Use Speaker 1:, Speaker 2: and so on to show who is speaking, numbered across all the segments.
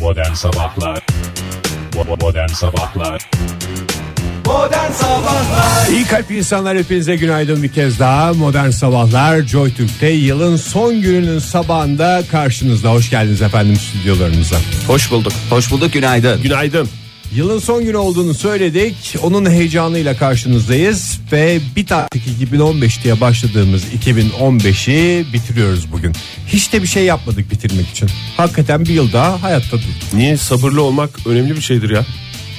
Speaker 1: Modern Sabahlar Bo- Modern Sabahlar
Speaker 2: İyi kalpli insanlar hepinize günaydın bir kez daha. Modern Sabahlar Joy Türk'te yılın son gününün sabahında karşınızda. Hoş geldiniz efendim stüdyolarımıza.
Speaker 3: Hoş bulduk. Hoş bulduk günaydın.
Speaker 4: Günaydın.
Speaker 2: Yılın son günü olduğunu söyledik. Onun heyecanıyla karşınızdayız ve bir taktik 2015 diye başladığımız 2015'i bitiriyoruz bugün. Hiç de bir şey yapmadık bitirmek için. Hakikaten bir yıl daha hayatta durduk.
Speaker 4: Niye sabırlı olmak önemli bir şeydir ya?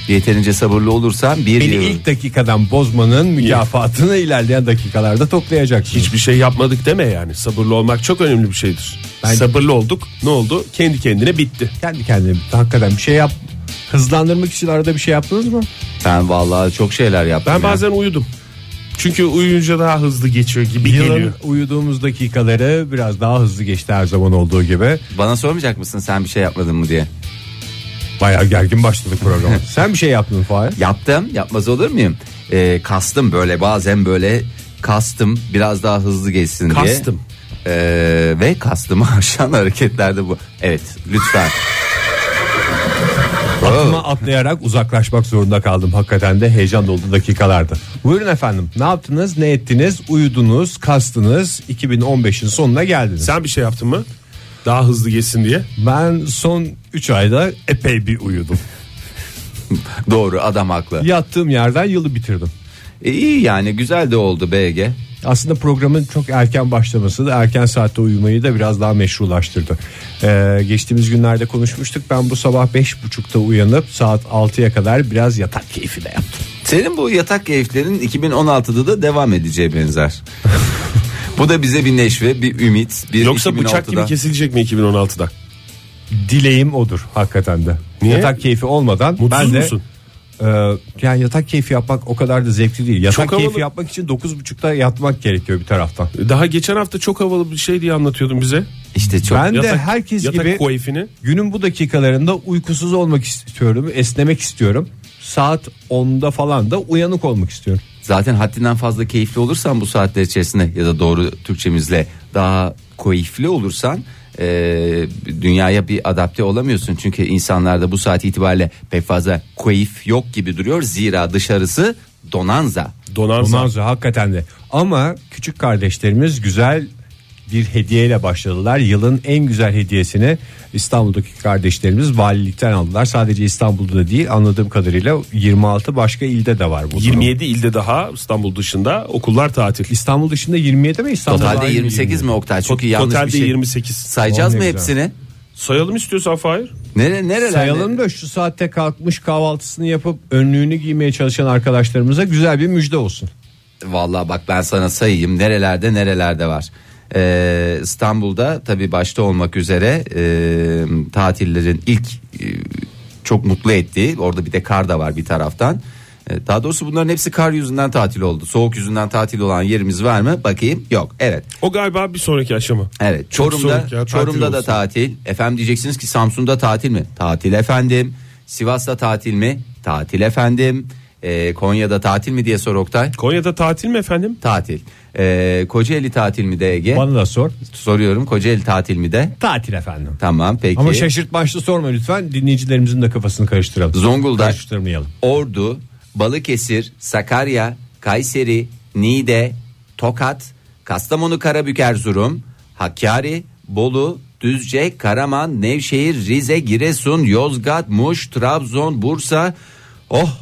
Speaker 3: Yeterince sabırlı olursan bir
Speaker 2: Beni
Speaker 3: yıl.
Speaker 2: ilk dakikadan bozmanın mükafatını ilerleyen dakikalarda toplayacaksınız.
Speaker 4: Hiçbir şey yapmadık deme yani. Sabırlı olmak çok önemli bir şeydir.
Speaker 2: Ben-
Speaker 4: Sabırlı olduk. Ne oldu? Kendi kendine bitti.
Speaker 2: kendi kendine hakikaten bir şey yap. Hızlandırmak için arada bir şey yaptınız mı?
Speaker 3: Ben vallahi çok şeyler yaptım.
Speaker 4: Ben
Speaker 3: ya.
Speaker 4: bazen uyudum. Çünkü uyuyunca daha hızlı geçiyor gibi
Speaker 2: Yılın
Speaker 4: geliyor.
Speaker 2: uyuduğumuz dakikaları biraz daha hızlı geçti her zaman olduğu gibi.
Speaker 3: Bana sormayacak mısın sen bir şey yapmadın mı diye?
Speaker 2: Bayağı gergin başladık programa. Sen bir şey yaptın Fahir.
Speaker 3: Yaptım. Yapmaz olur muyum? Ee, kastım böyle bazen böyle kastım biraz daha hızlı geçsin diye.
Speaker 4: Kastım.
Speaker 3: Ee, ve kastımı aşan hareketlerde bu. Evet lütfen.
Speaker 2: Ama atlayarak uzaklaşmak zorunda kaldım. Hakikaten de heyecan dolu dakikalardı. Buyurun efendim. Ne yaptınız, ne ettiniz? Uyudunuz, kastınız. 2015'in sonuna geldiniz.
Speaker 4: Sen bir şey yaptın mı? Daha hızlı geçsin diye.
Speaker 2: Ben son 3 ayda epey bir uyudum.
Speaker 3: Doğru adam haklı. E,
Speaker 2: Yattığım yerden yılı bitirdim.
Speaker 3: iyi yani güzel de oldu BG.
Speaker 2: Aslında programın çok erken başlaması da erken saatte uyumayı da biraz daha meşrulaştırdı. Ee, geçtiğimiz günlerde konuşmuştuk. Ben bu sabah 5.30'da uyanıp saat 6'ya kadar biraz yatak keyfi de yaptım.
Speaker 3: Senin bu yatak keyiflerin 2016'da da devam edeceği benzer. bu da bize bir neşve, bir ümit, bir
Speaker 4: Yoksa
Speaker 3: 2016'da.
Speaker 4: bıçak gibi kesilecek mi 2016'da?
Speaker 2: Dileğim odur hakikaten de.
Speaker 4: Niye?
Speaker 2: Yatak keyfi olmadan
Speaker 4: Mutsuz
Speaker 2: ben de
Speaker 4: musun?
Speaker 2: e, yani yatak keyfi yapmak o kadar da zevkli değil. Yatak
Speaker 4: Çok havalı.
Speaker 2: keyfi yapmak için 9.30'da yatmak gerekiyor bir taraftan.
Speaker 4: Daha geçen hafta çok havalı bir şey diye anlatıyordun bize.
Speaker 3: İşte çok
Speaker 2: Ben de
Speaker 4: Yatak-
Speaker 2: herkes
Speaker 4: yatak
Speaker 2: gibi
Speaker 4: koyfini.
Speaker 2: Günün bu dakikalarında uykusuz olmak istiyorum, esnemek istiyorum. Saat 10'da falan da uyanık olmak istiyorum.
Speaker 3: zaten haddinden fazla keyifli olursan bu saatler içerisinde ya da doğru Türkçemizle daha keyifli olursan e, dünyaya bir adapte olamıyorsun. Çünkü insanlarda bu saat itibariyle pek fazla keyif yok gibi duruyor. Zira dışarısı donanza.
Speaker 4: Donanza.
Speaker 2: Ondan sonra hakikaten de. Ama küçük kardeşlerimiz güzel bir hediyeyle başladılar. Yılın en güzel hediyesini İstanbul'daki kardeşlerimiz valilikten aldılar. Sadece İstanbul'da da değil anladığım kadarıyla 26 başka ilde de var bu. durum.
Speaker 4: 27 ilde daha İstanbul dışında okullar tatil.
Speaker 2: İstanbul dışında 27 mi İstanbul'da?
Speaker 3: Totalde
Speaker 2: aynı
Speaker 3: 28 mi Oktay? Çünkü
Speaker 4: Tot-
Speaker 3: yanlış
Speaker 4: totalde
Speaker 3: bir şey.
Speaker 4: 28.
Speaker 3: Sayacağız
Speaker 2: Oh,
Speaker 3: mı
Speaker 2: ne
Speaker 3: hepsini?
Speaker 4: Sayalım istiyorsan Fahir.
Speaker 3: Nere, nerelerde?
Speaker 2: Sayalım da şu saatte kalkmış kahvaltısını yapıp önlüğünü giymeye çalışan arkadaşlarımıza güzel bir müjde olsun.
Speaker 3: Vallahi bak ben sana sayayım nerelerde nerelerde var. Ee, İstanbul'da tabii başta olmak üzere e, tatillerin ilk e, çok mutlu ettiği orada bir de kar da var bir taraftan. E, daha doğrusu bunların hepsi kar yüzünden tatil oldu. Soğuk yüzünden tatil olan yerimiz var mı? Bakayım. Yok. Evet.
Speaker 4: O galiba bir sonraki aşama.
Speaker 3: Evet.
Speaker 4: Çok
Speaker 3: Çorum'da
Speaker 4: soğuk ya, tatil
Speaker 3: Çorum'da da
Speaker 4: olsun.
Speaker 3: tatil. Efendim diyeceksiniz ki Samsun'da tatil mi? Tatil efendim. Sivas'ta tatil mi? Tatil efendim. Ee, Konya'da tatil mi diye sor Oktay.
Speaker 4: Konya'da tatil mi efendim?
Speaker 3: Tatil. Ee, Kocaeli tatil mi de Ege?
Speaker 2: Bana da sor.
Speaker 3: Soruyorum Kocaeli E? tatil mi de?
Speaker 2: Tatil efendim.
Speaker 3: Tamam peki.
Speaker 2: Ama
Speaker 4: şey-
Speaker 2: şaşırt başlı sorma lütfen. Dinleyicilerimizin de kafasını karıştıralım.
Speaker 3: Zonguldak.
Speaker 2: Karıştırmayalım.
Speaker 3: Ordu, Balıkesir, Sakarya, Kayseri, Niğde, Tokat, Kastamonu, Karabük, Erzurum, Hakkari, Bolu, Düzce, Karaman, Nevşehir, Rize, Giresun, Yozgat, Muş, Trabzon, Bursa. Oh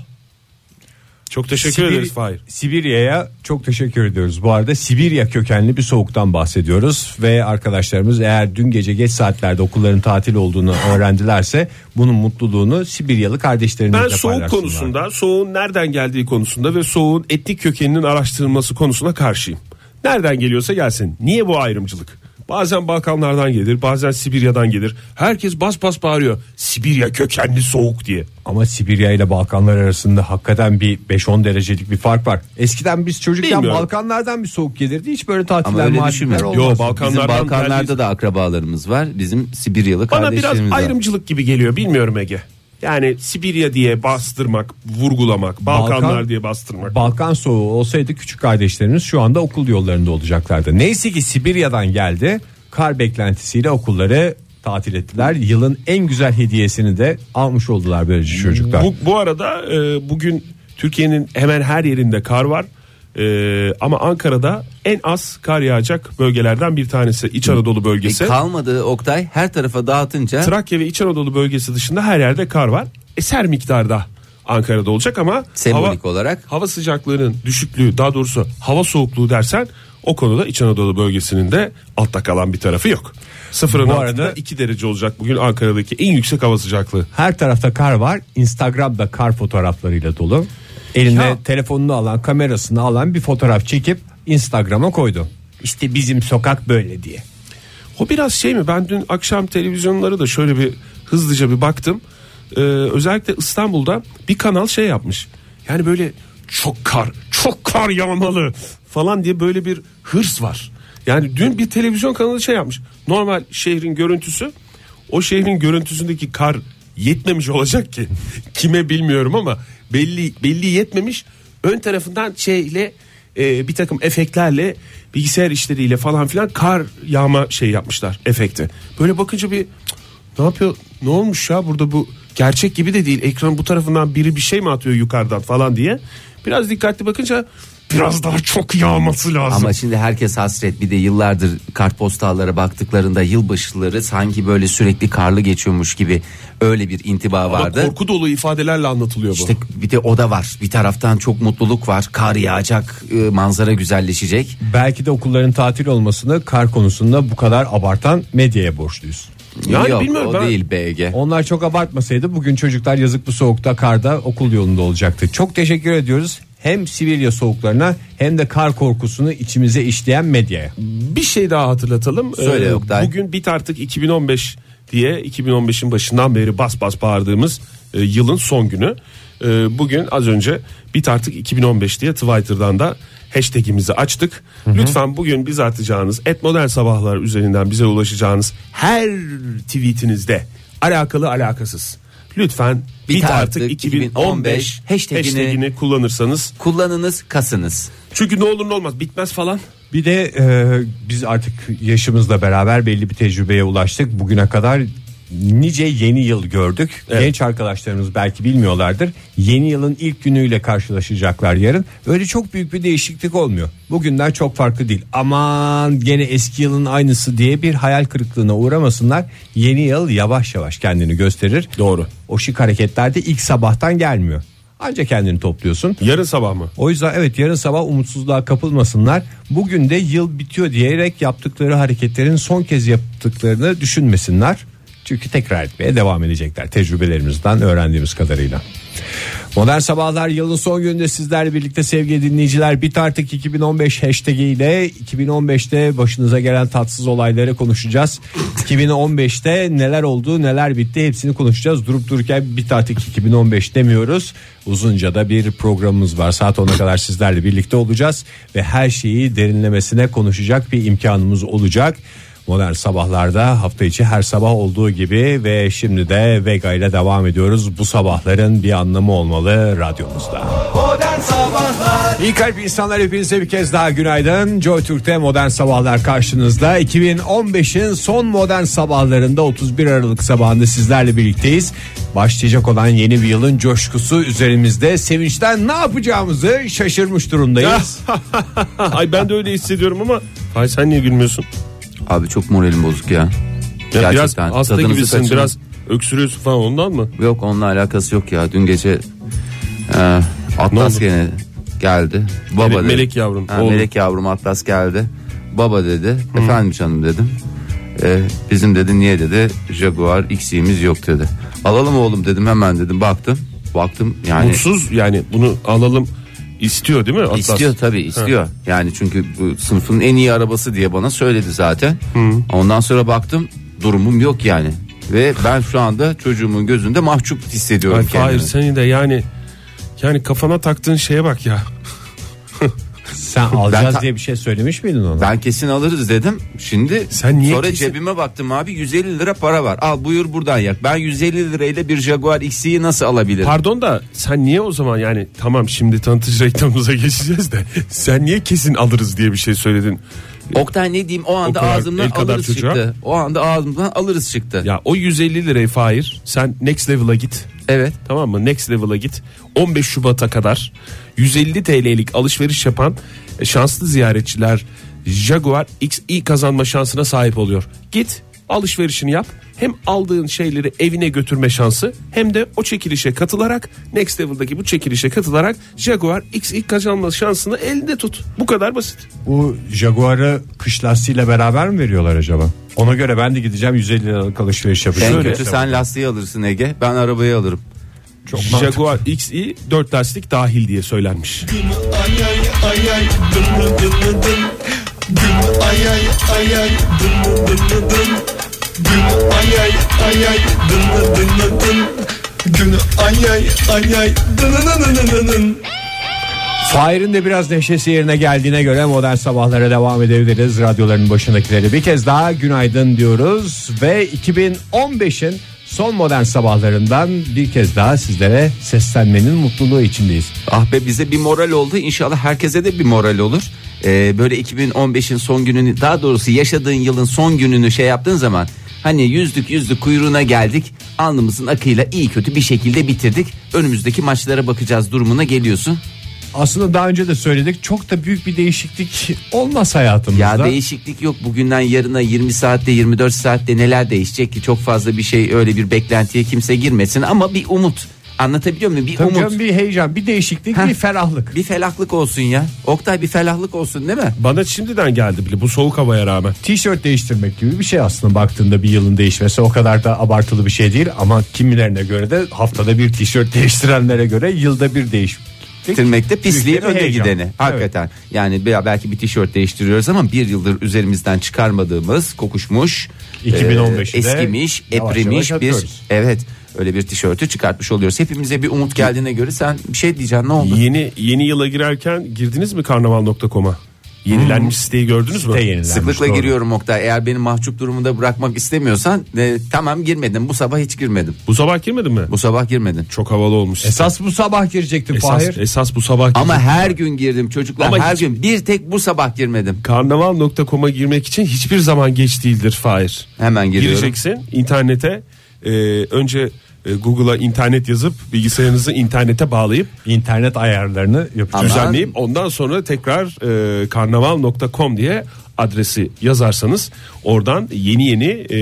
Speaker 4: Çok teşekkür
Speaker 2: Sibir-
Speaker 4: ederiz Fahir.
Speaker 2: Sibirya'ya çok teşekkür ediyoruz. Bu arada Sibirya kökenli bir soğuktan bahsediyoruz ve arkadaşlarımız eğer dün gece geç saatlerde okulların tatil olduğunu öğrendilerse bunun mutluluğunu Sibiryalı kardeşlerimizle
Speaker 4: Ben soğuk
Speaker 2: paylaşsınlar.
Speaker 4: konusunda, soğuğun nereden geldiği konusunda ve soğuğun etnik kökeninin araştırılması konusuna karşıyım. Nereden geliyorsa gelsin. Niye bu ayrımcılık? Bazen Balkanlardan gelir, bazen Sibirya'dan gelir. Herkes bas bas bağırıyor. Sibirya kökenli soğuk diye.
Speaker 2: Ama Sibirya ile Balkanlar arasında hakikaten bir 5-10 derecelik bir fark var. Eskiden biz çocukken
Speaker 4: Bilmiyorum.
Speaker 2: Balkanlardan bir soğuk gelirdi. Hiç böyle tatiller
Speaker 3: ama öyle
Speaker 2: mağdurlar
Speaker 3: düşünme.
Speaker 2: olmaz.
Speaker 4: Yo,
Speaker 3: Bizim
Speaker 4: Balkanlardan
Speaker 3: Balkanlarda
Speaker 4: geldiği-
Speaker 3: da akrabalarımız var. Bizim Sibiryalı
Speaker 4: Bana
Speaker 3: kardeşlerimiz
Speaker 4: biraz
Speaker 3: var.
Speaker 4: ayrımcılık gibi geliyor bilmiyorum Ege. Yani Sibirya diye bastırmak, vurgulamak, Balkanlar
Speaker 2: Balkan-
Speaker 4: diye bastırmak.
Speaker 2: Balkan soğuğu olsaydı küçük kardeşlerimiz şu anda okul yollarında olacaklardı. Neyse ki Sibirya'dan geldi. Kar beklentisiyle okulları tatil ettiler. Yılın en güzel hediyesini de almış oldular böylece çocuklar.
Speaker 4: Bu, bu arada e, bugün Türkiye'nin hemen her yerinde kar var. E, ama Ankara'da en az kar yağacak bölgelerden bir tanesi İç Anadolu bölgesi.
Speaker 3: E, kalmadı Oktay her tarafa dağıtınca
Speaker 4: Trakya ve İç Anadolu bölgesi dışında her yerde kar var. Eser miktarda Ankara'da olacak ama
Speaker 3: Sembolik olarak.
Speaker 4: hava sıcaklığının düşüklüğü daha doğrusu hava soğukluğu dersen o konuda İç Anadolu bölgesinin de altta kalan bir tarafı yok. Sıfırın
Speaker 2: Bu
Speaker 4: altında
Speaker 2: arada-
Speaker 4: 2 derece olacak bugün Ankara'daki en yüksek hava sıcaklığı.
Speaker 2: Her tarafta kar var. Instagram'da kar fotoğraflarıyla dolu. Eline
Speaker 4: Ya.
Speaker 2: telefonunu alan, kamerasını alan bir fotoğraf çekip Instagram'a koydu. İşte bizim sokak böyle diye.
Speaker 4: O biraz şey mi ben dün akşam televizyonlara da şöyle bir hızlıca bir baktım. Ee, özellikle İstanbul'da bir kanal şey yapmış. Yani böyle çok kar, çok kar yağmalı falan diye böyle bir hırs var. Yani dün bir televizyon kanalı şey yapmış. Normal şehrin görüntüsü o şehrin görüntüsündeki kar yetmemiş olacak ki. Kime bilmiyorum ama belli belli yetmemiş. Ön tarafından şeyle e, bir takım efektlerle bilgisayar işleriyle falan filan kar yağma şey yapmışlar efekti. Böyle bakınca bir "Cık, ne yapıyor ne olmuş ya burada bu gerçek gibi de değil ekran bu tarafından biri bir şey mi atıyor yukarıdan falan diye. Biraz dikkatli bakınca biraz daha çok yağması lazım.
Speaker 3: Ama şimdi herkes hasret bir de yıllardır kartpostallara baktıklarında yılbaşıları sanki böyle sürekli karlı geçiyormuş gibi öyle bir intiba
Speaker 4: Ama
Speaker 3: vardı.
Speaker 4: korku dolu ifadelerle anlatılıyor bu.
Speaker 3: İşte bir de o da var. Bir taraftan çok mutluluk var. Kar yağacak, e, manzara güzelleşecek.
Speaker 2: Belki de okulların tatil olmasını kar konusunda bu kadar abartan medyaya borçluyuz.
Speaker 4: Yani
Speaker 3: Yok,
Speaker 4: bilmiyorum
Speaker 3: o
Speaker 4: ben-
Speaker 3: değil BG.
Speaker 2: Onlar çok abartmasaydı bugün çocuklar yazık bu soğukta karda okul yolunda olacaktı. Çok teşekkür ediyoruz hem Sibirya soğuklarına hem de kar korkusunu içimize işleyen medyaya.
Speaker 4: Bir şey daha hatırlatalım.
Speaker 3: Söyle Oktay.
Speaker 4: Ee, Bugün bit artık 2015 diye 2015'in başından beri bas bas bağırdığımız e, yılın son günü. E, bugün az önce bit artık 2015 diye Twitter'dan da hashtagimizi açtık. Lütfen bugün biz atacağınız et modern sabahlar üzerinden bize ulaşacağınız her tweetinizde alakalı alakasız. Lütfen bit, artık, 2015 hashtagini,
Speaker 3: hashtagini
Speaker 4: kullanırsanız.
Speaker 3: Kullanınız, kasınız.
Speaker 4: Çünkü ne olur ne olmaz bitmez falan.
Speaker 2: Bir de e, biz artık yaşımızla beraber belli bir tecrübeye ulaştık. Bugüne kadar nice yeni yıl gördük. Genç arkadaşlarımız belki bilmiyorlardır. Yeni yılın ilk günüyle karşılaşacaklar yarın. Öyle çok büyük bir değişiklik olmuyor. Bugünden çok farklı değil. Aman gene eski yılın aynısı diye bir hayal kırıklığına uğramasınlar. Yeni yıl yavaş yavaş kendini gösterir.
Speaker 4: Doğru.
Speaker 2: O şık hareketler de ilk sabahtan gelmiyor. Anca kendini topluyorsun.
Speaker 4: Yarın sabah mı?
Speaker 2: O yüzden evet yarın sabah umutsuzluğa kapılmasınlar. Bugün de yıl bitiyor diyerek yaptıkları hareketlerin son kez yaptıklarını düşünmesinler. Çünkü tekrar etmeye devam edecekler tecrübelerimizden öğrendiğimiz kadarıyla. Modern Sabahlar yılın son gününde sizlerle birlikte sevgili dinleyiciler bit artık 2015 hashtag ile 2015'te başınıza gelen tatsız olayları konuşacağız. 2015'te neler oldu neler bitti hepsini konuşacağız. Durup dururken bit artık 2015 demiyoruz. Uzunca da bir programımız var. Saat 10'a kadar sizlerle birlikte olacağız ve her şeyi derinlemesine konuşacak bir imkanımız olacak. Modern sabahlarda hafta içi her sabah olduğu gibi ve şimdi de Vega ile devam ediyoruz. Bu sabahların bir anlamı olmalı radyomuzda. İyi kalp insanlar hepinize bir kez daha günaydın. Joy Türk'te Modern Sabahlar karşınızda. 2015'in son Modern Sabahlarında 31 Aralık sabahında sizlerle birlikteyiz. Başlayacak olan yeni bir yılın coşkusu üzerimizde. Sevinçten ne yapacağımızı şaşırmış durumdayız.
Speaker 4: Ay ben de öyle hissediyorum ama Ay sen niye gülmüyorsun?
Speaker 3: Abi çok moralim bozuk ya.
Speaker 4: Ya
Speaker 3: Gerçekten.
Speaker 4: biraz hasta
Speaker 3: Tadınızı
Speaker 4: gibisin
Speaker 3: kaçırın.
Speaker 4: biraz öksürüyorsun falan ondan mı?
Speaker 3: Yok onunla alakası yok ya. Dün gece e, Atlas
Speaker 4: oldu?
Speaker 3: gene geldi. Baba
Speaker 4: Melek-
Speaker 3: dedi.
Speaker 4: Melek yavrum,
Speaker 3: Ha,
Speaker 4: oğlum.
Speaker 3: melek yavrum Atlas geldi. Baba dedi. Efendim canım dedim. E, bizim dedi niye dedi Jaguar XC'miz yok dedi. Alalım oğlum dedim hemen dedim. Baktım. Baktım yani
Speaker 4: Mutsuz yani bunu alalım istiyor değil mi Atlas?
Speaker 3: İstiyor tabii istiyor. Yani çünkü bu sınıfın en iyi arabası diye bana söyledi zaten. Ondan sonra baktım durumum yok yani. Ve ben şu anda çocuğumun gözünde mahcup hissediyorum
Speaker 4: Ay
Speaker 3: kendimi.
Speaker 4: Fahir seni de yani yani kafana taktığın şeye bak ya.
Speaker 2: Sen alacağız
Speaker 3: Ben ta-
Speaker 2: diye bir şey söylemiş miydin ona?
Speaker 3: Ben kesin alırız dedim. Şimdi
Speaker 4: Sen niye
Speaker 3: sonra
Speaker 4: kesin-
Speaker 3: cebime baktım abi 150 lira para var. Al buyur buradan yak. Ben 150 lirayla bir Jaguar X'i nasıl alabilirim?
Speaker 4: Pardon da sen niye o zaman yani tamam şimdi tanıtıcı reklamımıza geçeceğiz de sen niye kesin alırız diye bir şey söyledin.
Speaker 3: Oktay ne diyeyim o anda
Speaker 4: kadar-
Speaker 3: ağzımdan
Speaker 4: el kadar
Speaker 3: alırız
Speaker 4: çocuğa.
Speaker 3: çıktı. O anda ağzımdan alırız çıktı.
Speaker 4: Ya o 150 lirayı Fahir sen next level'a git.
Speaker 3: Evet.
Speaker 4: Tamam mı? Next level'a git. 15 Şubat'a kadar 150 TL'lik alışveriş yapan e, şanslı ziyaretçiler Jaguar XI kazanma şansına sahip oluyor. Git alışverişini yap. Hem aldığın şeyleri evine götürme şansı hem de o çekilişe katılarak Next Level'daki bu çekilişe katılarak Jaguar XI kazanma şansını elinde tut. Bu kadar basit.
Speaker 2: Bu Jaguar'ı kış lastiğiyle beraber mi veriyorlar acaba? Ona göre ben de gideceğim 150 liralık alışveriş yapacağım.
Speaker 3: En
Speaker 4: Şöyle.
Speaker 3: kötü sen lastiği alırsın Ege. Ben arabayı alırım.
Speaker 4: Jaguar XI 4 lastik dahil diye söylenmiş.
Speaker 5: ay ay ay ay dın dın dın dın dın. Dın ay ay ay ay dın dın dın dın dın. Dın ay ay ay ay dın dın dın dın dın. Dın ay ay ay ay dın dın dın dın dın dın.
Speaker 2: Fahir'in de biraz neşesi yerine geldiğine göre modern sabahlara devam edebiliriz. Radyoların başındakileri bir kez daha günaydın diyoruz. Ve 2015'in son modern sabahlarından bir kez daha sizlere seslenmenin mutluluğu içindeyiz.
Speaker 3: Ah be bize bir moral oldu. İnşallah herkese de bir moral olur. Ee, böyle 2015'in son gününü daha doğrusu yaşadığın yılın son gününü şey yaptığın zaman hani yüzlük yüzlük kuyruğuna geldik. Alnımızın akıyla iyi kötü bir şekilde bitirdik. Önümüzdeki maçlara bakacağız durumuna geliyorsun.
Speaker 2: Aslında daha önce de söyledik çok da büyük bir değişiklik olmaz hayatımızda.
Speaker 3: Ya değişiklik yok. Bugünden yarına 20 saatte 24 saatte neler değişecek ki? Çok fazla bir şey öyle bir beklentiye kimse girmesin ama bir umut. Anlatabiliyor muyum? Bir
Speaker 2: Tabii
Speaker 3: umut.
Speaker 2: canım, bir heyecan, bir değişiklik,
Speaker 3: Heh.
Speaker 2: bir ferahlık.
Speaker 3: Bir felaklık olsun ya. Oktay bir felaklık olsun değil mi?
Speaker 4: Bana şimdiden geldi bile bu soğuk havaya rağmen.
Speaker 2: T-shirt değiştirmek gibi bir şey aslında baktığında bir yılın değişmesi o kadar da abartılı bir şey değil ama kimilerine göre de haftada bir tişört değiştirenlere göre yılda bir değişiklik.
Speaker 3: Bitirmekte pisliğin
Speaker 2: Büyükleri
Speaker 3: önde
Speaker 2: heyecan.
Speaker 3: gideni. Hakikaten. Yani bir- belki bir tişört değiştiriyoruz ama bir yıldır üzerimizden çıkarmadığımız kokuşmuş,
Speaker 2: 2015'i de
Speaker 3: eskimiş,
Speaker 2: yavaş
Speaker 3: eprimiş
Speaker 2: yavaş
Speaker 3: bir
Speaker 2: atıyoruz.
Speaker 3: evet öyle bir tişörtü çıkartmış oluyoruz. Hepimize bir umut geldiğine göre sen bir şey diyeceksin ne oldu?
Speaker 4: Yeni yeni yıla girerken girdiniz mi karnaval.com'a? Yenilenmiş siteyi gördünüz
Speaker 2: Hmm.
Speaker 4: mü?
Speaker 2: Site yenilenmiş,
Speaker 3: Sıklıkla
Speaker 2: doğru.
Speaker 3: giriyorum Oktay. Eğer beni mahcup durumunda bırakmak istemiyorsan e, tamam girmedim. Bu sabah hiç girmedim.
Speaker 4: Bu sabah girmedin mi?
Speaker 3: Bu sabah girmedim.
Speaker 4: Çok havalı olmuş.
Speaker 2: Esas bu sabah girecektim
Speaker 4: esas,
Speaker 2: Fahir.
Speaker 4: esas bu sabah
Speaker 3: Ama her gün girdim çocuklar.
Speaker 4: Ama
Speaker 3: her
Speaker 4: hiç-
Speaker 3: gün bir tek bu sabah girmedim.
Speaker 4: karnaval.com'a girmek için hiçbir zaman geç değildir Fahir.
Speaker 3: Hemen giriyorum.
Speaker 4: Gireceksin internete e, önce e, Google'a internet yazıp bilgisayarınızı internete bağlayıp
Speaker 2: İnternet ayarlarını
Speaker 3: Ama-
Speaker 2: yapacağız.
Speaker 4: düzenleyip ondan sonra tekrar e, karnaval.com diye adresi yazarsanız oradan yeni yeni e,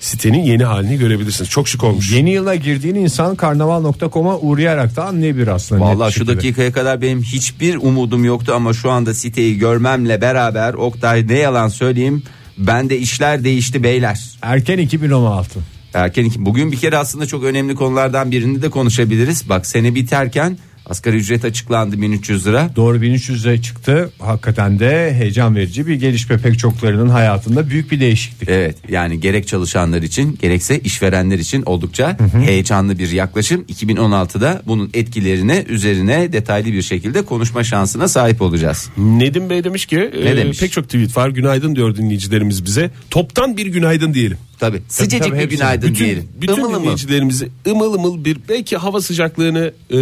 Speaker 4: sitenin yeni halini görebilirsiniz. Çok şık olmuş.
Speaker 2: Yeni yıla girdiğin insan karnaval.com'a uğrayarak da anlayabilir aslında.
Speaker 3: Vallahi
Speaker 2: net bir
Speaker 3: şu
Speaker 2: şekilde.
Speaker 3: dakikaya kadar benim hiçbir umudum yoktu ama şu anda siteyi görmemle beraber Oktay ne yalan söyleyeyim bende işler değişti beyler.
Speaker 2: Erken 2016.
Speaker 3: Erken iki- bugün bir kere aslında çok önemli konulardan birini de konuşabiliriz. Bak sene biterken asgari ücret açıklandı 1300 lira.
Speaker 2: Doğru 1300'e çıktı. Hakikaten de heyecan verici bir gelişme pek çoklarının hayatında büyük bir değişiklik.
Speaker 3: Evet yani gerek çalışanlar için gerekse işverenler için oldukça heyecanlı bir yaklaşım. 2016'da bunun etkilerini üzerine detaylı bir şekilde konuşma şansına sahip olacağız.
Speaker 4: Nedim Bey demiş ki e,
Speaker 3: demiş?
Speaker 4: pek çok tweet var. Günaydın diyor dinleyicilerimiz bize. Toptan bir günaydın diyelim.
Speaker 3: Tabii, sıcacık
Speaker 2: tabii,
Speaker 3: bir
Speaker 2: hepsini.
Speaker 3: günaydın
Speaker 4: Bütün
Speaker 3: diyelim.
Speaker 4: bütün
Speaker 3: Imıl ımıl.
Speaker 4: dinleyicilerimizi ımıl ımıl bir belki hava sıcaklığını e,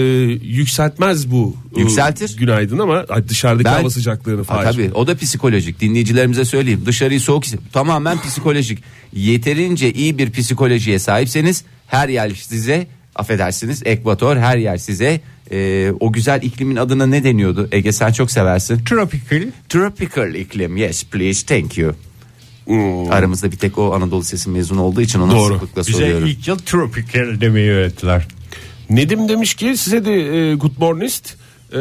Speaker 4: yükseltmez bu. e,
Speaker 3: Yükseltir.
Speaker 4: günaydın ama ay, dışarıdaki
Speaker 3: Ben-
Speaker 4: hava sıcaklığını
Speaker 3: Ha,
Speaker 4: falan.
Speaker 3: tabii o da psikolojik dinleyicilerimize söyleyeyim dışarıyı soğuk tamamen psikolojik yeterince iyi bir psikolojiye sahipseniz her yer size affedersiniz ekvator her yer size e, o güzel iklimin adına ne deniyordu Ege sen çok seversin
Speaker 2: Tropical
Speaker 3: tropical iklim yes please thank you aramızda bir tek o Anadolu Sesi mezunu olduğu için ona
Speaker 4: Hmm. Doğru.
Speaker 3: sıklıkla
Speaker 2: Bize
Speaker 3: soruyorum
Speaker 2: ilk yıl tropical demeyi öğrettiler.
Speaker 4: Nedim demiş ki size de e, good morningist. E,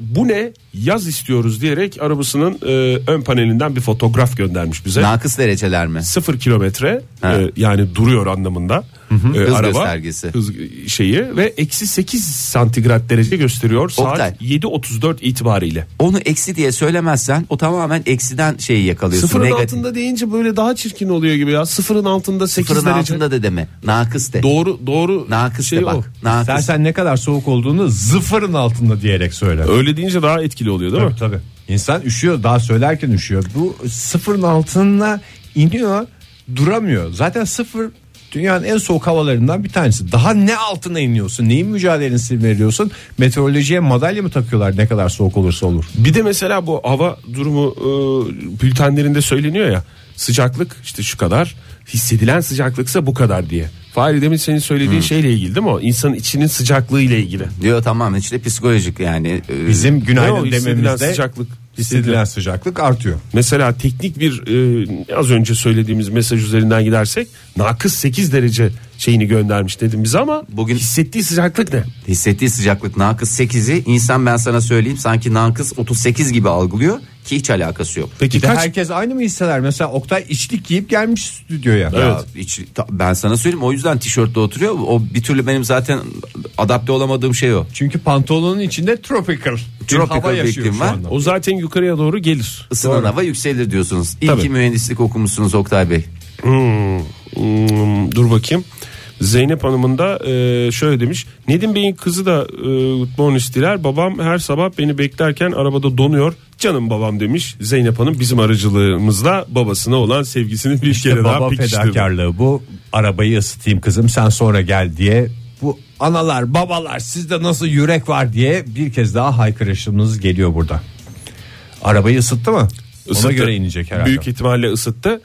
Speaker 4: bu ne yaz istiyoruz diyerek arabasının e, ön panelinden bir fotoğraf göndermiş bize.
Speaker 3: nakıs dereceler mi
Speaker 4: Sıfır kilometre
Speaker 3: Ha.
Speaker 4: e, yani duruyor anlamında e,
Speaker 3: Hız
Speaker 4: araba
Speaker 3: göstergesi.
Speaker 4: hız şeyi ve eksi 8 santigrat derece gösteriyor
Speaker 3: Oktay.
Speaker 4: saat 7.34 itibariyle.
Speaker 3: onu eksi diye söylemezsen o tamamen eksiden şeyi yakalıyorsun
Speaker 4: Sıfırın
Speaker 3: negatif.
Speaker 4: altında deyince böyle daha çirkin oluyor gibi ya. Sıfırın altında 8
Speaker 3: Sıfırın
Speaker 4: derece.
Speaker 3: altında da deme nakıs de
Speaker 4: Doğru doğru
Speaker 3: Nakıs
Speaker 4: şey
Speaker 3: de bak.
Speaker 4: o.
Speaker 3: Nakıs.
Speaker 2: İstersen ne kadar soğuk olduğunu zıfırın altında diyerek söyle.
Speaker 4: Öyle deyince daha etkili oluyor değil mi?
Speaker 2: Tabii E, tabii. İnsan üşüyor daha söylerken üşüyor. Bu sıfırın altına iniyor duramıyor. Zaten sıfır Dünyanın en soğuk havalarından bir tanesi. Daha ne altına iniyorsun? Neyin mücadelesini veriyorsun? Meteorolojiye madalya mı takıyorlar ne kadar soğuk olursa olur?
Speaker 4: Bir de mesela bu hava durumu e, bültenlerinde söyleniyor ya sıcaklık işte şu kadar hissedilen sıcaklıksa bu kadar diye. Fahri demin senin söylediğin şeyle ilgili değil mi o? İnsanın içinin sıcaklığı ile ilgili.
Speaker 3: Diyor tamam işte psikolojik yani. Ee,
Speaker 2: Bizim
Speaker 4: Ne o
Speaker 2: günaydın
Speaker 4: hissedilen
Speaker 2: dememizde
Speaker 4: sıcaklık?
Speaker 2: hissedilen sıcaklık artıyor.
Speaker 4: Mesela teknik bir e, az önce söylediğimiz mesaj üzerinden gidersek nakıs 8 derece şeyini göndermiş dedim biz ama bugün
Speaker 3: Bugün-
Speaker 4: hissettiği sıcaklık ne?
Speaker 3: Hissettiği sıcaklık nakıs 8'i insan ben sana söyleyeyim sanki nakıs 38 gibi algılıyor ki hiç alakası yok.
Speaker 4: Peki
Speaker 2: Bir de
Speaker 4: kaç
Speaker 2: herkes aynı mı hisseder? Mesela Oktay içlik giyip gelmiş stüdyoya.
Speaker 3: Ya hiç- ta- ben sana söyleyeyim o yüzden tişörtle oturuyor. O bir türlü benim zaten adapte olamadığım şey o.
Speaker 2: Çünkü pantolonun içinde tropical,
Speaker 3: Tropical
Speaker 2: bir hava
Speaker 3: bir
Speaker 2: yaşıyor
Speaker 3: iklim
Speaker 2: şu
Speaker 3: var.
Speaker 2: anda.
Speaker 4: o zaten yukarıya doğru gelir.
Speaker 3: Isınan hava yükselir diyorsunuz. İyi
Speaker 4: Tabii.
Speaker 3: ki mühendislik okumuşsunuz Oktay Bey.
Speaker 4: Hmm, dur bakayım. Zeynep Hanım'ın da e, şöyle demiş. Nedim Bey'in kızı da e, bonus diler. Babam her sabah beni beklerken arabada donuyor. Canım babam demiş. Zeynep Hanım bizim aracılığımızla babasına olan sevgisini bir
Speaker 2: İşte
Speaker 4: kere daha
Speaker 2: baba
Speaker 4: pekiştirdi.
Speaker 2: fedakarlığı bu. Arabayı ısıtayım kızım sen sonra gel diye. Bu analar babalar sizde nasıl yürek var diye bir kez daha haykırışımız geliyor burada. Arabayı ısıttı mı? Ona
Speaker 4: Isıttı.
Speaker 2: göre inecek herhalde.
Speaker 4: Büyük ihtimalle ısıttı.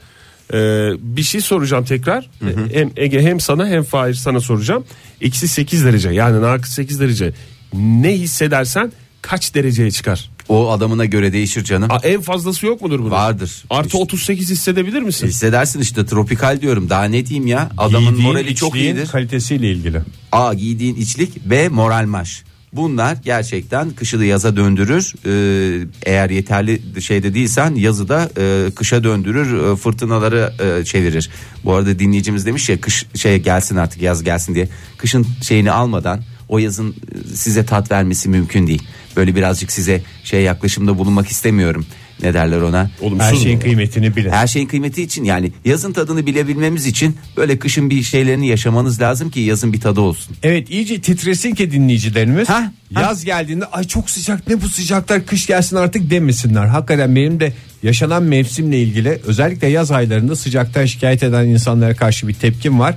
Speaker 4: Ee, bir şey soracağım tekrar. Hem Ege hem sana hem Fahir sana soracağım. Eksi 8 derece yani nakıs 8 derece. Ne hissedersen kaç dereceye çıkar?
Speaker 3: O adamına göre değişir canım.
Speaker 4: Aa, en fazlası yok mudur bunun?
Speaker 3: Vardır.
Speaker 4: Artı
Speaker 3: İşte.
Speaker 4: 38 hissedebilir misin?
Speaker 3: Hissedersin işte tropikal diyorum daha ne diyeyim ya adamın
Speaker 2: Giydiğin
Speaker 3: morali çok
Speaker 2: içliğin
Speaker 3: iyidir.
Speaker 2: kalitesiyle ilgili.
Speaker 3: A giydiğin içlik B moral maş. Bunlar gerçekten kışı da yaza döndürür. Ee, eğer yeterli şeyde değilsen yazı da e, kışa döndürür, e, fırtınaları e, çevirir. Bu arada dinleyicimiz demiş ya kış şey gelsin artık yaz gelsin diye. Kışın şeyini almadan o yazın e, size tat vermesi mümkün değil. Böyle birazcık size şey yaklaşımda bulunmak istemiyorum. Ne derler ona? şey,
Speaker 2: Her şeyin kıymetini bilin.
Speaker 3: Her şeyin kıymeti için yani yazın tadını bilebilmemiz için böyle kışın bir şeylerini yaşamanız lazım ki yazın bir tadı olsun.
Speaker 2: Evet iyice titresin ki dinleyicilerimiz.
Speaker 3: Hah, hah.
Speaker 2: Yaz geldiğinde ay çok sıcak ne bu sıcaklar kış gelsin artık demesinler. Hakikaten benim de yaşanan mevsimle ilgili özellikle yaz aylarında sıcaktan şikayet eden insanlara karşı bir tepkim var.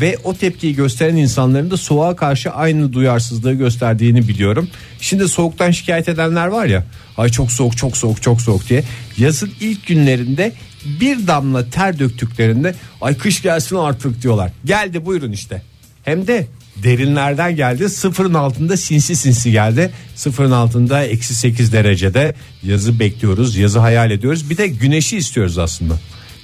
Speaker 2: Ve o tepkiyi gösteren insanların da soğuğa karşı aynı duyarsızlığı gösterdiğini biliyorum. Şimdi soğuktan şikayet edenler var ya ay çok soğuk çok soğuk çok soğuk diye. Yazın ilk günlerinde bir damla ter döktüklerinde ay kış gelsin artık diyorlar. Geldi buyurun işte. Hem de derinlerden geldi. Sıfırın altında sinsi sinsi geldi. Sıfırın altında eksi 8 derecede yazı bekliyoruz. Yazı hayal ediyoruz. Bir de güneşi istiyoruz aslında.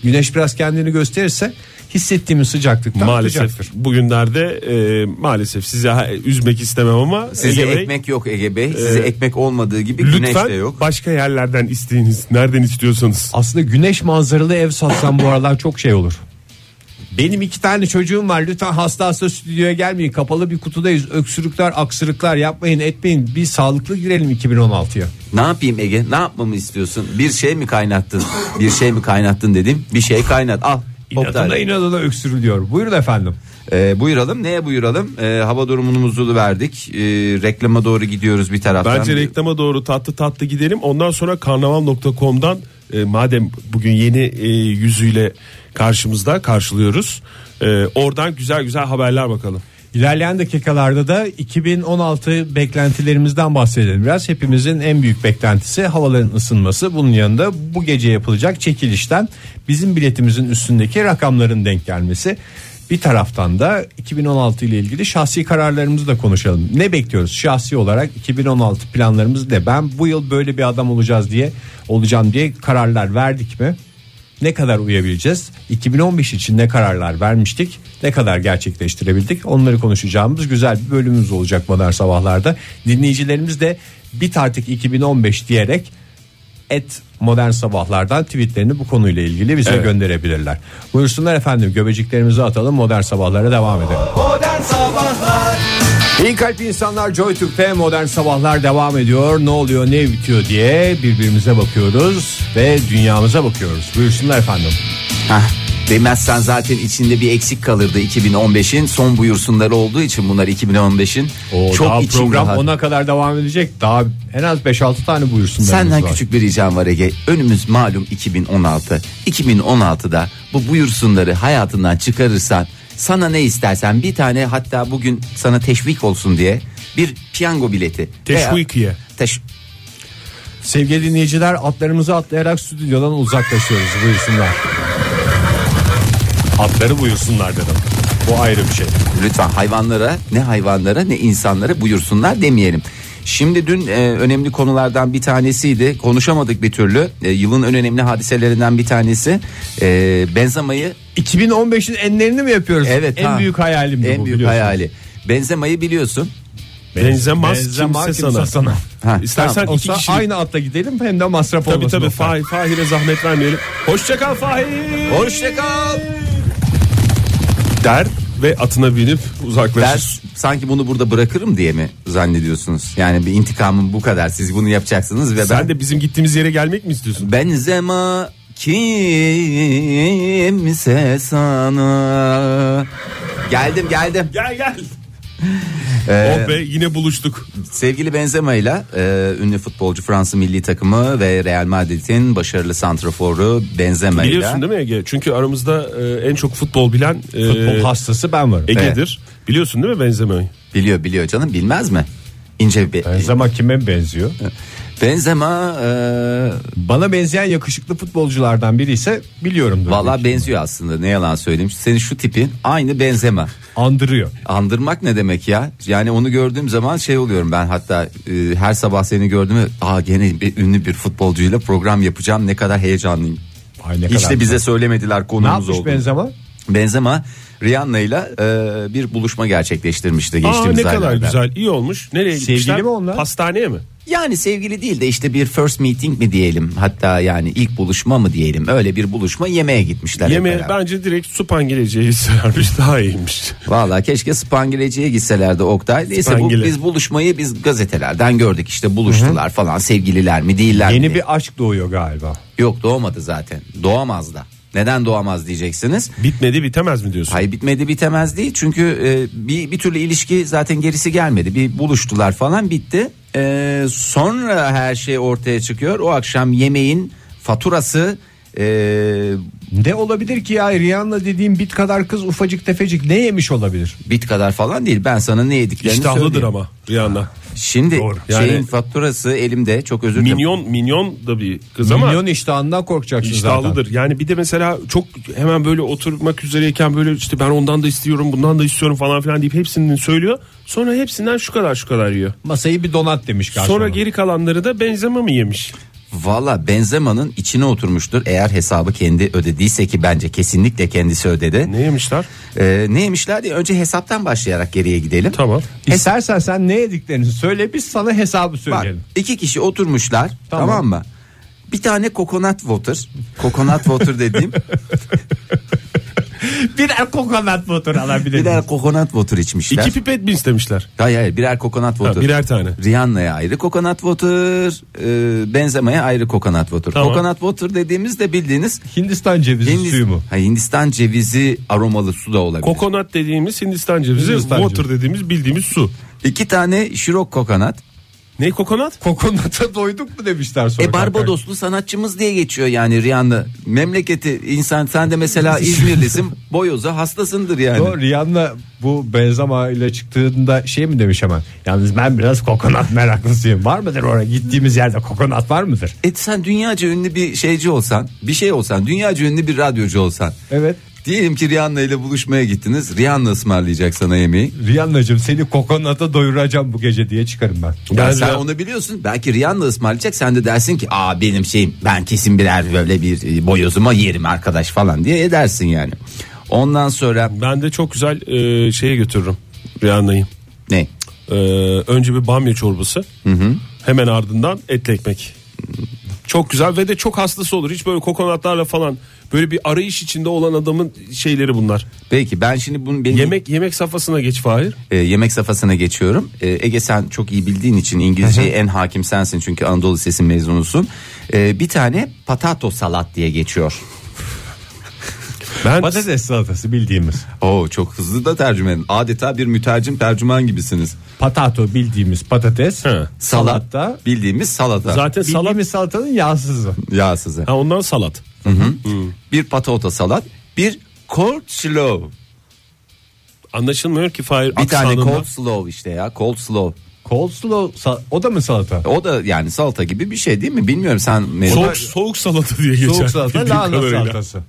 Speaker 2: Güneş biraz kendini gösterirse hissettiğimiz sıcaklıktan artacaktır.
Speaker 4: Maalesef bugünlerde e, maalesef sizi ha- üzmek istemem ama
Speaker 3: Size
Speaker 4: Ege Bey,
Speaker 3: ekmek yok Ege Bey. Size ekmek olmadığı gibi güneş de
Speaker 4: lütfen
Speaker 3: yok.
Speaker 4: başka yerlerden isteyiniz. Nereden istiyorsanız.
Speaker 2: Aslında güneş manzaralı ev satsam bu aralar çok şey olur. Benim iki tane çocuğum var lütfen hasta hasta stüdyoya gelmeyin kapalı bir kutudayız öksürükler aksırıklar yapmayın etmeyin bir sağlıklı girelim 2016'ya.
Speaker 3: Ne yapayım Ege? Ne yapmamı istiyorsun? Bir şey mi kaynattın? bir şey mi kaynattın dedim. Bir şey kaynat. Al.
Speaker 2: İnadına
Speaker 3: Oktay.
Speaker 2: inadına öksürülüyor buyurun efendim.
Speaker 3: Ee, buyuralım. Neye buyuralım? Ee, hava durumumuzu verdik. Ee, reklama doğru gidiyoruz bir taraftan.
Speaker 4: Bence reklama doğru tatlı tatlı gidelim. Ondan sonra karnaval.com'dan e, madem bugün yeni e, yüzüyle karşımızda karşılıyoruz. E, oradan güzel güzel haberler bakalım.
Speaker 2: İlerleyen dakikalarda da 2016 beklentilerimizden bahsedelim biraz. Hepimizin en büyük beklentisi havaların ısınması. Bunun yanında bu gece yapılacak çekilişten bizim biletimizin üstündeki rakamların denk gelmesi. Bir taraftan da 2016 ile ilgili şahsi kararlarımızı da konuşalım. Ne bekliyoruz şahsi olarak 2016 planlarımız ne? Ben bu yıl böyle bir adam olacağız diye olacağım diye kararlar verdik mi? ne kadar uyabileceğiz? 2015 için ne kararlar vermiştik? Ne kadar gerçekleştirebildik? Onları konuşacağımız güzel bir bölümümüz olacak Modern Sabahlar'da. Dinleyicilerimiz de bit artık 2015 diyerek et modern sabahlardan tweetlerini bu konuyla ilgili bize gönderebilirler. Buyursunlar efendim göbeciklerimizi atalım modern sabahlara devam edelim. İyi kalp insanlar Joy Türk'te modern sabahlar devam ediyor. Ne oluyor ne bitiyor diye birbirimize bakıyoruz ve dünyamıza bakıyoruz. Buyursunlar efendim.
Speaker 3: Hah, demezsen zaten içinde bir eksik kalırdı 2015'in. Son buyursunları olduğu için bunlar 2015'in.
Speaker 2: O daha
Speaker 3: içim
Speaker 2: program
Speaker 3: rahat.
Speaker 2: ona kadar devam edecek. Daha en az 5-6 tane buyursun.
Speaker 3: Senden
Speaker 2: var.
Speaker 3: küçük bir ricam var Ege. Önümüz malum 2016. 2016'da bu buyursunları hayatından çıkarırsan Sana ne istersen bir tane hatta bugün sana teşvik olsun diye bir piyango bileti. veya-
Speaker 4: Teşvikiye.
Speaker 3: Teş-
Speaker 2: Sevgili dinleyiciler atlarımızı atlayarak stüdyodan uzaklaşıyoruz buyursunlar. Atları buyursunlar dedim. Bu ayrı bir şey.
Speaker 3: lütfen hayvanlara ne hayvanlara ne insanlara buyursunlar demeyelim. Şimdi dün e, önemli konulardan bir tanesiydi. Konuşamadık bir türlü. E, yılın en önemli hadiselerinden bir tanesi. E, Benzema'yı
Speaker 2: 2015'in enlerini mi yapıyoruz?
Speaker 3: evet
Speaker 2: En
Speaker 3: ha,
Speaker 2: büyük hayalimdi
Speaker 3: en
Speaker 2: bu
Speaker 3: büyük
Speaker 2: biliyorsunuz.
Speaker 3: hayali. Benzema'yı biliyorsun.
Speaker 4: Benzemez,
Speaker 2: Benzema
Speaker 4: kimse,
Speaker 2: kimse
Speaker 4: sana.
Speaker 2: sana.
Speaker 3: Ha,
Speaker 4: İstersen
Speaker 3: tamam.
Speaker 4: iki
Speaker 2: Olsa
Speaker 4: kişilik.
Speaker 2: aynı atla gidelim hem de masraf
Speaker 4: Tabii
Speaker 2: olmasın.
Speaker 4: tabii
Speaker 2: Oktay.
Speaker 4: Fahir, Fahir'e zahmet vermeyelim. Hoşçakal Fahir.
Speaker 3: Hoşça kal.
Speaker 4: Der ve atına binip uzaklaşır.
Speaker 3: Ders sanki bunu burada bırakırım diye mi zannediyorsunuz? Yani bir intikamım bu kadar. Siz bunu yapacaksınız ve ben
Speaker 4: Sen de bizim gittiğimiz yere gelmek mi istiyorsun?
Speaker 3: Benzema kimse sana. Geldim geldim.
Speaker 4: Gel gel. oh be yine buluştuk.
Speaker 3: Sevgili Benzema ile e, ünlü futbolcu Fransa milli takımı ve Real Madrid'in başarılı santraforu Benzema ile.
Speaker 4: Biliyorsun değil mi Ege? Çünkü aramızda e, en çok futbol bilen e,
Speaker 2: Futbol hastası ben varım.
Speaker 4: Ege'dir. Biliyorsun değil mi benzemeyi?
Speaker 3: Biliyor biliyor canım bilmez mi? İnce
Speaker 4: e,
Speaker 3: bir
Speaker 2: Benzema kime benziyor?
Speaker 3: Benzema e,
Speaker 2: Bana benzeyen yakışıklı futbolculardan biri ise biliyorum.
Speaker 3: valla benziyor aslında ne yalan söyleyeyim. Senin şu tipin aynı Benzema.
Speaker 2: Andırıyor.
Speaker 3: Andırmak ne demek ya? Yani onu gördüğüm zaman şey oluyorum ben hatta e, her sabah seni gördüğümü aa gene bir ünlü bir futbolcuyla program yapacağım ne kadar heyecanlıyım.
Speaker 2: Ay ne
Speaker 3: Hiç
Speaker 2: kadar-
Speaker 3: de bize söylemediler
Speaker 2: Ne
Speaker 3: konumuz
Speaker 2: yapmış
Speaker 3: oldu.
Speaker 2: Benzema?
Speaker 3: Benzema Rihanna ile e, bir buluşma gerçekleştirmişti
Speaker 4: Aa
Speaker 3: geçtiğimiz
Speaker 4: ne kadar
Speaker 3: aylarda.
Speaker 4: güzel. iyi olmuş. Nereye
Speaker 2: Sevgili
Speaker 4: gitmişler?
Speaker 2: mi onlar?
Speaker 4: Hastaneye mi?
Speaker 3: Yani sevgili değil de işte bir first meeting mi diyelim hatta yani ilk buluşma mı diyelim öyle bir buluşma yemeğe gitmişler. hep
Speaker 4: Yemeğe
Speaker 3: beraber.
Speaker 4: bence direkt supangileceği hisselermiş daha iyiymiş.
Speaker 3: Valla keşke Spangileci'ye gitselerdi Oktay. Neyse bu,
Speaker 4: Spangile.
Speaker 3: biz buluşmayı biz gazetelerden gördük işte buluştular falan sevgililer mi değiller mi?
Speaker 2: Yeni
Speaker 3: diye.
Speaker 2: bir aşk doğuyor galiba.
Speaker 3: Yok doğmadı zaten doğamaz da. Neden doğamaz diyeceksiniz.
Speaker 4: Bitmedi bitemez mi diyorsun?
Speaker 3: Hayır bitmedi bitemez değil çünkü e, bir, bir türlü ilişki zaten gerisi gelmedi bir buluştular falan bitti E, sonra her şey ortaya çıkıyor o akşam yemeğin faturası e,
Speaker 2: Ne olabilir ki ya Rihanna dediğim bit kadar kız ufacık tefecik ne yemiş olabilir?
Speaker 3: bit kadar falan değil ben sana ne yediklerini
Speaker 4: İştahlıdır
Speaker 3: söyleyeyim.
Speaker 4: ama Rihanna.
Speaker 3: Şimdi
Speaker 4: Doğru.
Speaker 3: şeyin
Speaker 4: Yani-
Speaker 3: faturası elimde çok özür dilerim.
Speaker 4: Minyon minyon da bir kız ama
Speaker 2: Milyon iştahından korkacaksın
Speaker 4: iştahlıdır. Yani bir de mesela çok hemen böyle oturmak üzereyken böyle işte ben ondan da istiyorum, bundan da istiyorum falan filan deyip hepsini söylüyor. Sonra hepsinden şu kadar şu kadar yiyor.
Speaker 2: zaten. Masayı bir donat demiş garsona.
Speaker 4: Sonra geri kalanları da benzeme mi yemiş?
Speaker 3: Valla Benzema'nın içine oturmuştur eğer hesabı kendi ödediyse ki bence kesinlikle kendisi ödedi.
Speaker 4: Ne yemişler?
Speaker 3: Ee, ne yemişler diye önce hesaptan başlayarak geriye gidelim.
Speaker 4: Tamam.
Speaker 2: İstersen sen ne yediklerini söyle biz sana hesabı
Speaker 3: Bak
Speaker 2: söyleyelim.
Speaker 3: iki kişi oturmuşlar tamam,
Speaker 2: Tamam.
Speaker 3: mı? Bir tane kokonat water. Kokonat water dediğim
Speaker 2: Birer kokonat motor alabilir
Speaker 3: birer kokonat water içmişler.
Speaker 4: İki pipet mi istemişler?
Speaker 3: Hayır hayır birer kokonat water.
Speaker 4: birer tane.
Speaker 3: Rihanna'ya ayrı kokonat water. e, Benzema'ya ayrı kokonat water.
Speaker 4: Tamam.
Speaker 3: Kokonat water dediğimiz de bildiğiniz
Speaker 2: Hindistan cevizi
Speaker 3: Hindiz-
Speaker 2: suyu mu?
Speaker 3: Ha, Hindistan cevizi aromalı su da olabilir.
Speaker 4: Kokonat dediğimiz Hindistan cevizi,
Speaker 2: Hindistan
Speaker 4: water
Speaker 2: cevizi.
Speaker 4: dediğimiz bildiğimiz su.
Speaker 3: İki tane şirok kokonat.
Speaker 4: Ne kokonat?
Speaker 2: Kokonata doyduk mu demişler sonra.
Speaker 3: E Barbadoslu sanatçımız diye geçiyor yani Rihanna. Memleketi insan sen de mesela İzmirlisin boyoza hastasındır yani.
Speaker 2: Yo, Rihanna bu Benzema ile çıktığında şey mi demiş hemen? Yalnız ben biraz kokonat meraklısıyım. Var mıdır oraya gittiğimiz yerde kokonat var mıdır?
Speaker 3: E sen dünyaca ünlü bir şeyci olsan, bir şey olsan, dünyaca ünlü bir radyocu olsan.
Speaker 2: Evet.
Speaker 3: Diyelim ki Rihanna ile buluşmaya gittiniz. Rihanna ısmarlayacak sana yemeği.
Speaker 2: Rihanna'cığım seni kokonata doyuracağım bu gece diye çıkarım ben.
Speaker 3: Ya
Speaker 4: Ben
Speaker 3: sen
Speaker 4: de-
Speaker 3: onu biliyorsun. Belki Rihanna ısmarlayacak. Sen de dersin ki aa benim şeyim ben kesin birer böyle bir e, boyozuma yerim arkadaş falan diye edersin yani. Ondan sonra
Speaker 4: Ben de çok güzel e, şeye götürürüm Rihanna'yı.
Speaker 3: ne?
Speaker 4: E, önce bir bamya çorbası. Hemen ardından etli ekmek. Çok güzel ve de çok hastası olur. Hiç böyle kokonatlarla falan böyle bir arayış içinde olan adamın şeyleri bunlar.
Speaker 3: Peki ben şimdi bunu benim
Speaker 4: Yemek yemek safhasına geç Fahir.
Speaker 3: E, yemek safhasına geçiyorum. E, Ege sen çok iyi bildiğin için İngilizceye en hakim sensin çünkü Anadolu Lisesi mezunusun. E, bir tane patato salat diye geçiyor.
Speaker 4: Ben
Speaker 2: Patates salatası bildiğimiz.
Speaker 3: Oo çok hızlı da tercüme edin. Adeta bir mütercim tercüman gibisiniz.
Speaker 2: Patato bildiğimiz patates.
Speaker 4: He.
Speaker 3: Salat
Speaker 2: Salatta
Speaker 3: bildiğimiz salata.
Speaker 4: zaten salat
Speaker 2: bildiğimiz salatanın yağsızı.
Speaker 3: Ya size.
Speaker 4: ha ondan salat.
Speaker 3: Bir patata salat, bir coleslaw.
Speaker 4: Anlaşılmıyor ki Fahir
Speaker 3: Bir tane
Speaker 4: aksanında.
Speaker 3: cold slow işte ya cold slow.
Speaker 2: Coleslaw sa- o da mı salata?
Speaker 3: O da yani salata gibi bir şey değil mi? Bilmiyorum sen
Speaker 4: Soğuk, soğuk salata diye geçer.
Speaker 2: Soğuk salata,
Speaker 4: bildiğim
Speaker 2: lahana
Speaker 4: kadarıyla.
Speaker 2: salatası.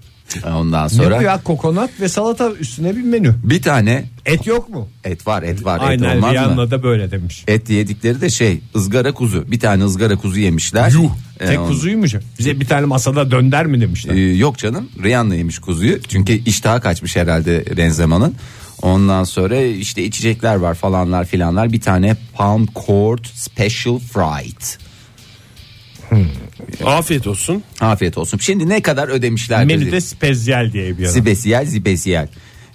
Speaker 3: ondan
Speaker 2: Ne bu
Speaker 3: sonra
Speaker 2: ya kokonat ve salata üstüne bir menü.
Speaker 3: bir tane
Speaker 2: Et yok mu?
Speaker 3: et var et var et
Speaker 2: Aynen
Speaker 3: olmaz mı?
Speaker 2: Rihanna da böyle demiş.
Speaker 3: Et yedikleri de şey ızgara kuzu. Bir tane ızgara kuzu yemişler.
Speaker 2: Yuh.
Speaker 3: Ee,
Speaker 2: Tek
Speaker 3: on-
Speaker 2: kuzuymuş. Bize bir tane masada dönder mi
Speaker 3: Ee,
Speaker 2: demişler.
Speaker 3: yok canım Rihanna yemiş kuzuyu. Çünkü iştahı kaçmış herhalde Benzema'nın. Ondan sonra işte içecekler var falanlar filanlar. Bir tane pound court special fried.
Speaker 4: Afiyet olsun.
Speaker 3: Afiyet olsun. Şimdi ne kadar ödemişler?
Speaker 2: Menüde spezyal diye bir yana.
Speaker 3: Zibesiyel zibesiyel.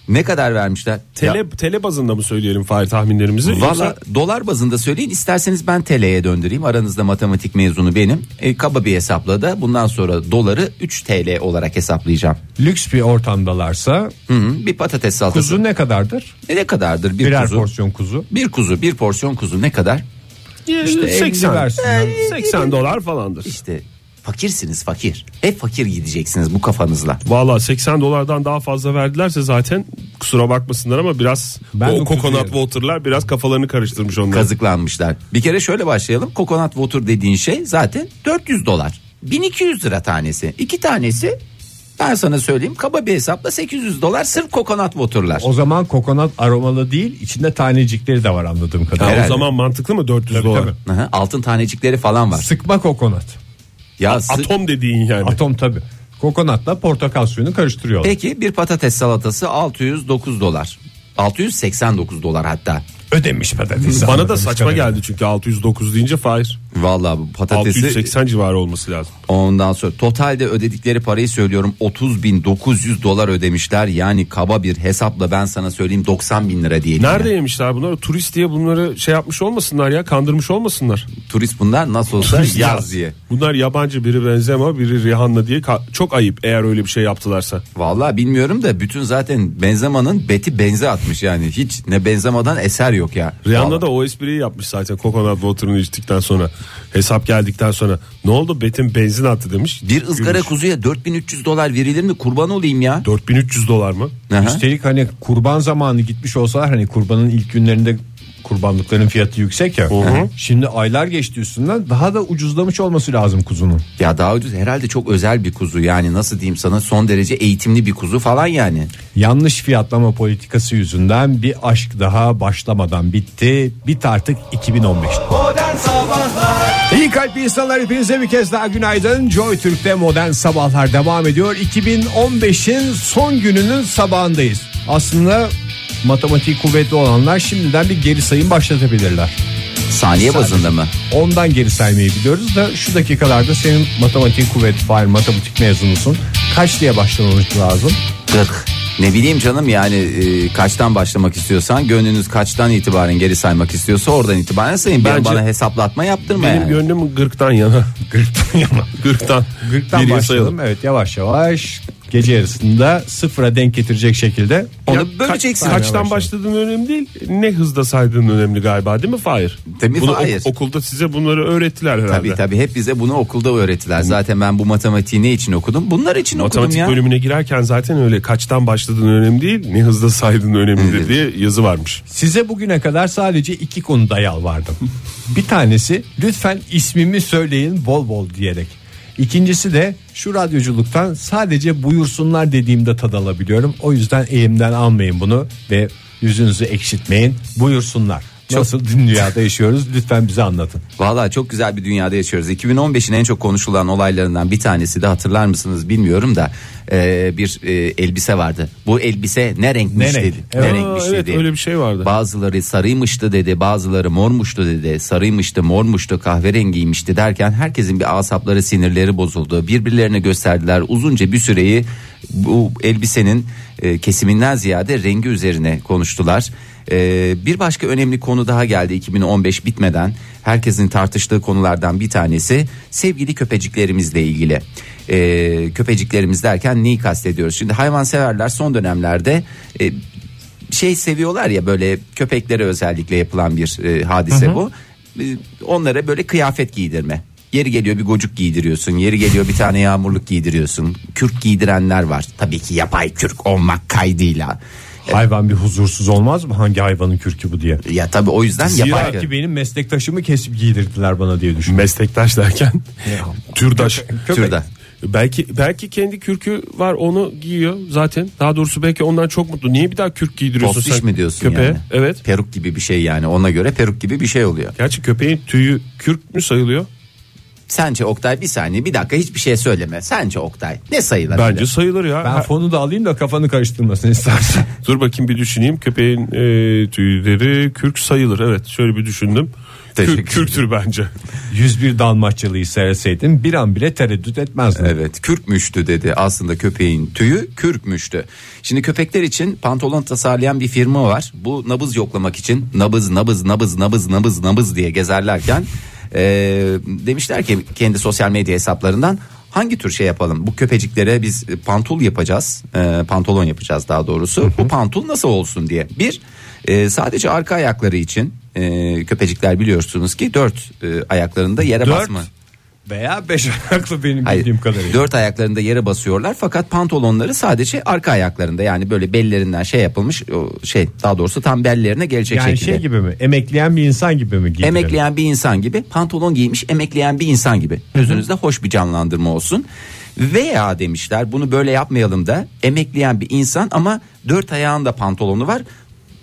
Speaker 3: Ne kadar vermişler?
Speaker 4: Tele,
Speaker 3: Ya,
Speaker 4: tele bazında mı söyleyelim Fahir tahminlerimizi?
Speaker 3: Valla
Speaker 4: Yoksa
Speaker 3: dolar bazında söyleyin isterseniz ben TL'ye döndüreyim aranızda matematik mezunu benim e, kaba bir hesapla da bundan sonra doları 3 TL olarak hesaplayacağım.
Speaker 2: Lüks bir ortamdalarsa
Speaker 3: Hı hı, bir patates salatası
Speaker 2: kuzu ne kadardır?
Speaker 3: E, ne kadardır bir
Speaker 2: Birer
Speaker 3: kuzu?
Speaker 2: porsiyon kuzu.
Speaker 3: Bir kuzu bir porsiyon kuzu ne kadar? E,
Speaker 4: işte
Speaker 2: 80
Speaker 4: 80,
Speaker 2: versinler.
Speaker 4: 80 dolar falandır.
Speaker 3: İşte fakirsiniz fakir. Hep fakir gideceksiniz bu kafanızla.
Speaker 4: Valla 80 dolardan daha fazla verdilerse zaten kusura bakmasınlar ama biraz
Speaker 2: Ben
Speaker 4: o
Speaker 2: dokuz
Speaker 4: coconut
Speaker 2: diyorum.
Speaker 4: water'lar biraz kafalarını karıştırmış onlar.
Speaker 3: Kazıklanmışlar. Bir kere şöyle başlayalım. Kokonat water dediğin şey zaten 400 dolar. 1200 lira tanesi. İki tanesi ben sana söyleyeyim kaba bir hesapla 800 dolar sırf kokonat water'lar.
Speaker 2: O zaman kokonat aromalı değil içinde tanecikleri de var anladığım
Speaker 4: Ha,
Speaker 2: kadarıyla.
Speaker 4: o
Speaker 3: Herhalde.
Speaker 4: zaman mantıklı mı 400 dolar?
Speaker 2: Tabii.
Speaker 3: Aha, altın tanecikleri falan var.
Speaker 2: Sıkma kokonat.
Speaker 3: Ya sı-
Speaker 4: Atom dediğin yani.
Speaker 2: Atom tabi. Kokonatla portakal suyunu karıştırıyorlar.
Speaker 3: Peki bir patates salatası 609 dolar. 689 dolar hatta.
Speaker 2: Ödemiş patates.
Speaker 4: Bana da saçma geldi çünkü 609 deyince Fahir.
Speaker 3: Vallahi bu patatesi
Speaker 4: 680 civarı olması lazım.
Speaker 3: Ondan sonra totalde ödedikleri parayı söylüyorum 30.900 dolar ödemişler. Yani kaba bir hesapla ben sana söyleyeyim 90 bin lira diyelim.
Speaker 4: Nerede
Speaker 3: Yani.
Speaker 4: yemişler bunları? Turist diye bunları şey yapmış olmasınlar ya kandırmış olmasınlar.
Speaker 3: Turist bunlar nasıl olsa yaz diye.
Speaker 4: Bunlar yabancı biri Benzema biri Rihanna diye ka- çok ayıp eğer öyle bir şey yaptılarsa.
Speaker 3: Vallahi bilmiyorum da bütün zaten Benzema'nın beti benze atmış yani. Hiç ne Benzema'dan eser yok ya.
Speaker 4: Rihanna
Speaker 3: Vallahi.
Speaker 4: da o espriyi yapmış zaten Coconut Water'ını içtikten sonra hesap geldikten sonra ne oldu Betim benzin attı demiş.
Speaker 3: bir ızgara
Speaker 4: Gülmüş.
Speaker 3: kuzuya 4300 dolar verilir mi kurban olayım ya.
Speaker 4: 4300 dolar mı?
Speaker 3: Aha.
Speaker 2: Üstelik hani kurban zamanı gitmiş olsalar hani kurbanın ilk günlerinde kurbanlıkların fiyatı yüksek ya.
Speaker 4: hı.
Speaker 2: Şimdi aylar geçti üstünden daha da ucuzlamış olması lazım kuzunun.
Speaker 3: Ya daha ucuz herhalde çok özel bir kuzu yani nasıl diyeyim sana son derece eğitimli bir kuzu falan yani.
Speaker 2: Yanlış fiyatlama politikası yüzünden bir aşk daha başlamadan bitti. Bit artık 2015.
Speaker 5: Modern Sabahlar
Speaker 2: İyi kalp insanlar hepinize bir kez daha günaydın. Joy Türk'te modern sabahlar devam ediyor. 2015'in son gününün sabahındayız. Aslında matematik kuvvetli olanlar şimdiden bir geri sayım başlatabilirler.
Speaker 3: Saniye bazında mı?
Speaker 2: Ondan geri saymayı biliyoruz da şu dakikalarda senin matematik kuvveti var matematik mezunusun. Kaç diye başlamamız lazım?
Speaker 3: 40. Ne bileyim canım yani e, kaçtan başlamak istiyorsan gönlünüz kaçtan itibaren geri saymak istiyorsa oradan itibaren sayın. Ben
Speaker 4: Bence-
Speaker 3: bana hesaplatma yaptırma
Speaker 4: Benim
Speaker 3: yani.
Speaker 4: gönlüm gırktan yana.
Speaker 2: Gırttan yana.
Speaker 4: Gırktan.
Speaker 2: Gırttan
Speaker 4: Geriye
Speaker 2: başlayalım.
Speaker 4: sayalım.
Speaker 2: Evet yavaş yavaş gece yarısında sıfıra denk getirecek şekilde.
Speaker 3: Onu
Speaker 4: Ya
Speaker 3: böleceksin.
Speaker 4: kaç-
Speaker 2: Saymaya
Speaker 4: kaçtan başladığın önemli değil. Ne hızda saydığın önemli galiba değil mi Fahir?
Speaker 3: Tabii,
Speaker 4: Bunu
Speaker 3: Fahir.
Speaker 4: ok- okulda size bunları öğrettiler herhalde.
Speaker 3: Tabii tabii hep bize bunu okulda öğrettiler. Zaten ben bu matematiği ne için okudum? Bunlar için
Speaker 4: Matematik
Speaker 3: okudum ya.
Speaker 4: bölümüne girerken zaten öyle kaçtan başladığın önemli değil, ne hızda saydığın önemlidir diye yazı varmış.
Speaker 2: Size bugüne kadar sadece iki konuda yalvardım. Bir tanesi lütfen ismimi söyleyin bol bol diyerek. İkincisi de şu radyoculuktan sadece buyursunlar dediğimde tad alabiliyorum. O yüzden elimden almayın bunu ve yüzünüzü ekşitmeyin. Buyursunlar. Nasıl dünyada yaşıyoruz lütfen bize anlatın.
Speaker 3: Valla çok güzel bir dünyada yaşıyoruz. 2015'in en çok konuşulan olaylarından bir tanesi de hatırlar mısınız bilmiyorum da e, bir e, elbise vardı. Bu elbise ne renkmiş
Speaker 2: şey Ne renk?
Speaker 3: dedi.
Speaker 2: Evet.
Speaker 3: Ne renkmiş
Speaker 4: Aa, evet,
Speaker 3: dedi.
Speaker 4: öyle bir şey vardı.
Speaker 3: Bazıları sarıymıştı dedi, bazıları mormuştu dedi. Sarıymıştı, mormuştu, kahverengiymişti derken herkesin bir asapları, sinirleri bozuldu. Birbirlerine gösterdiler uzunca bir süreyi bu elbisenin e, kesiminden ziyade rengi üzerine konuştular. E, bir başka önemli konu daha geldi 2015 bitmeden. Herkesin tartıştığı konulardan bir tanesi sevgili köpeciklerimizle ilgili. E, köpeciklerimiz derken neyi kastediyoruz? Şimdi hayvanseverler son dönemlerde e, şey seviyorlar ya böyle köpeklere özellikle yapılan bir e, hadise bu. E, onlara böyle kıyafet giydirme. Yeri geliyor bir gocuk giydiriyorsun. Yeri geliyor bir tane yağmurluk giydiriyorsun. Kürk giydirenler var. Tabii ki yapay kürk olmak kaydıyla.
Speaker 2: Hayvan bir huzursuz olmaz mı? Hangi hayvanın kürkü bu diye.
Speaker 3: Ya tabii o yüzden yapar
Speaker 2: Belki benim meslektaşımı kesip giydirdiler bana diye düşün.
Speaker 4: Meslektaş derken türdaş.
Speaker 3: Türde.
Speaker 4: Belki belki kendi kürkü var onu giyiyor zaten. Daha doğrusu belki ondan çok mutlu. Niye bir daha kürk giydiriyorsun
Speaker 3: Tostiş
Speaker 4: sen
Speaker 3: mi diyorsun
Speaker 4: köpeğe?
Speaker 3: yani?
Speaker 4: Evet.
Speaker 3: Peruk gibi bir şey yani ona göre peruk gibi bir şey oluyor.
Speaker 4: Gerçi köpeğin tüyü kürk mü sayılıyor?
Speaker 3: Sence Oktay bir saniye bir dakika hiçbir şey söyleme. Sence Oktay ne sayılabilir?
Speaker 4: Bence sayılır ya.
Speaker 2: Ben
Speaker 4: Ha-
Speaker 2: fonu da alayım da kafanı karıştırmasın istersen.
Speaker 4: Dur bakayım bir düşüneyim. Köpeğin e, tüyleri kürk sayılır. Evet şöyle bir düşündüm.
Speaker 3: Teşekkür
Speaker 4: Kürk, kürktür bence.
Speaker 2: 101 Dalmaçyalı'yı seyretseydin bir an bile tereddüt etmezdin.
Speaker 3: Evet kürkmüştü dedi aslında köpeğin tüyü kürkmüştü. Şimdi köpekler için pantolon tasarlayan bir firma var. Bu nabız yoklamak için nabız nabız nabız nabız nabız nabız diye gezerlerken eee, demişler ki kendi sosyal medya hesaplarından hangi tür şey yapalım bu köpeciklere biz pantul yapacağız eee, pantolon yapacağız daha doğrusu bu pantul nasıl olsun diye bir eee, sadece arka ayakları için eee, köpecikler biliyorsunuz ki dört eee, ayaklarında yere
Speaker 2: Dört
Speaker 3: basma.
Speaker 2: Veya beş ayaklı benim
Speaker 3: Hayır,
Speaker 2: bildiğim kadarıyla.
Speaker 3: dört ayaklarında yere basıyorlar fakat pantolonları sadece arka ayaklarında yani böyle bellerinden şey yapılmış o şey daha doğrusu tam bellerine gelecek
Speaker 2: yani
Speaker 3: şekilde.
Speaker 2: şey gibi mi? Emekleyen bir insan gibi mi giydirelim?
Speaker 3: Emekleyen bir insan gibi pantolon giymiş emekleyen bir insan gibi gözünüzde hoş bir canlandırma olsun veya demişler bunu böyle yapmayalım da emekleyen bir insan ama dört ayağında pantolonu var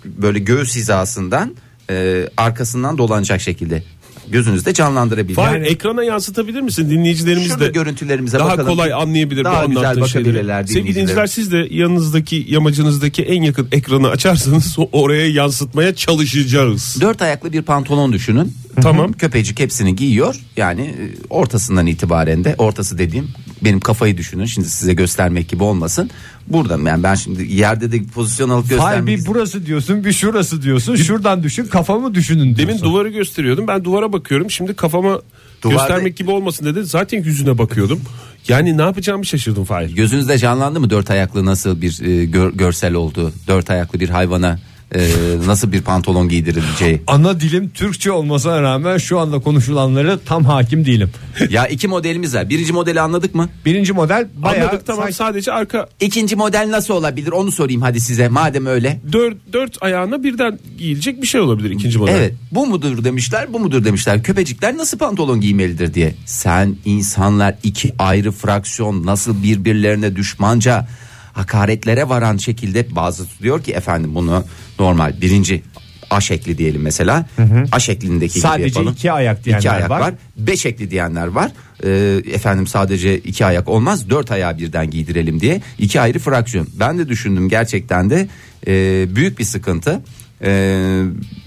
Speaker 3: böyle göğüs hizasından e, arkasından dolanacak şekilde gözünüzde canlandırabilir.
Speaker 4: Fahir,
Speaker 3: Yani-
Speaker 4: ekrana yansıtabilir misin dinleyicilerimiz
Speaker 3: Şurada
Speaker 4: de?
Speaker 3: görüntülerimize
Speaker 4: daha
Speaker 3: bakalım.
Speaker 4: kolay anlayabilir
Speaker 3: Daha
Speaker 4: bu
Speaker 3: güzel
Speaker 4: anlattığın
Speaker 3: bakabilirler
Speaker 4: şeyleri. Sevgili dinleyiciler
Speaker 3: dinleyicilerimiz.
Speaker 4: siz de yanınızdaki yamacınızdaki en yakın ekranı açarsanız o- oraya yansıtmaya çalışacağız.
Speaker 3: Dört ayaklı bir pantolon düşünün.
Speaker 4: Tamam.
Speaker 3: Köpecik hepsini giyiyor. Yani e, ortasından itibaren de ortası dediğim benim kafayı düşünün. Şimdi size göstermek gibi olmasın. Burada yani ben şimdi yerde de pozisyon alıp
Speaker 2: Hayır
Speaker 3: göstermek
Speaker 2: bir burası diyorsun bir şurası diyorsun şuradan düşün kafamı düşünün diyorsun.
Speaker 4: Demin duvarı gösteriyordum. Ben duvara bakıyorum. Şimdi kafama
Speaker 3: Duvarda-
Speaker 4: göstermek gibi olmasın dedi. Zaten yüzüne bakıyordum. Yani ne yapacağımı şaşırdım Fahir.
Speaker 3: Gözünüzde canlandı mı dört ayaklı nasıl bir e, gör- görsel oldu? Dört ayaklı bir hayvana e, nasıl bir pantolon giydirileceği?
Speaker 2: Ana dilim Türkçe olmasına rağmen şu anda konuşulanları tam hakim değilim.
Speaker 3: ya iki modelimiz var. Birinci modeli anladık mı?
Speaker 2: Birinci model bayağı
Speaker 4: Anladık tamam
Speaker 2: sanki-
Speaker 4: sadece arka
Speaker 3: İkinci model nasıl olabilir? Onu sorayım hadi size. Madem öyle.
Speaker 4: dört, dört ayağına birden giyilecek bir şey olabilir ikinci model.
Speaker 3: Evet bu mudur demişler bu mudur demişler köpecikler nasıl pantolon giymelidir diye. Sen insanlar iki ayrı fraksiyon nasıl birbirlerine düşmanca hakaretlere varan şekilde bazı diyor ki efendim bunu normal birinci A şekli diyelim mesela. A şeklindeki
Speaker 2: Sadece
Speaker 3: gibi yapalım.
Speaker 2: iki ayak diyenler
Speaker 3: İki ayak
Speaker 2: var.
Speaker 3: var. B şekli diyenler var. Ee, efendim sadece iki ayak olmaz dört ayağı birden giydirelim diye iki ayrı fraksiyon. Ben de düşündüm gerçekten de e, büyük bir sıkıntı E,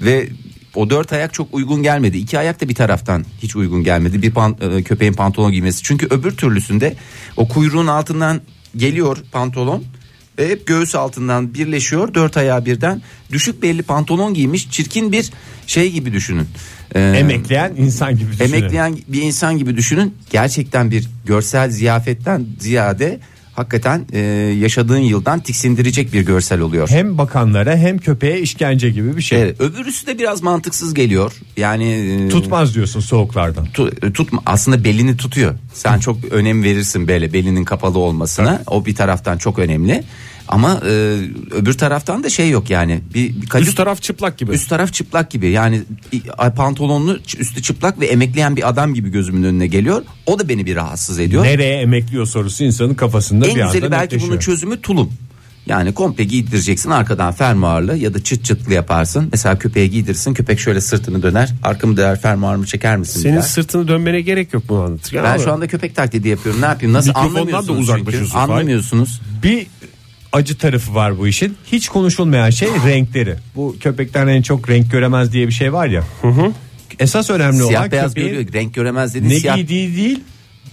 Speaker 3: ve o dört ayak çok uygun gelmedi. İki ayak da bir taraftan hiç uygun gelmedi. Bir pan, e, köpeğin pantolon giymesi. Çünkü öbür türlüsünde o kuyruğun altından geliyor pantolon. Ve hep göğüs altından birleşiyor dört ayağı birden düşük belli pantolon giymiş çirkin bir şey gibi düşünün. Ee,
Speaker 2: Emekleyen insan gibi düşünün.
Speaker 3: Emekleyen bir insan gibi düşünün. Gerçekten bir görsel ziyafetten ziyade hakikaten e, yaşadığın yıldan tiksindirecek bir görsel oluyor.
Speaker 2: Hem bakanlara hem köpeğe işkence gibi bir şey.
Speaker 3: Evet, öbürüsü de biraz mantıksız geliyor. Yani e,
Speaker 2: Tutmaz diyorsun soğuklardan.
Speaker 3: tu- e, tutma aslında belini tutuyor. Sen çok önem verirsin böyle belinin kapalı olmasına. O bir taraftan çok önemli. Ama e, öbür taraftan da şey yok yani. Bir, bir
Speaker 4: Üst
Speaker 3: kacık-
Speaker 4: taraf çıplak gibi.
Speaker 3: Üst taraf çıplak gibi yani i- pantolonlu ç- üstü çıplak ve emekleyen bir adam gibi gözümün önüne geliyor. O da beni bir rahatsız ediyor.
Speaker 2: Nereye emekliyor sorusu insanın kafasında bir
Speaker 3: en
Speaker 2: anda
Speaker 3: güzeli belki bunun
Speaker 2: netleşiyor.
Speaker 3: çözümü tulum. Yani komple giydireceksin arkadan fermuarlı ya da çıt çıtlı yaparsın. Mesela köpeğe giydirsin köpek şöyle sırtını döner arkamı döner fermuarımı çeker misin?
Speaker 4: Senin
Speaker 3: der.
Speaker 4: sırtını dönmene gerek yok bunu anlatırken.
Speaker 3: Ben
Speaker 4: ama-
Speaker 3: şu anda köpek taklidi yapıyorum ne yapayım nasıl
Speaker 4: Mikrofondan da
Speaker 3: anlamıyorsunuz çünkü
Speaker 4: uzaklaşıyorsun Fahir.
Speaker 3: anlamıyorsunuz.
Speaker 2: Bir acı tarafı var bu işin. Hiç konuşulmayan şey renkleri. Bu köpekler en çok renk göremez diye bir şey var ya. Esas önemli olan
Speaker 3: Siyah beyaz
Speaker 2: köpeğin
Speaker 3: görüyor renk göremez dedi
Speaker 2: ne
Speaker 3: siyah.
Speaker 2: giydiği değil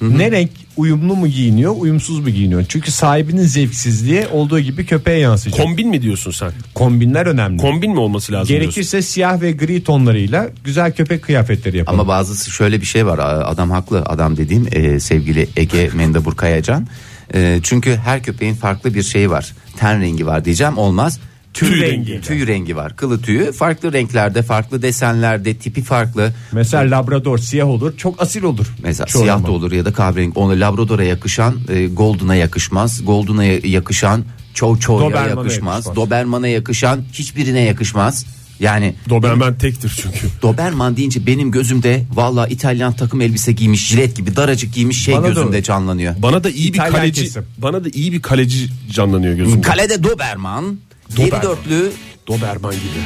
Speaker 2: ne renk uyumlu mu giyiniyor uyumsuz mu giyiniyor. Çünkü sahibinin zevksizliği olduğu gibi köpeğe yansıyacak.
Speaker 4: Kombin mi diyorsun sen?
Speaker 2: Kombinler önemli.
Speaker 4: Kombin mi olması lazım diyorsun?
Speaker 2: Gerekirse siyah ve gri tonlarıyla güzel köpek kıyafetleri yapalım.
Speaker 3: Ama bazısı şöyle bir şey var a- adam haklı adam dediğim e, sevgili Ege Mendebur Kayacan. E, çünkü her köpeğin farklı bir şeyi var ten rengi var diyeceğim olmaz. Tüy,
Speaker 2: rengi.
Speaker 3: Tüy rengi var kılı tüyü farklı renklerde farklı desenlerde tipi farklı.
Speaker 2: Mesela Labrador siyah olur çok asil olur.
Speaker 3: Mesela
Speaker 2: Çoğu
Speaker 3: siyah
Speaker 2: zaman.
Speaker 3: da olur ya da kahverengi. Ona Labrador'a yakışan e, Golden'a yakışmaz. Golden'a ya- yakışan Çoğu çoğuya
Speaker 2: Doberman'a
Speaker 3: yakışmaz.
Speaker 2: yakışmaz.
Speaker 3: Doberman'a yakışan hiçbirine yakışmaz. Yani
Speaker 4: Doberman tektir çünkü.
Speaker 3: Doberman deyince benim gözümde valla İtalyan takım elbise giymiş, jilet gibi daracık giymiş şey
Speaker 2: Bana da
Speaker 3: gözümde
Speaker 2: öyle.
Speaker 3: canlanıyor.
Speaker 4: Bana da iyi bir
Speaker 2: İtalyan
Speaker 4: kaleci
Speaker 2: kesim.
Speaker 4: bana da iyi bir kaleci canlanıyor gözümde.
Speaker 3: Kalede Doberman, geri dörtlü
Speaker 4: Doberman gibi.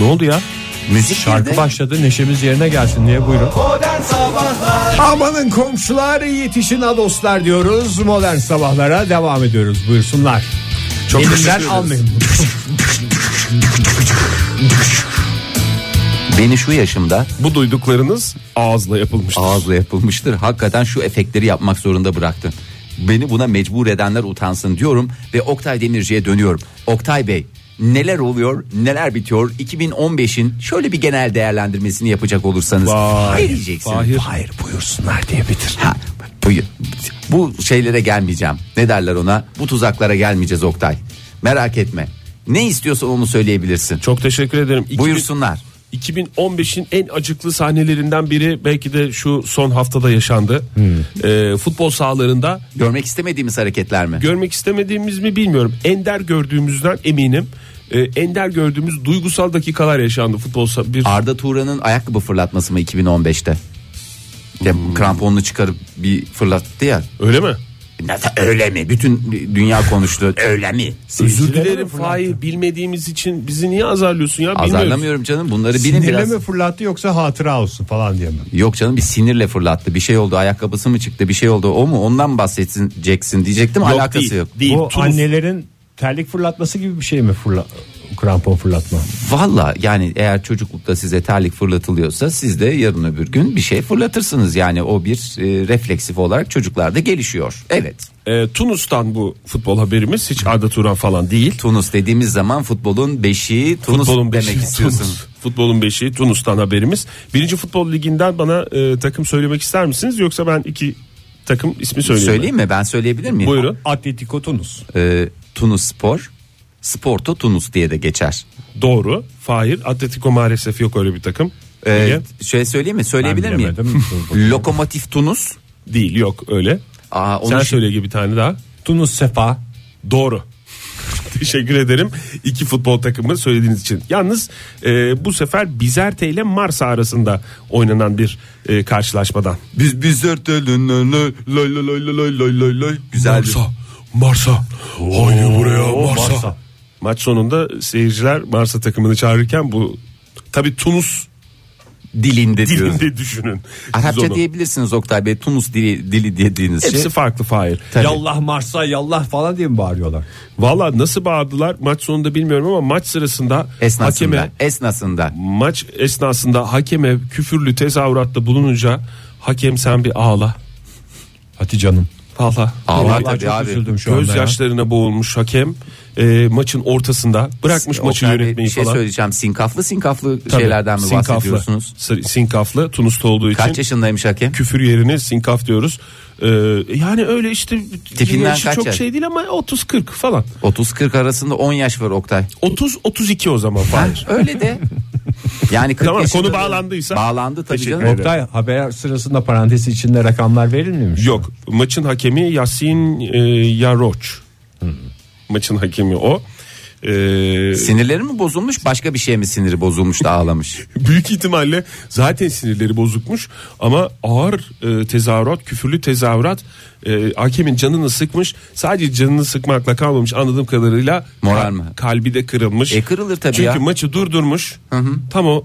Speaker 4: Ne oldu ya?
Speaker 3: müzik
Speaker 2: Şarkı
Speaker 3: girdi.
Speaker 2: başladı neşemiz yerine gelsin diye buyurun. Amanın komşular yetişin ha dostlar diyoruz. Modern sabahlara devam ediyoruz. Buyursunlar. Çok Elinden almayın.
Speaker 3: Beni şu yaşımda
Speaker 4: Bu duyduklarınız ağızla yapılmıştır.
Speaker 3: ağızla yapılmıştır. Hakikaten şu efektleri yapmak zorunda bıraktı. Beni buna mecbur edenler utansın diyorum ve Oktay Demirci'ye dönüyorum. Oktay Bey neler oluyor neler bitiyor 2015'in şöyle bir genel değerlendirmesini yapacak olursanız
Speaker 4: Vay,
Speaker 3: ne diyeceksin?
Speaker 4: Fahir.
Speaker 3: Hayır buyursunlar diye bitir. Ha, buyur. Bu şeylere gelmeyeceğim. Ne derler ona? Bu tuzaklara gelmeyeceğiz Oktay. Merak etme. Ne istiyorsan onu söyleyebilirsin.
Speaker 4: Çok teşekkür ederim. 2000
Speaker 3: Buyursunlar.
Speaker 4: 2015'in en acıklı sahnelerinden biri belki de şu son haftada yaşandı.
Speaker 3: Hmm.
Speaker 4: Ee, futbol sahalarında
Speaker 3: Görmek istemediğimiz hareketler mi?
Speaker 4: görmek istemediğimiz mi bilmiyorum. Ender gördüğümüzden eminim. Ee, ender gördüğümüz duygusal dakikalar yaşandı futbol sah- bir
Speaker 3: Arda Turan'ın ayakkabı fırlatması mı 2015'te? Ya, Kramponunu çıkarıp bir fırlattı ya.
Speaker 4: öyle mi?
Speaker 3: Nasıl öyle mi? Bütün dünya konuştu. öyle mi?
Speaker 4: Özür dilerim Fahir bilmediğimiz için bizi niye azarlıyorsun ya? Bilmiyoruz.
Speaker 3: Azarlamıyorum canım. Bunları bilin
Speaker 2: Sinirle
Speaker 3: biraz.
Speaker 2: mi fırlattı yoksa hatıra olsun falan diye mi?
Speaker 3: Yok canım bir sinirle fırlattı. Bir şey oldu. Ayakkabısı mı çıktı? Bir şey oldu. O mu? Ondan mı bahsedeceksin diyecektim.
Speaker 4: Yok,
Speaker 3: Alakası
Speaker 4: değil,
Speaker 3: yok.
Speaker 4: Değil,
Speaker 2: Bu
Speaker 4: Tunus.
Speaker 2: annelerin terlik fırlatması gibi bir şey mi fırla krampon fırlatma?
Speaker 3: Valla yani eğer çocuklukta size terlik fırlatılıyorsa siz de yarın öbür gün bir şey fırlatırsınız. Yani o bir e, refleksif olarak çocuklarda gelişiyor. Evet.
Speaker 4: Ee, Tunus'tan bu futbol haberimiz hiç Arda Turan falan değil.
Speaker 3: Tunus dediğimiz zaman futbolun beşiği Tunus
Speaker 4: Futbolun
Speaker 3: demek
Speaker 4: beşiği
Speaker 3: istiyorsun.
Speaker 4: Tunus. Futbolun beşiği Tunus'tan haberimiz. Birinci futbol liginden bana e, takım söylemek ister misiniz? Yoksa ben iki takım ismi söyleyeyim. mi?
Speaker 3: Söyleyeyim mi? Ben söyleyebilir miyim?
Speaker 4: Buyurun.
Speaker 2: Atletico Tunus.
Speaker 3: Ee, Tunus Spor, Sporto Tunus diye de geçer.
Speaker 4: Doğru. Fahir. Atletico maalesef yok öyle bir takım.
Speaker 3: Ee,
Speaker 4: Lige.
Speaker 3: şöyle söyleyeyim mi? Söyleyebilir
Speaker 2: Ben
Speaker 3: miyim?
Speaker 2: bilemedim.
Speaker 3: Lokomotif Tunus.
Speaker 4: Değil yok öyle.
Speaker 3: Aa, onu
Speaker 4: Sen
Speaker 3: şu-
Speaker 4: söyle gibi bir tane daha.
Speaker 2: Tunus Sefa.
Speaker 4: Doğru. Teşekkür ederim iki futbol takımı söylediğiniz için. Yalnız e, bu sefer Bizerte ile Marsa arasında oynanan bir e, karşılaşmadan.
Speaker 3: Biz bizler lay lay lay lay lay lay lay lay. Güzel. bir-
Speaker 4: Marsa. Haydi buraya Marsa. Maç sonunda seyirciler Marsa takımını çağırırken bu tabi Tunus
Speaker 3: Dilinde diyoruz.
Speaker 4: dilinde düşünün. Siz
Speaker 3: Arapça
Speaker 4: onu-
Speaker 3: diyebilirsiniz Oktay Bey. Tunus dili, dili dediğiniz
Speaker 4: Hepsi
Speaker 3: şey.
Speaker 4: farklı Fahir.
Speaker 3: Tabii.
Speaker 2: Yallah Mars'a yallah falan diye mi bağırıyorlar?
Speaker 4: Valla nasıl bağırdılar maç sonunda bilmiyorum ama maç sırasında
Speaker 3: Esnasında.
Speaker 4: hakeme
Speaker 3: Esnasında.
Speaker 4: maç esnasında hakeme küfürlü tezahüratta bulununca hakem sen bir ağla.
Speaker 2: Hatice Hanım.
Speaker 4: Valla.
Speaker 3: Ağlar
Speaker 2: Vallahi
Speaker 3: tabii
Speaker 2: çok
Speaker 3: abi.
Speaker 2: üzüldüm şu anda
Speaker 4: Göz
Speaker 2: ya.
Speaker 4: yaşlarına boğulmuş hakem e, maçın ortasında bırakmış maçı
Speaker 3: Oktay Bey,
Speaker 4: yönetmeyi
Speaker 3: bir şey
Speaker 4: falan.
Speaker 3: söyleyeceğim. Sinkaflı sinkaflı
Speaker 4: Tabii,
Speaker 3: şeylerden mi
Speaker 4: sinkaflı.
Speaker 3: bahsediyorsunuz?
Speaker 4: Sır- Sinkaflı Tunus'ta olduğu için.
Speaker 3: Kaç yaşındaymış hakem?
Speaker 4: küfür yerine sinkaf diyoruz. Ee, yani öyle işte
Speaker 3: Tipinden
Speaker 4: yaşı
Speaker 3: kaç
Speaker 4: çok
Speaker 3: yaş?
Speaker 4: şey değil ama 30 40 falan.
Speaker 3: 30-40 arasında 10 yaş var Oktay.
Speaker 4: 30 32 o zaman falan.
Speaker 3: Öyle de. Yani 40
Speaker 4: Tamam,
Speaker 3: yaşında
Speaker 4: konu
Speaker 3: da-
Speaker 4: bağlandıysa
Speaker 3: Bağlandı tabii
Speaker 4: teşekkür
Speaker 3: canım.
Speaker 4: ederim.
Speaker 2: Oktay haber sırasında parantez içinde rakamlar verilmemiş.
Speaker 4: Yok maçın hakemi Yasin e, Yaroç. Maçın hakemi o. Ee,
Speaker 3: Sinirleri mi bozulmuş başka bir şey mi siniri bozulmuş da ağlamış.
Speaker 4: büyük ihtimalle zaten sinirleri bozukmuş ama ağır e, tezahürat küfürlü tezahürat e, hakemin canını sıkmış sadece canını sıkmakla kalmamış anladığım kadarıyla
Speaker 3: Moral
Speaker 4: kal-
Speaker 3: mi?
Speaker 4: kalbi de kırılmış
Speaker 3: E, kırılır tabii
Speaker 4: çünkü
Speaker 3: ya.
Speaker 4: maçı durdurmuş tam o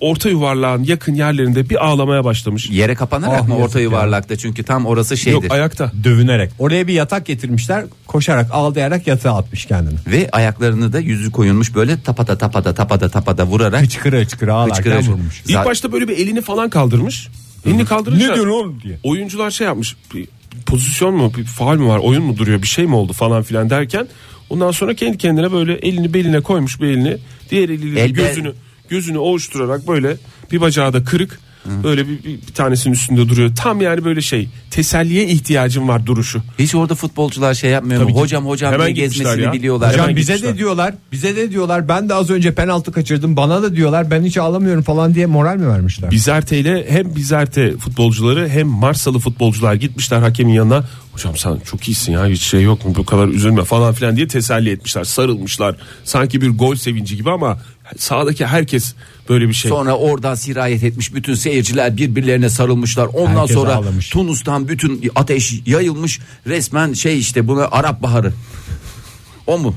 Speaker 4: orta yuvarlağın yakın yerlerinde bir ağlamaya başlamış
Speaker 3: Yere kapanarak
Speaker 2: Ah,
Speaker 3: mı
Speaker 2: yazık
Speaker 3: orta
Speaker 2: ya.
Speaker 3: yuvarlakta çünkü tam orası şeydir.
Speaker 4: yok ayakta
Speaker 2: Dövünerek. Oraya bir yatak getirmişler. Koşarak ağlayarak yatağa atmış kendini.
Speaker 3: Ve ayaklarını da yüzü koyulmuş böyle tapata tapata tapata tapata vurarak.
Speaker 2: Hıçkıra hıçkıra ağlarken
Speaker 3: Hıçkıra hıçkıra.
Speaker 2: vurmuş.
Speaker 4: İlk
Speaker 3: Zaten-
Speaker 4: başta böyle bir elini falan kaldırmış. Elini kaldırınca
Speaker 2: Ne diyorsun oğlum diye.
Speaker 4: Oyuncular şey yapmış. Bir pozisyon mu, bir faal mi var, oyun mu duruyor, bir şey mi oldu falan filan derken ondan sonra kendi kendine böyle elini beline koymuş bir elini, diğer eliyle
Speaker 3: El bel-
Speaker 4: gözünü gözünü ovuşturarak böyle bir bacağı da kırık. Böyle bir, bir, bir tanesinin üstünde duruyor. Tam yani böyle şey teselliye ihtiyacım var duruşu.
Speaker 3: Hiç orada futbolcular şey yapmıyor
Speaker 4: Tabii
Speaker 3: mu?
Speaker 4: ki.
Speaker 3: Hocam hocam
Speaker 4: Hemen
Speaker 3: diye
Speaker 4: gitmişler
Speaker 3: gezmesini
Speaker 4: ya.
Speaker 3: biliyorlar.
Speaker 4: Hocam
Speaker 2: Hocam bize
Speaker 4: gitmişler.
Speaker 2: de diyorlar, bize de diyorlar. Ben de az önce penaltı kaçırdım. Bana da diyorlar. Ben hiç ağlamıyorum falan diye moral mi vermişler?
Speaker 4: Bizerte ile hem Bizerte futbolcuları hem Marsalı futbolcular gitmişler hakemin yanına. Hocam sen çok iyisin ya hiç şey yok mu bu kadar üzülme falan filan diye teselli etmişler sarılmışlar. Sanki bir gol sevinci gibi ama sahadaki herkes böyle bir şey.
Speaker 3: Sonra orada sirayet etmiş bütün seyirciler birbirlerine sarılmışlar. Ondan
Speaker 2: Herkes
Speaker 3: sonra
Speaker 2: ağlamış.
Speaker 3: Tunus'tan bütün ateş yayılmış. Resmen şey işte buna Arap Baharı. O mu?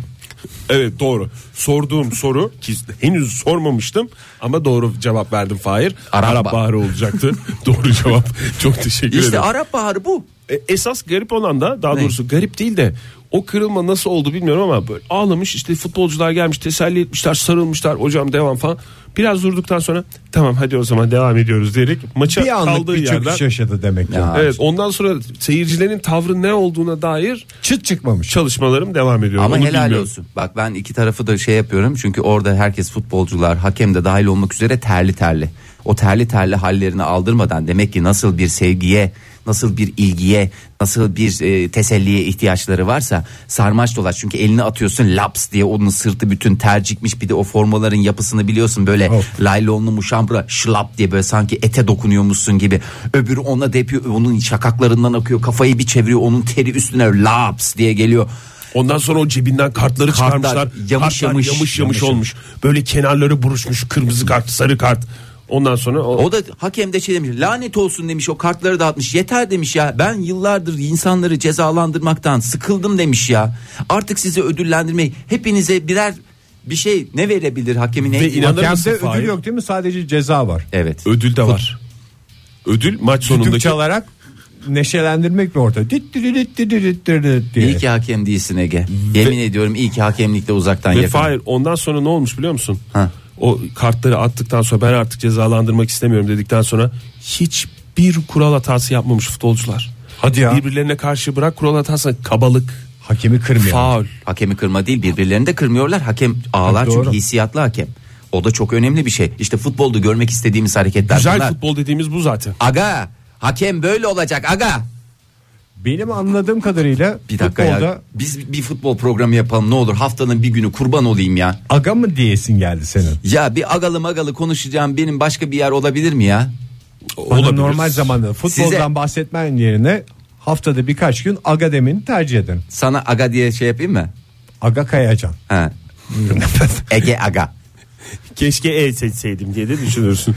Speaker 4: Evet doğru. Sorduğum soru ki henüz sormamıştım ama doğru cevap verdim Fahir.
Speaker 3: Arap
Speaker 4: Arap,
Speaker 3: bah-
Speaker 4: Baharı olacaktı. doğru cevap. Çok teşekkür
Speaker 3: İşte
Speaker 4: ederim.
Speaker 3: Arap Baharı bu.
Speaker 4: E, esas garip olan da daha
Speaker 3: Ne?
Speaker 4: doğrusu garip değil de o kırılma nasıl oldu bilmiyorum ama böyle ağlamış işte futbolcular gelmiş teselli etmişler sarılmışlar hocam devam falan. Biraz durduktan sonra tamam hadi o zaman devam ediyoruz diyerek maça
Speaker 2: Bir anlık
Speaker 4: kaldığı
Speaker 2: bir
Speaker 4: yerden.
Speaker 2: çöküş yaşadı demek ki.
Speaker 3: Ya.
Speaker 4: Evet ondan sonra seyircilerin tavrı ne olduğuna dair
Speaker 2: Çıt çıkmamış.
Speaker 4: çalışmalarım devam ediyor.
Speaker 3: Ama
Speaker 4: Onu
Speaker 3: helal
Speaker 4: bilmiyorum.
Speaker 3: olsun. Bak ben iki tarafı da şey yapıyorum. Çünkü orada herkes futbolcular, hakem de dahil olmak üzere terli terli. O terli terli hallerini aldırmadan demek ki nasıl bir sevgiye, nasıl bir ilgiye, nasıl bir e, teselliye ihtiyaçları varsa sarmaş dolaş. Çünkü elini atıyorsun laps diye onun sırtı bütün tercikmiş. Bir de o formaların yapısını biliyorsun böyle
Speaker 4: Oh.
Speaker 2: Of.
Speaker 3: laylonlu muşambra şlap diye böyle sanki ete dokunuyormuşsun gibi. Öbürü ona depiyor onun şakaklarından akıyor kafayı bir çeviriyor onun teri üstüne laps diye geliyor.
Speaker 4: Ondan sonra o cebinden kartları
Speaker 3: Kartlar,
Speaker 4: çıkarmışlar.
Speaker 3: yamış
Speaker 4: Kartlar
Speaker 3: yamış,
Speaker 4: yamış,
Speaker 3: yamış
Speaker 4: yamış olmuş. Böyle kenarları buruşmuş. Kırmızı kart, sarı kart. Ondan sonra o,
Speaker 3: O da hakem de şey demiş lanet olsun demiş o kartları dağıtmış yeter demiş ya ben yıllardır insanları cezalandırmaktan sıkıldım demiş ya artık sizi ödüllendirmeyi hepinize birer bir şey ne verebilir hakemin en
Speaker 4: Ve inan- İnanır
Speaker 2: Hakemde
Speaker 4: mısın
Speaker 2: ödül
Speaker 4: Fahir?
Speaker 2: yok değil mi? Sadece ceza var.
Speaker 3: Evet
Speaker 4: ödül de var. Ödül maç
Speaker 2: Düdük
Speaker 4: sonundaki
Speaker 2: çalarak neşelendirmek mi orada? Dit dit dit dit dit dit dit diye.
Speaker 3: İyi ki hakem değilsin Ege yemin ediyorum iyi ki hakemlikte uzaktan
Speaker 4: ve
Speaker 3: yakın
Speaker 4: Fahir ondan sonra ne olmuş biliyor musun?
Speaker 3: Ha.
Speaker 4: O kartları attıktan sonra ben artık cezalandırmak istemiyorum dedikten sonra hiçbir kural hatası yapmamış futbolcular.
Speaker 2: Hadi ya.
Speaker 4: Birbirlerine karşı bırak kural hatası kabalık,
Speaker 2: Hakemi kırmıyor.
Speaker 4: faul.
Speaker 3: Hakemi kırma değil birbirlerini de kırmıyorlar. Hakem ağlar
Speaker 2: Ha, doğru.
Speaker 3: çünkü hissiyatlı hakem. O da çok önemli bir şey. İşte futbolda görmek istediğimiz hareketler
Speaker 4: Güzel
Speaker 3: bunlar.
Speaker 4: futbol dediğimiz bu zaten.
Speaker 3: Aga hakem böyle olacak aga.
Speaker 2: Benim anladığım kadarıyla
Speaker 3: Bir dakika ya.
Speaker 2: futbolda
Speaker 3: Biz bir futbol programı yapalım ne olur. Haftanın bir günü kurban olayım ya.
Speaker 2: aga mı diyesin geldi senin.
Speaker 3: Ya bir agalı magalı konuşacağım benim başka bir yer olabilir mi ya?
Speaker 2: Bana
Speaker 4: Olabilir.
Speaker 2: Hani normal zamanda futboldan
Speaker 3: Size-
Speaker 2: bahsetmen yerine haftada birkaç gün aga demeni tercih ederim.
Speaker 3: Sana aga diye şey yapayım mı?
Speaker 2: Aga Kayacan.
Speaker 3: Ha. Ege aga.
Speaker 4: Keşke el seçseydim diye de düşünürsün.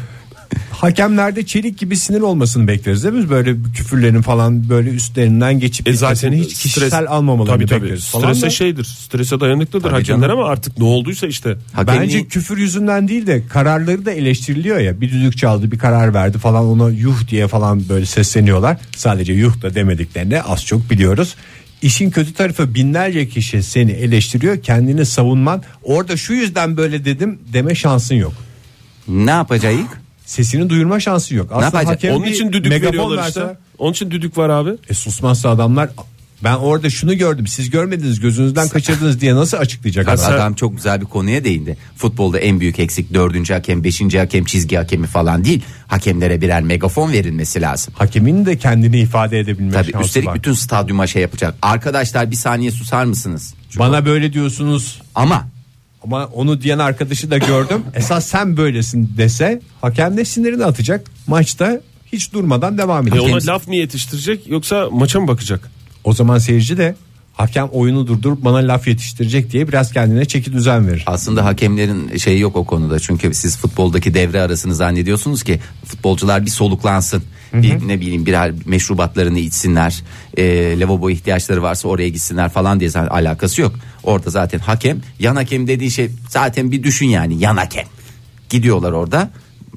Speaker 2: Hakemlerde çelik gibi sinir olmasını bekleriz değil mi? Böyle küfürlerin falan böyle üstlerinden geçip
Speaker 4: E
Speaker 2: zaten
Speaker 4: zaten
Speaker 2: hiç kişisel almamalarını
Speaker 4: tabii, tabii.
Speaker 2: bekleriz. falan
Speaker 4: Strese
Speaker 2: da.
Speaker 4: şeydir. Strese dayanıklıdır
Speaker 3: Tabii
Speaker 4: hakemler
Speaker 3: canım.
Speaker 4: ama artık ne olduysa işte.
Speaker 3: Hakemin-
Speaker 2: Bence küfür yüzünden değil de kararları da eleştiriliyor ya. Bir düdük çaldı, bir karar verdi falan ona yuh diye falan böyle sesleniyorlar. Sadece yuh da demediklerini az çok biliyoruz. İşin kötü tarafı binlerce kişi seni eleştiriyor. Kendini savunman orada şu yüzden böyle dedim deme şansın yok.
Speaker 3: ne yapacağız?
Speaker 2: Sesini duyurma şansı yok. Aslında
Speaker 3: yapacak?
Speaker 2: hakem
Speaker 4: Onun
Speaker 2: bir
Speaker 4: için düdük
Speaker 2: megafon
Speaker 4: veriyorlar
Speaker 2: verse-
Speaker 4: işte. Onun için düdük var abi.
Speaker 2: E susmazsa adamlar ben orada şunu gördüm siz görmediniz gözünüzden kaçırdınız diye nasıl açıklayacak
Speaker 4: Ha,
Speaker 2: adam?
Speaker 4: sen-
Speaker 3: Adam çok güzel bir konuya değindi. Futbolda en büyük eksik dördüncü hakem, beşinci hakem, çizgi hakemi falan değil. Hakemlere birer megafon verilmesi lazım.
Speaker 2: Hakemin de kendini ifade edebilme
Speaker 3: Tabii
Speaker 2: şansı
Speaker 3: üstelik
Speaker 2: var.
Speaker 3: bütün stadyuma şey yapacak. Arkadaşlar bir saniye susar mısınız?
Speaker 2: Bana böyle diyorsunuz
Speaker 3: Ama
Speaker 2: Ama onu diyen arkadaşı da gördüm. Esas sen böylesin dese hakem de sinirini atacak. Maçta hiç durmadan devam
Speaker 4: E
Speaker 2: ediyor.
Speaker 4: ona laf mı yetiştirecek yoksa maça mı bakacak?
Speaker 2: O zaman seyirci de hakem oyunu durdurup bana laf yetiştirecek diye biraz kendine çeki düzen verir.
Speaker 3: Aslında hakemlerin şeyi yok o konuda. Çünkü siz futboldaki devre arasını zannediyorsunuz ki futbolcular bir soluklansın. Bir, ne bileyim birer meşrubatlarını içsinler. E, lavabo ihtiyaçları varsa oraya gitsinler falan diye zaten alakası yok. Orada zaten hakem yan hakem dediği şey zaten bir düşün yani yan hakem. Gidiyorlar orada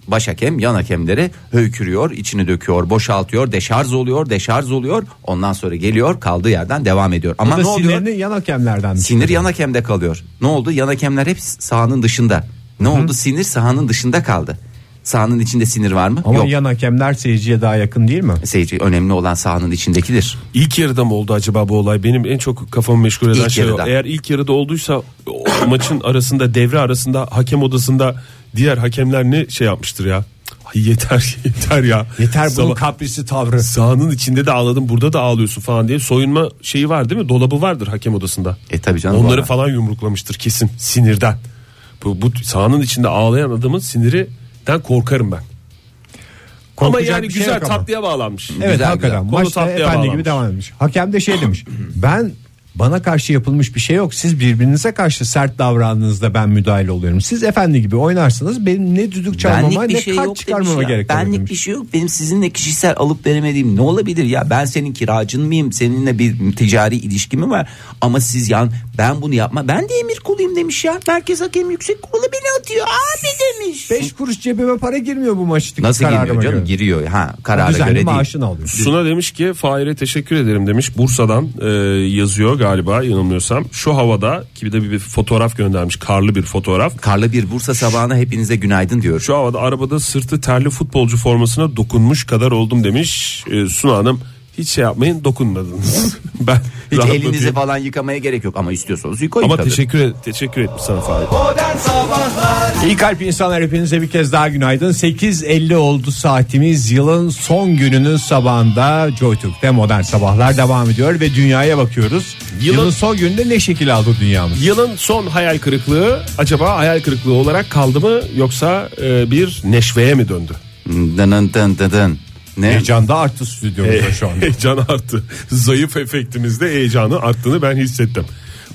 Speaker 3: baş hakem yan hakemleri höykürüyor içini döküyor boşaltıyor deşarj oluyor deşarj oluyor ondan sonra geliyor kaldığı yerden devam ediyor ama
Speaker 2: Bu da
Speaker 3: ne oluyor
Speaker 2: sinirini yan hakemlerden.
Speaker 3: Sinir yan hakemde kalıyor. Ne oldu? Yan hakemler hep sahanın dışında. Ne oldu? Sinir sahanın dışında kaldı. Sahanın içinde sinir var mı?
Speaker 2: Ama
Speaker 3: Yok.
Speaker 2: yan hakemler seyirciye daha yakın değil mi?
Speaker 3: Seyirci önemli olan sahanın içindekidir.
Speaker 4: İlk yarıda mı oldu acaba bu olay? Benim en çok kafamı meşgul eden
Speaker 3: İlk
Speaker 4: şey o.
Speaker 3: yarıda.
Speaker 4: Eğer ilk yarıda olduysa o maçın arasında devre arasında hakem odasında diğer hakemler ne şey yapmıştır ya? Ay yeter yeter ya.
Speaker 2: Yeter bunun
Speaker 4: Sabah-
Speaker 2: kaprisi tavrı.
Speaker 4: Sahanın içinde de ağladım burada da ağlıyorsun falan diye soyunma şeyi var değil mi? Dolabı vardır hakem odasında.
Speaker 3: E tabii canım,
Speaker 4: Onları
Speaker 3: var.
Speaker 4: falan yumruklamıştır kesin sinirden. Bu, bu sahanın içinde ağlayan adamın sinirinden korkarım ben. Ama
Speaker 2: Korkacak
Speaker 4: yani
Speaker 2: bir şey
Speaker 4: güzel
Speaker 2: yok ama.
Speaker 4: tatlıya bağlanmış.
Speaker 2: Evet
Speaker 3: Güzel,
Speaker 2: hakikaten.
Speaker 4: güzel. Konu
Speaker 2: Maçta
Speaker 4: tatlıya
Speaker 2: efendi gibi
Speaker 4: bağlanmış.
Speaker 2: devam etmiş. Hakem de şey demiş. Ben bana karşı yapılmış bir şey yok. Siz birbirinize karşı sert davrandığınızda ben müdahale oluyorum. Siz efendi gibi oynarsınız. Benim ne düdük çalmama
Speaker 3: Benlik bir
Speaker 2: ne
Speaker 3: şey
Speaker 2: kart
Speaker 3: yok demiş
Speaker 2: çıkarmama
Speaker 3: ya.
Speaker 2: gerek yok
Speaker 3: Benlik
Speaker 2: demiş.
Speaker 3: bir şey yok. Benim sizinle kişisel alıp veremediğim ne olabilir ya? Ben senin kiracın mıyım? Seninle bir ticari ilişki mi var? Ama siz yan ben bunu yapma. Ben de emir kuluyum demiş ya. Merkez hakem yüksek kurulu beni atıyor. Abi demiş.
Speaker 2: Beş kuruş cebime para girmiyor bu maçtaki
Speaker 3: Nasıl
Speaker 2: kararıma
Speaker 3: giriyor canım?
Speaker 2: göre.
Speaker 3: Giriyor. Ha karara
Speaker 2: Düzenli
Speaker 3: göre değil.
Speaker 2: maaşını alıyor.
Speaker 4: Suna demiş ki Fahir'e teşekkür ederim demiş. Bursa'dan e, yazıyor galiba yanılmıyorsam. Şu havada ki bir de bir, bir fotoğraf göndermiş. Karlı bir fotoğraf.
Speaker 3: Karlı bir Bursa sabahına hepinize günaydın diyor.
Speaker 4: Şu havada arabada sırtı terli futbolcu formasına dokunmuş kadar oldum demiş. E, Suna Hanım hiç şey yapmayın dokunmadınız. ben
Speaker 3: Hiç
Speaker 4: rahatlatayım.
Speaker 3: elinizi falan yıkamaya gerek yok ama istiyorsanız yıkayın
Speaker 4: Ama
Speaker 3: tabii.
Speaker 4: teşekkür et, teşekkür etmiş sana Fahir.
Speaker 2: İyi kalp insanlar hepinize bir kez daha günaydın. 8.50 oldu saatimiz. Yılın son gününün sabahında JoyTürk'te modern sabahlar devam ediyor ve dünyaya bakıyoruz.
Speaker 4: Yılın-
Speaker 2: Yılın son gününde ne şekil aldı dünyamız?
Speaker 4: Yılın son hayal kırıklığı acaba hayal kırıklığı olarak kaldı mı yoksa e, bir neşveye mi döndü?
Speaker 3: Hmm, Dın dın dın dın. Ne?
Speaker 2: Heyecan da arttı stüdyomuzda şu anda.
Speaker 4: Heyecan arttı. Zayıf efektimizde heyecanı arttığını ben hissettim.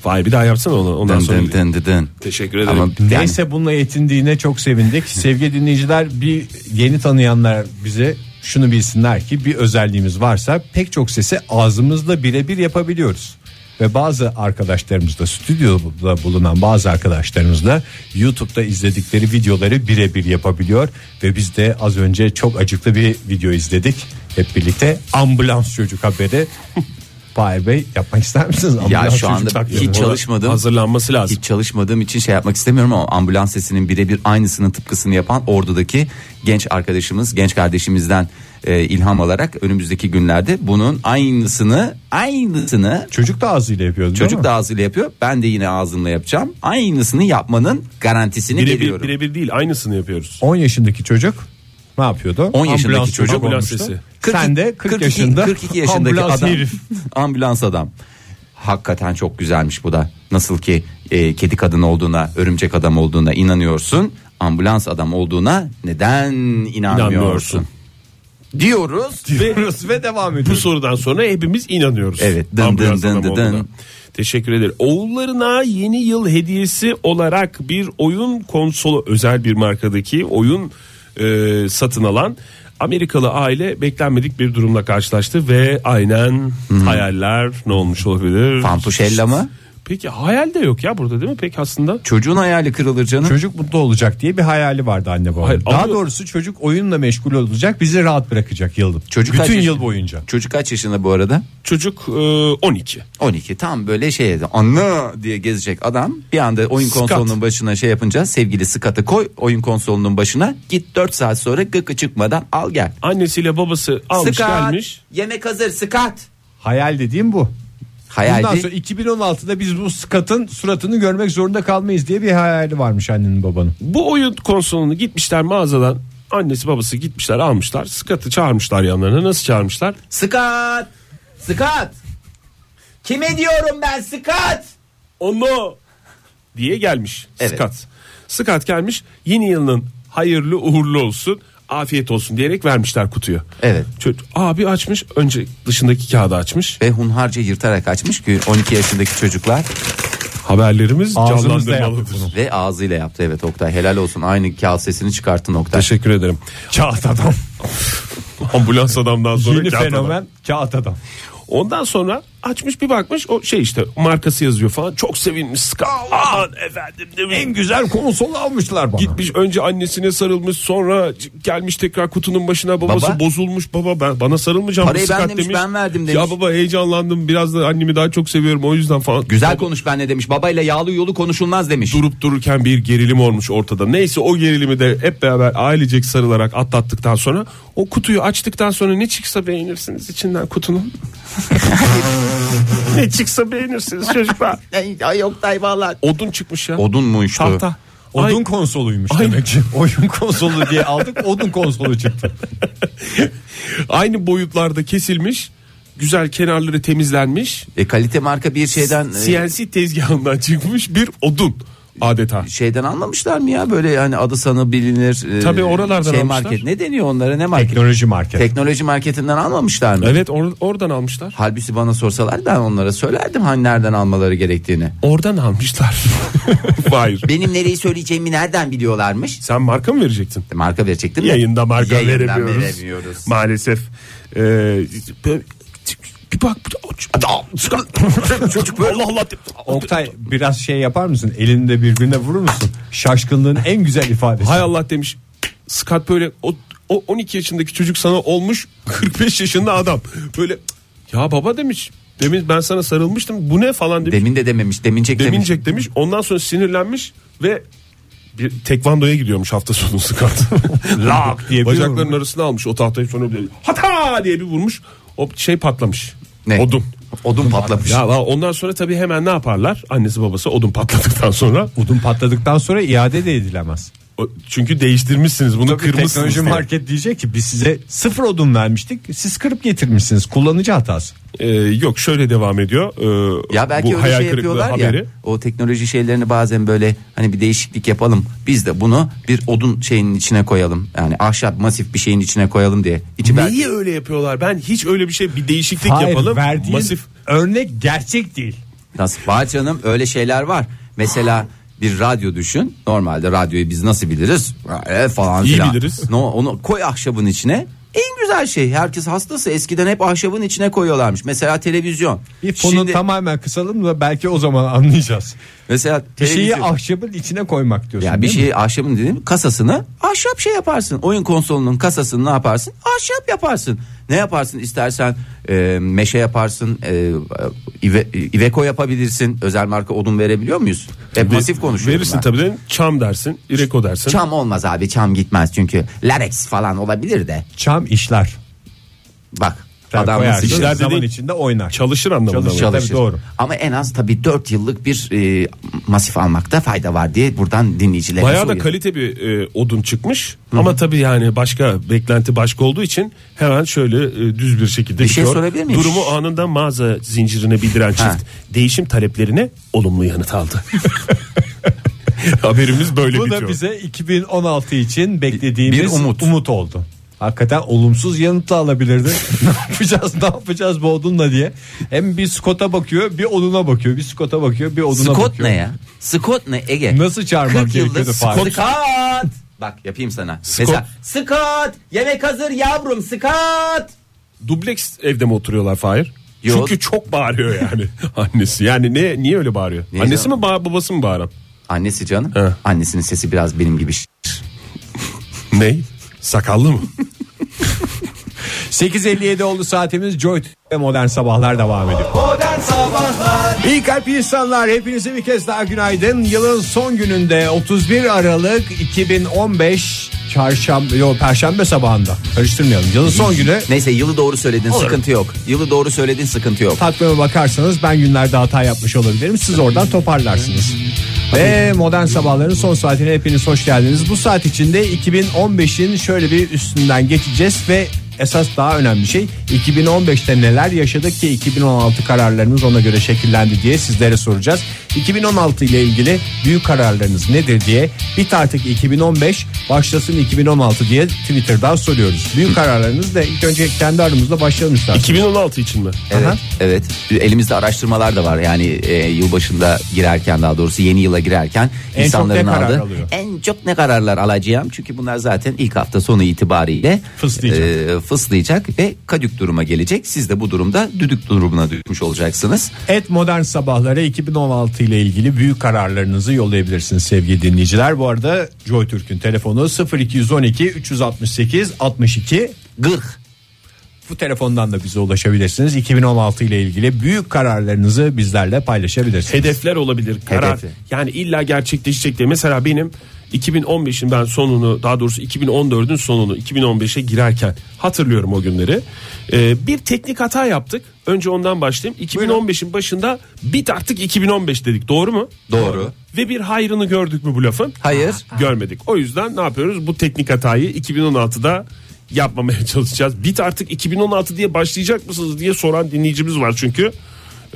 Speaker 4: Vay bir daha yapsana onu ondan
Speaker 3: Dın
Speaker 4: sonra.
Speaker 3: dın dın dın dın.
Speaker 4: Teşekkür ederim.
Speaker 3: Ama yani-
Speaker 2: Neyse bununla yetindiğine çok sevindik. Sevgili dinleyiciler bir yeni tanıyanlar bize şunu bilsinler ki bir özelliğimiz varsa pek çok sesi ağzımızla birebir yapabiliyoruz. Ve bazı arkadaşlarımız da stüdyoda bulunan bazı arkadaşlarımız da YouTube'da izledikleri videoları birebir yapabiliyor. Ve biz de az önce çok acıklı bir video izledik hep birlikte. Ambulans çocuk haberi. Fahir Bey yapmak ister misiniz?
Speaker 3: ya
Speaker 2: Ambulans
Speaker 3: şu
Speaker 2: çocuk
Speaker 3: anda
Speaker 2: taklidi.
Speaker 3: hiç
Speaker 4: Ona
Speaker 3: çalışmadım.
Speaker 4: hazırlanması lazım.
Speaker 3: Hiç çalışmadığım için şey yapmak istemiyorum ama ambulans sesinin birebir aynısını tıpkısını yapan ordudaki genç arkadaşımız, genç kardeşimizden e, ilham alarak önümüzdeki günlerde bunun aynısını, aynısını
Speaker 2: Çocuk da ağzıyla yapıyordu değil mi?
Speaker 3: çocuk da ağzıyla yapıyor. Ben de yine ağzımla yapacağım. Aynısını yapmanın garantisini
Speaker 4: Birebir
Speaker 3: veriyorum.
Speaker 4: birebir değil aynısını yapıyoruz.
Speaker 2: 10 yaşındaki çocuk ne yapıyordu?
Speaker 3: 10 yaşındaki
Speaker 2: Ambulans
Speaker 3: çocuk
Speaker 4: ambulans
Speaker 2: olmuştu.
Speaker 4: sesi.
Speaker 2: Sen de 40 yaşında
Speaker 3: 42 yaşındaki
Speaker 2: ambulans
Speaker 3: adam,
Speaker 2: herif.
Speaker 3: ambulans adam. Hakikaten çok güzelmiş bu da. Nasıl ki e, kedi kadın olduğuna, örümcek adam olduğuna inanıyorsun, ambulans adam olduğuna neden inanmıyorsun?
Speaker 4: İnanmıyorsun.
Speaker 3: Diyoruz.
Speaker 4: Diyoruz
Speaker 2: ve devam
Speaker 4: Bu
Speaker 2: ediyoruz.
Speaker 4: sorudan sonra hepimiz inanıyoruz.
Speaker 3: Evet, dın dın
Speaker 4: Ambulans
Speaker 3: dın
Speaker 4: adam
Speaker 3: dın
Speaker 4: olduğuna.
Speaker 3: dın.
Speaker 4: Teşekkür ederim. Oğullarına yeni yıl hediyesi olarak bir oyun konsolu özel bir markadaki oyun e, satın alan Amerikalı aile beklenmedik bir durumla karşılaştı ve aynen hayaller ne olmuş olabilir?
Speaker 3: Fantuşella mı?
Speaker 4: Peki hayal de yok ya burada değil mi? Pek aslında.
Speaker 3: Çocuğun hayali kırılır canım.
Speaker 2: Çocuk mutlu olacak diye bir hayali vardı anne baba.
Speaker 4: Hayır,
Speaker 2: Daha
Speaker 4: ama-
Speaker 2: doğrusu çocuk oyunla meşgul olacak bizi rahat bırakacak yıldım.
Speaker 3: Çocuk kaç
Speaker 2: Bütün
Speaker 3: yaşında?
Speaker 2: yıl boyunca.
Speaker 3: Çocuk kaç yaşında bu arada?
Speaker 4: Çocuk e, 12.
Speaker 3: 12 tam böyle şey anne diye gezecek adam bir anda oyun
Speaker 4: Skat.
Speaker 3: konsolunun başına şey yapınca sevgili Skat'ı koy oyun konsolunun başına git 4 saat sonra gıkı çıkmadan al gel.
Speaker 4: Annesiyle babası almış
Speaker 3: Skat
Speaker 4: gelmiş.
Speaker 3: yemek hazır Skat.
Speaker 2: Hayal dediğim bu. Bundan sonra
Speaker 3: Hayaldi
Speaker 2: 2016'da biz bu skatın suratını görmek zorunda kalmayız diye bir hayali varmış annenin babanın.
Speaker 4: Bu oyun konsolunu gitmişler mağazadan. Annesi babası gitmişler almışlar. Skat'ı çağırmışlar yanlarına. Nasıl çağırmışlar?
Speaker 3: Skat Skat kime diyorum ben Skat
Speaker 4: Onu diye gelmiş
Speaker 3: Evet.
Speaker 4: Skat. Skat gelmiş yeni yılın hayırlı uğurlu olsun afiyet olsun diyerek vermişler kutuyu.
Speaker 3: Evet.
Speaker 4: Çocuk, abi açmış önce dışındaki kağıdı açmış.
Speaker 3: ve hunharca yırtarak açmış ki 12 yaşındaki çocuklar
Speaker 4: Haberlerimiz
Speaker 2: Ağzımızda
Speaker 4: canlandırmalıdır.
Speaker 2: yaptık bunu.
Speaker 3: ve ağzıyla yaptı evet Oktay helal olsun aynı kağıt sesini çıkarttın Oktay.
Speaker 4: Teşekkür ederim. Kağıt adam. Ambulans adamdan sonra
Speaker 2: Yeni
Speaker 4: kağıt adam.
Speaker 2: fenomen kağıt adam.
Speaker 4: Ondan sonra açmış bir bakmış o şey işte markası yazıyor falan. Çok sevinmiş. Skat aman efendim demiş.
Speaker 2: En güzel konsolu almışlar bana.
Speaker 4: Gitmiş önce annesine sarılmış sonra c- gelmiş tekrar kutunun başına babası
Speaker 3: Baba?
Speaker 4: bozulmuş baba ben bana sarılmayacağım
Speaker 3: Parayı
Speaker 4: Skat
Speaker 3: ben demiş, ben verdim demiş.
Speaker 4: Ya baba heyecanlandım biraz da annemi daha çok seviyorum o yüzden falan.
Speaker 3: Güzel
Speaker 4: Baba
Speaker 3: konuş benle demiş babayla yağlı yolu konuşulmaz demiş.
Speaker 4: durup dururken bir gerilim olmuş ortada. Neyse o gerilimi de hep beraber ailecek sarılarak atlattıktan sonra o kutuyu açtıktan sonra ne çıksa beğenirsiniz içinden kutunun. ne çıksa beğenirsiniz çocuklar.
Speaker 3: Ay, ay Oktay vallahi.
Speaker 4: Odun çıkmış ya.
Speaker 3: Odunmuştu.
Speaker 4: Tahta.
Speaker 2: Odun
Speaker 4: Ay,
Speaker 2: konsoluymuş
Speaker 4: Ay.
Speaker 2: demek ki. Oyun konsolu diye aldık odun konsolu çıktı.
Speaker 4: aynı boyutlarda kesilmiş. Güzel kenarları temizlenmiş.
Speaker 3: E, kalite marka bir şeyden e,
Speaker 4: CNC tezgahından çıkmış bir odun. adeta.
Speaker 3: şeyden almamışlar mı ya böyle hani adı sanı bilinir. e,
Speaker 4: Tabii oralardan
Speaker 3: şey
Speaker 4: almışlar.
Speaker 3: market ne deniyor onlara ne market?
Speaker 2: Teknoloji market.
Speaker 3: Teknoloji marketinden almamışlar mı?
Speaker 4: Evet or- oradan almışlar.
Speaker 3: Halbuki bana sorsalar ben onlara söylerdim hani nereden almaları gerektiğini.
Speaker 4: Oradan almışlar. Hayır.
Speaker 3: Benim nereyi söyleyeceğimi nereden biliyorlarmış?
Speaker 4: Sen marka mı verecektin?
Speaker 3: Marka verecektim. de.
Speaker 4: Yayında marka
Speaker 3: Yayından
Speaker 4: veremiyoruz.
Speaker 3: veremiyoruz.
Speaker 4: Maalesef. Ee, böyle- bir bak. Çocuk böyle. Allah Allah.
Speaker 2: Oktay biraz şey yapar mısın? Elinde birbirine vurur musun? Şaşkınlığın en güzel ifadesi.
Speaker 4: Hay Allah demiş. Scott böyle o, o 12 yaşındaki çocuk sana olmuş 45 yaşında adam. Böyle ya baba demiş. Demin ben sana sarılmıştım. Bu ne falan demiş.
Speaker 3: Demin de dememiş. Demincek demiş.
Speaker 4: Demincek demiş. Ondan sonra sinirlenmiş ve bir tekvandoya gidiyormuş hafta sonu Scott. Lak
Speaker 2: diye bir
Speaker 4: Bacaklarının
Speaker 2: vurmuş.
Speaker 4: arasına almış o tahtayı sonra bir hata diye bir vurmuş. O şey patlamış.
Speaker 3: Ne?
Speaker 4: Odun.
Speaker 3: Odun patlamış.
Speaker 4: Ya va- ondan sonra tabii hemen ne yaparlar? Annesi babası odun patladıktan sonra.
Speaker 2: Odun patladıktan sonra iade de edilemez.
Speaker 4: O- Çünkü değiştirmişsiniz bunu kırmışsınız.
Speaker 2: Teknoloji
Speaker 4: diye.
Speaker 2: market diyecek ki biz size sıfır odun vermiştik. Siz kırıp getirmişsiniz. Kullanıcı hatası.
Speaker 4: Ee, yok şöyle devam ediyor. Ee,
Speaker 3: Ya belki öyle şey
Speaker 4: kırıklığı
Speaker 3: yapıyorlar ya. O teknoloji şeylerini bazen böyle hani bir değişiklik yapalım. Biz de bunu bir odun şeyinin içine koyalım. Yani ahşap masif bir şeyin içine koyalım diye. İçi belki-
Speaker 4: Niye öyle yapıyorlar? Ben hiç öyle bir şey bir değişiklik
Speaker 2: Hayır,
Speaker 4: yapalım.
Speaker 2: verdiğin
Speaker 4: Masif.
Speaker 2: örnek gerçek değil.
Speaker 3: Nasıl? Var canım öyle şeyler var. Mesela bir radyo düşün. Normalde radyoyu biz nasıl biliriz? E, falan
Speaker 4: İyi
Speaker 3: filan.
Speaker 4: biliriz.
Speaker 3: No, onu koy ahşabın içine. En güzel şey. Herkes hastası. Eskiden hep ahşabın içine koyuyorlarmış. Mesela televizyon.
Speaker 2: Bir fonu
Speaker 3: Şimdi
Speaker 2: tamamen kısalım da belki o zaman anlayacağız.
Speaker 3: mesela
Speaker 2: Bir şeyi
Speaker 3: televizyon-
Speaker 2: ahşabın içine koymak diyorsun.
Speaker 3: Ya bir şey-
Speaker 2: değil mi?
Speaker 3: şeyi ahşabın dedim kasasını ahşap şey yaparsın. Oyun konsolunun kasasını ne yaparsın? Ahşap yaparsın. Ne yaparsın istersen e, meşe yaparsın, e, ive, e, Iveco yapabilirsin. Özel marka odun verebiliyor muyuz? Hep pasif konuşuyorum
Speaker 4: Verirsin
Speaker 3: ben.
Speaker 4: tabii de çam dersin, ireko dersin.
Speaker 3: Çam olmaz abi çam gitmez çünkü. Larex falan olabilir de.
Speaker 2: Çam işler.
Speaker 3: Bak
Speaker 2: Sen
Speaker 3: adam
Speaker 2: koyarsın,
Speaker 3: nasıl
Speaker 4: işler
Speaker 3: çalışır?
Speaker 4: de
Speaker 2: zaman
Speaker 4: değil.
Speaker 2: içinde oynar.
Speaker 4: Çalışır anlamında.
Speaker 2: Çalışır.
Speaker 4: mı?
Speaker 2: Tabii doğru.
Speaker 3: Ama en az tabii 4 yıllık bir e, masif almakta fayda var diye buradan dinleyicilere
Speaker 4: Bayağı da
Speaker 3: soruyorum.
Speaker 4: kalite bir e, odun çıkmış. Ama tabii yani başka beklenti başka olduğu için hemen şöyle e, düz bir şekilde
Speaker 3: Bir şey
Speaker 4: bitiyor.
Speaker 3: sorabilir miyim?
Speaker 4: Durumu anında mağaza zincirine bildiren çift
Speaker 3: Ha.
Speaker 4: değişim taleplerine olumlu yanıt aldı. Haberimiz böyle
Speaker 2: Bu
Speaker 4: bitiyor.
Speaker 2: da bize 2016 için beklediğimiz
Speaker 3: Bir umut.
Speaker 2: oldu. Hakikaten olumsuz yanıtla alabilirdi. ne yapacağız ne yapacağız bu odunla diye. Hem bir Scott'a bakıyor bir oduna bakıyor. Bir Scott'a bakıyor bir oduna
Speaker 3: Scott
Speaker 2: bakıyor.
Speaker 3: ne ya? Scott ne Ege?
Speaker 2: Nasıl çağırmak
Speaker 3: 40 yıldır
Speaker 2: gerekiyordu
Speaker 3: Scott.
Speaker 2: Fahir?
Speaker 3: Scott. Bak yapayım sana. Mesela Scott yemek hazır yavrum Scott.
Speaker 4: Dubleks evde mi oturuyorlar Fahir?
Speaker 3: Yo.
Speaker 4: Çünkü çok bağırıyor yani annesi. Yani ne niye öyle bağırıyor?
Speaker 3: Niye
Speaker 4: annesi
Speaker 3: canım?
Speaker 4: mi bağır, babası mı bağıran?
Speaker 3: Annesi canım.
Speaker 4: He.
Speaker 3: Annesinin sesi biraz benim gibi. ş-
Speaker 4: Ne? Sakallı mı?
Speaker 2: 8.57 oldu saatimiz Joy ve Modern Sabahlar devam ediyor. İyi kalp insanlar hepinize bir kez daha günaydın. Yılın son gününde 31 Aralık 2015 çarşamba yok perşembe sabahında karıştırmayalım. Yılın son günü
Speaker 3: Neyse yılı doğru söyledin sıkıntı yok. Yılı doğru söyledin sıkıntı yok.
Speaker 2: takvime bakarsanız ben günlerde hata yapmış olabilirim. Siz oradan toparlarsınız. Ve modern sabahların son saatine hepiniz hoş geldiniz. Bu saat içinde 2015'in şöyle bir üstünden geçeceğiz ve esas daha önemli şey 2015'te neler yaşadık ki 2016 kararlarımız ona göre şekillendi diye sizlere soracağız. 2016 ile ilgili büyük kararlarınız nedir diye bit artık 2015 başlasın 2016 diye Twitter'dan soruyoruz. Büyük kararlarınız da ilk önce kendi aramızda başlayalım isterseniz.
Speaker 4: 2016 için mi?
Speaker 3: Evet,
Speaker 2: Aha.
Speaker 3: evet. Elimizde araştırmalar da var. Yani e, yılbaşında girerken daha doğrusu yeni yıla girerken
Speaker 2: En
Speaker 3: insanların
Speaker 2: çok ne karar
Speaker 3: aldığı
Speaker 2: alıyor?
Speaker 3: en çok ne kararlar alacağım? Çünkü bunlar zaten ilk hafta sonu itibariyle
Speaker 2: Fıslayacak.
Speaker 3: e, fıslayacak ve kadük duruma gelecek. Siz de bu durumda düdük durumuna düşmüş olacaksınız.
Speaker 2: Et Modern Sabahlara 2016 ile ilgili büyük kararlarınızı yollayabilirsiniz sevgili dinleyiciler. Bu arada Joy Türk'ün telefonu 0212 368 62
Speaker 3: Gırh.
Speaker 2: bu telefondan da bize ulaşabilirsiniz. 2016 ile ilgili büyük kararlarınızı bizlerle paylaşabilirsiniz.
Speaker 4: Hedefler olabilir. Karar.
Speaker 3: Hedefi.
Speaker 4: Yani illa gerçekleşecek diye. Mesela benim 2015'in ben sonunu daha doğrusu 2014'ün sonunu 2015'e girerken hatırlıyorum o günleri. Ee, bir teknik hata yaptık. Önce ondan başlayayım. 2015'in başında bit artık 2015 dedik. Doğru mu?
Speaker 3: Doğru.
Speaker 4: Ve bir hayrını gördük mü bu lafın?
Speaker 3: Hayır.
Speaker 4: Görmedik. O yüzden ne yapıyoruz? Bu teknik hatayı 2016'da yapmamaya çalışacağız. Bit artık 2016 diye başlayacak mısınız diye soran dinleyicimiz var çünkü.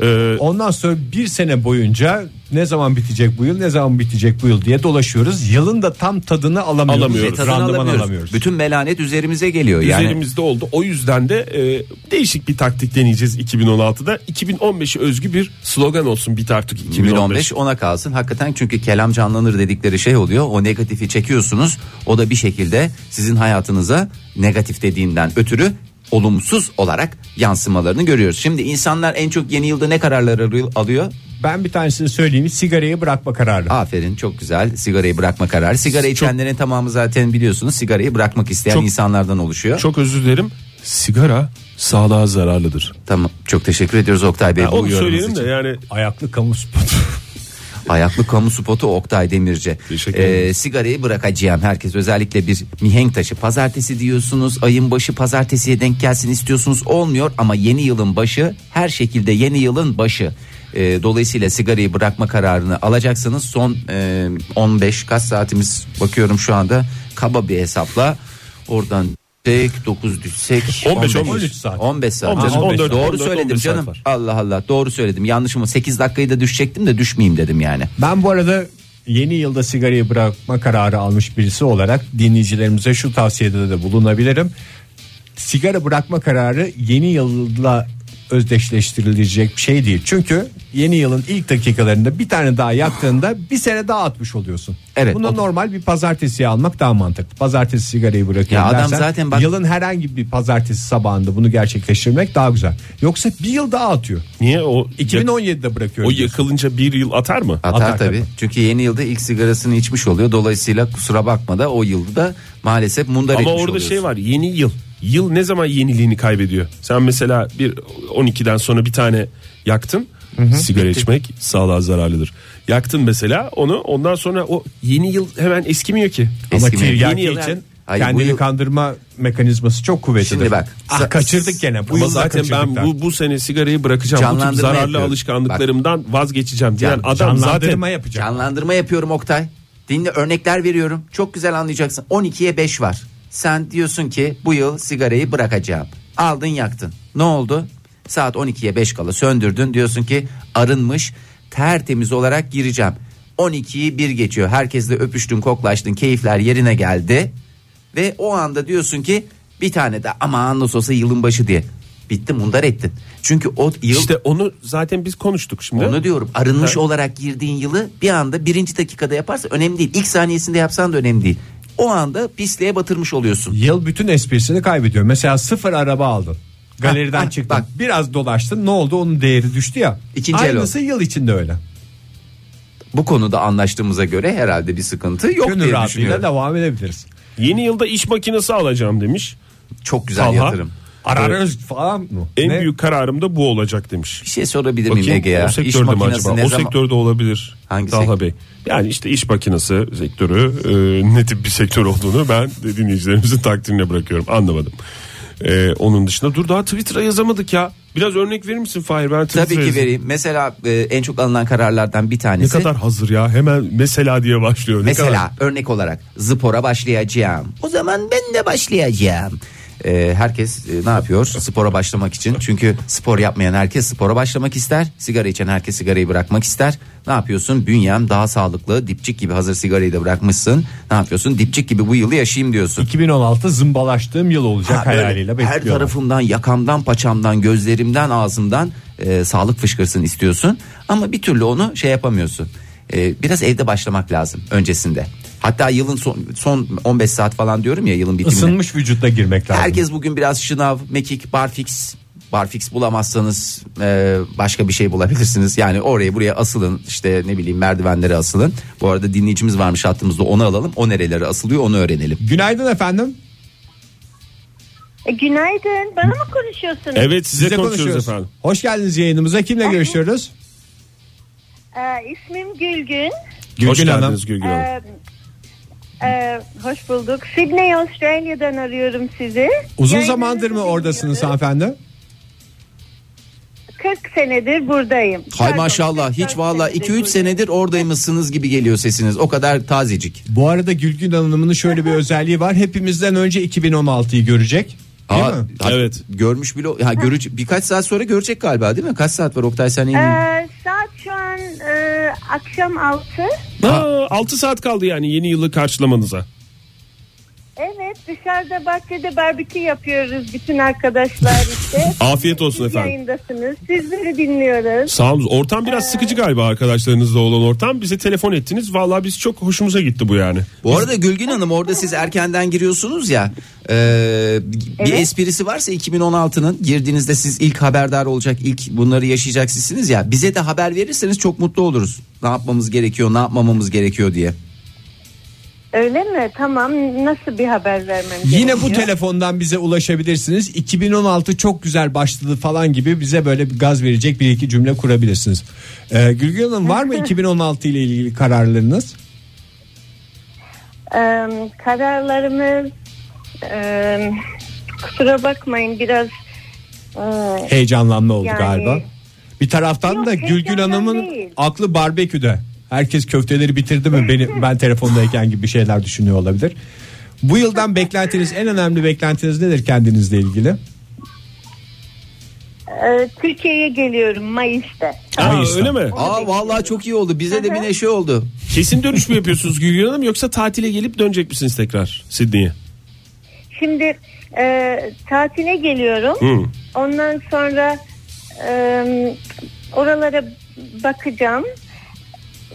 Speaker 4: Ee,
Speaker 2: Ondan sonra bir sene boyunca ne zaman bitecek bu yıl ne zaman bitecek bu yıl diye dolaşıyoruz. Yılın da tam tadını alamıyoruz.
Speaker 4: Alamıyoruz.
Speaker 3: Ve tadını
Speaker 2: Randıman
Speaker 3: alamıyoruz.
Speaker 2: alamıyoruz.
Speaker 3: Bütün melanet üzerimize geliyor. Yani
Speaker 4: üzerimizde oldu. O yüzden de e, değişik bir taktik deneyeceğiz 2016'da. 2015'e özgü bir slogan olsun bit artık 2015.
Speaker 3: 2015 ona kalsın. Hakikaten çünkü kelam canlanır dedikleri şey oluyor. O negatifi çekiyorsunuz. O da bir şekilde sizin hayatınıza negatif dediğinden ötürü olumsuz olarak yansımalarını görüyoruz. Şimdi insanlar en çok yeni yılda ne kararlar arıyor- alıyor?
Speaker 2: Ben bir tanesini söyleyeyim sigarayı bırakma kararı.
Speaker 3: Aferin çok güzel. Sigarayı bırakma kararı. Sigara içenlerin tamamı zaten biliyorsunuz sigarayı bırakmak isteyen
Speaker 4: Çok-
Speaker 3: insanlardan oluşuyor.
Speaker 4: Çok özür dilerim. Sigara sağlığa zararlıdır.
Speaker 3: Tamam. Çok teşekkür ediyoruz Oktay Bey
Speaker 4: Ya
Speaker 3: bu
Speaker 4: onu
Speaker 3: uyarınız
Speaker 4: söyleyelim
Speaker 3: için.
Speaker 4: de yani
Speaker 2: Ayaklı kamu spotu.
Speaker 3: Ayaklı kamu spotu Oktay Demirci.
Speaker 4: Teşekkür
Speaker 3: Ee,
Speaker 4: ederim.
Speaker 3: sigarayı bırakacağım herkes özellikle bir mihenk taşı pazartesi diyorsunuz ayın başı pazartesiye denk gelsin istiyorsunuz olmuyor ama yeni yılın başı her şekilde yeni yılın başı. Ee, dolayısıyla sigarayı bırakma kararını alacaksınız son e, 15 kaç saatimiz bakıyorum şu anda kaba bir hesapla oradan düşsek 9 düşsek
Speaker 4: 15,
Speaker 2: 13 saat.
Speaker 3: 15 saat.
Speaker 4: 15,
Speaker 3: Ha,
Speaker 4: 14,
Speaker 3: doğru
Speaker 4: 14,
Speaker 3: söyledim
Speaker 4: 15 saat
Speaker 3: canım.
Speaker 4: var.
Speaker 3: Allah Allah doğru söyledim. Yanlışım o. 8 dakikayı da düşecektim de düşmeyeyim dedim yani.
Speaker 2: Ben bu arada yeni yılda sigarayı bırakma kararı almış birisi olarak dinleyicilerimize şu tavsiyede de bulunabilirim. Sigara bırakma kararı yeni yılla özdeşleştirilecek bir şey değil. Çünkü yeni yılın ilk dakikalarında bir tane daha yaktığında bir sene daha atmış oluyorsun.
Speaker 3: Evet,
Speaker 2: Bunu
Speaker 3: o-
Speaker 2: normal bir pazartesiye almak daha mantıklı. Pazartesi sigarayı bırakıyorum
Speaker 3: Ya adam
Speaker 2: dersen,
Speaker 3: zaten bak-
Speaker 2: yılın herhangi bir pazartesi sabahında bunu gerçekleştirmek daha güzel. Yoksa bir yıl daha atıyor.
Speaker 4: niye o
Speaker 2: 2017'de bırakıyorum.
Speaker 4: o
Speaker 2: diyorsun.
Speaker 4: yakılınca bir yıl atar mı?
Speaker 3: Atar,
Speaker 2: Atar
Speaker 3: tabii.
Speaker 2: tabii.
Speaker 3: Çünkü yeni yılda ilk sigarasını içmiş oluyor. Dolayısıyla kusura bakma da o yılda da maalesef mundar etmiş
Speaker 4: Ama orada
Speaker 3: oluyorsun.
Speaker 4: şey var yeni yıl. Yıl ne zaman yeniliğini kaybediyor? Sen mesela bir 12'den sonra bir tane yaktın. Sigara içmek sağlığa zararlıdır. Yaktın mesela onu ondan sonra o yeni yıl hemen eskimiyor ki.
Speaker 2: Ama
Speaker 3: Eskimi-
Speaker 2: tiryaki
Speaker 4: Yeni yıl
Speaker 2: için
Speaker 3: Hayır, bu
Speaker 2: kendini
Speaker 3: yıl-
Speaker 2: kandırma mekanizması çok kuvvetlidir.
Speaker 3: Şimdi bak.
Speaker 2: Ah, kaçırdık gene. Bu
Speaker 4: Ama
Speaker 2: yıl
Speaker 4: zaten ben bu, bu sene sigarayı bırakacağım. Bu tip
Speaker 3: Canlandırma
Speaker 4: zararlı
Speaker 3: yapıyorum.
Speaker 4: alışkanlıklarımdan vazgeçeceğim diyen
Speaker 3: Can-
Speaker 4: adam zaten
Speaker 2: yapacağım.
Speaker 3: Canlandırma yapıyorum Oktay. Dinle örnekler veriyorum. Çok güzel anlayacaksın. 12'ye 5 var. Sen diyorsun ki bu yıl sigarayı bırakacağım. Aldın yaktın. Ne oldu? Saat 12'ye 5 kala söndürdün. Diyorsun ki arınmış tertemiz olarak gireceğim. 12'yi bir geçiyor. Herkesle öpüştün koklaştın. Keyifler yerine geldi. Ve o anda diyorsun ki bir tane de aman nasıl olsa yılın başı diye. Bitti mundar ettin. Çünkü o yıl
Speaker 4: işte onu zaten biz konuştuk şimdi.
Speaker 3: onu diyorum arınmış
Speaker 4: Ha.
Speaker 3: olarak girdiğin yılı bir anda birinci dakikada yaparsa önemli değil. İlk saniyesinde yapsan da önemli değil. O anda pisliğe batırmış oluyorsun.
Speaker 2: Yıl bütün esprisini kaybediyor. Mesela sıfır araba aldın. Galeriden
Speaker 3: ha, ah,
Speaker 2: çıktın.
Speaker 3: bak.
Speaker 2: Biraz dolaştın. Ne oldu? Onun değeri düştü ya.
Speaker 3: İkinci el
Speaker 2: Aynısı yıl içinde öyle.
Speaker 3: Bu konuda anlaştığımıza göre herhalde bir sıkıntı yok
Speaker 2: Gönül
Speaker 3: diye
Speaker 2: rahatlığıyla
Speaker 3: düşünüyorum.
Speaker 2: devam edebiliriz.
Speaker 4: Yeni yılda iş makinesi alacağım demiş.
Speaker 3: Çok güzel
Speaker 4: Talha,
Speaker 3: yatırım.
Speaker 2: Ararız falan mı?
Speaker 4: En
Speaker 2: Ne?
Speaker 4: büyük kararım da bu olacak demiş.
Speaker 3: Bir şey sorabilir miyim
Speaker 4: Bakayım
Speaker 3: Ege ya?
Speaker 4: o
Speaker 3: İş
Speaker 4: sektörde mi
Speaker 3: makinesi
Speaker 4: acaba?
Speaker 3: ne
Speaker 4: O
Speaker 3: zaman-
Speaker 4: sektörde olabilir.
Speaker 3: Hangi
Speaker 4: Talha
Speaker 3: sektör?
Speaker 4: Bey. Yani işte iş makinesi sektörü e, ne tip bir sektör olduğunu ben de dinleyicilerimizin takdirine bırakıyorum. Anlamadım. E, onun dışında dur daha Twitter'a yazamadık ya. Biraz örnek verir misin Fahir? Ben Twitter'a
Speaker 3: Tabii ki
Speaker 4: yazayım.
Speaker 3: vereyim. Mesela e, en çok alınan kararlardan bir
Speaker 4: Ne
Speaker 3: tanesi.
Speaker 4: kadar hazır ya hemen mesela diye başlıyor. Ne
Speaker 3: Mesela
Speaker 4: kadar-
Speaker 3: örnek olarak spora başlayacağım. O zaman ben de başlayacağım. Ee, herkes e, ne yapıyor spora başlamak için? Çünkü spor yapmayan herkes spora başlamak ister. Sigara içen herkes sigarayı bırakmak ister. Ne yapıyorsun? Bünyem daha sağlıklı. Dipçik gibi hazır sigarayı da bırakmışsın. Ne yapıyorsun? Dipçik gibi bu yılı yaşayayım diyorsun.
Speaker 2: 2016 zımbalaştığım yıl olacak
Speaker 3: Ha, böyle
Speaker 2: hayaliyle
Speaker 3: her
Speaker 2: bekliyorum.
Speaker 3: tarafımdan yakamdan paçamdan gözlerimden ağzımdan e, sağlık fışkırsın istiyorsun ama bir türlü onu şey yapamıyorsun E, biraz evde başlamak lazım öncesinde hatta yılın son, son 15 saat falan diyorum ya yılın bitimine
Speaker 2: Isınmış vücutla girmek lazım.
Speaker 3: herkes bugün biraz şınav mekik barfix barfix bulamazsanız e, başka bir şey bulabilirsiniz yani oraya buraya asılın işte ne bileyim merdivenlere asılın bu arada dinleyicimiz varmış hattımızda onu alalım o nerelere asılıyor onu öğrenelim
Speaker 2: Günaydın efendim.
Speaker 6: E, Günaydın. Bana mı konuşuyorsunuz?
Speaker 4: Evet size, konuşuyoruz. efendim.
Speaker 2: Hoş geldiniz yayınımıza. Kimle görüşüyoruz?
Speaker 6: E, ismim Gülgün.
Speaker 4: Hoş
Speaker 2: Gülgün Hanım.
Speaker 4: geldiniz Gülgün Hanım.
Speaker 6: E, e, hoş bulduk. Sydney, Avustralya'dan arıyorum sizi.
Speaker 2: Uzun
Speaker 6: Yayınınızı
Speaker 2: zamandır mı
Speaker 6: dinliyorum.
Speaker 2: oradasınız hanımefendi?
Speaker 6: 40 senedir buradayım.
Speaker 3: Hay
Speaker 6: Pardon,
Speaker 3: maşallah hiç
Speaker 6: 44
Speaker 3: valla 2-3
Speaker 6: buradayım.
Speaker 3: senedir oradaymışsınız gibi geliyor sesiniz. O kadar tazecik.
Speaker 2: Bu arada Gülgün Hanım'ın şöyle bir özelliği var. Hepimizden önce 2016'yı görecek.
Speaker 3: Aa,
Speaker 2: mi?
Speaker 3: ha-
Speaker 4: Evet.
Speaker 3: Görmüş bile ha görece- birkaç saat sonra görecek galiba değil mi? Kaç saat var Oktay sen en iyi-
Speaker 6: Ee, saat şu an e, akşam 6.
Speaker 4: Aa, 6 Ee, saat kaldı yani yeni yılı karşılamanıza.
Speaker 6: Evet dışarıda bahçede barbekü yapıyoruz bütün arkadaşlar işte.
Speaker 4: Afiyet olsun
Speaker 6: Siz
Speaker 4: efendim.
Speaker 6: yayındasınız. Sizleri dinliyoruz.
Speaker 4: Sağ olun. Ortam biraz sıkıcı galiba arkadaşlarınızla olan ortam. Bize telefon ettiniz. Vallahi biz çok hoşumuza gitti bu yani.
Speaker 3: Bu arada Gülgün Hanım orada siz erkenden giriyorsunuz ya. e, bir
Speaker 6: Evet.
Speaker 3: esprisi varsa 2016'nın girdiğinizde siz ilk haberdar olacak, ilk bunları yaşayacak sizsiniz ya. Bize de haber verirseniz çok mutlu oluruz. Ne yapmamız gerekiyor, ne yapmamamız gerekiyor diye.
Speaker 6: Öyle mi? Tamam. Nasıl bir haber vermem
Speaker 2: Yine bu
Speaker 6: gerekiyor?
Speaker 2: telefondan bize ulaşabilirsiniz. 2016 çok güzel başladı falan gibi bize böyle bir gaz verecek bir iki cümle kurabilirsiniz. Ee, Gülgün Hanım var mı 2016 ile ilgili kararlarınız?
Speaker 6: Ee, kararlarımız e, kusura bakmayın biraz e,
Speaker 2: Heyecanlanma oldu
Speaker 6: Yani-
Speaker 2: galiba. Bir taraftan
Speaker 6: Yok,
Speaker 2: da Gülgün
Speaker 6: heyecandan
Speaker 2: Hanım'ın
Speaker 6: değil.
Speaker 2: aklı barbeküde. Herkes köfteleri bitirdi mi? Beni, ben telefondayken gibi şeyler düşünüyor olabilir. Bu yıldan beklentiniz en önemli beklentiniz nedir kendinizle ilgili?
Speaker 6: e, Türkiye'ye geliyorum Mayıs'ta.
Speaker 4: Aa,
Speaker 2: Mayıs'ta.
Speaker 4: öyle mi?
Speaker 3: Aa vallahi çok iyi oldu. Bize de bir neşe oldu.
Speaker 4: Kesin dönüş mü yapıyorsunuz Gülgün Hanım yoksa tatile gelip dönecek misiniz tekrar Sidney'e?
Speaker 6: Şimdi e, tatile geliyorum.
Speaker 4: Hı.
Speaker 6: Ondan sonra e, oralara bakacağım.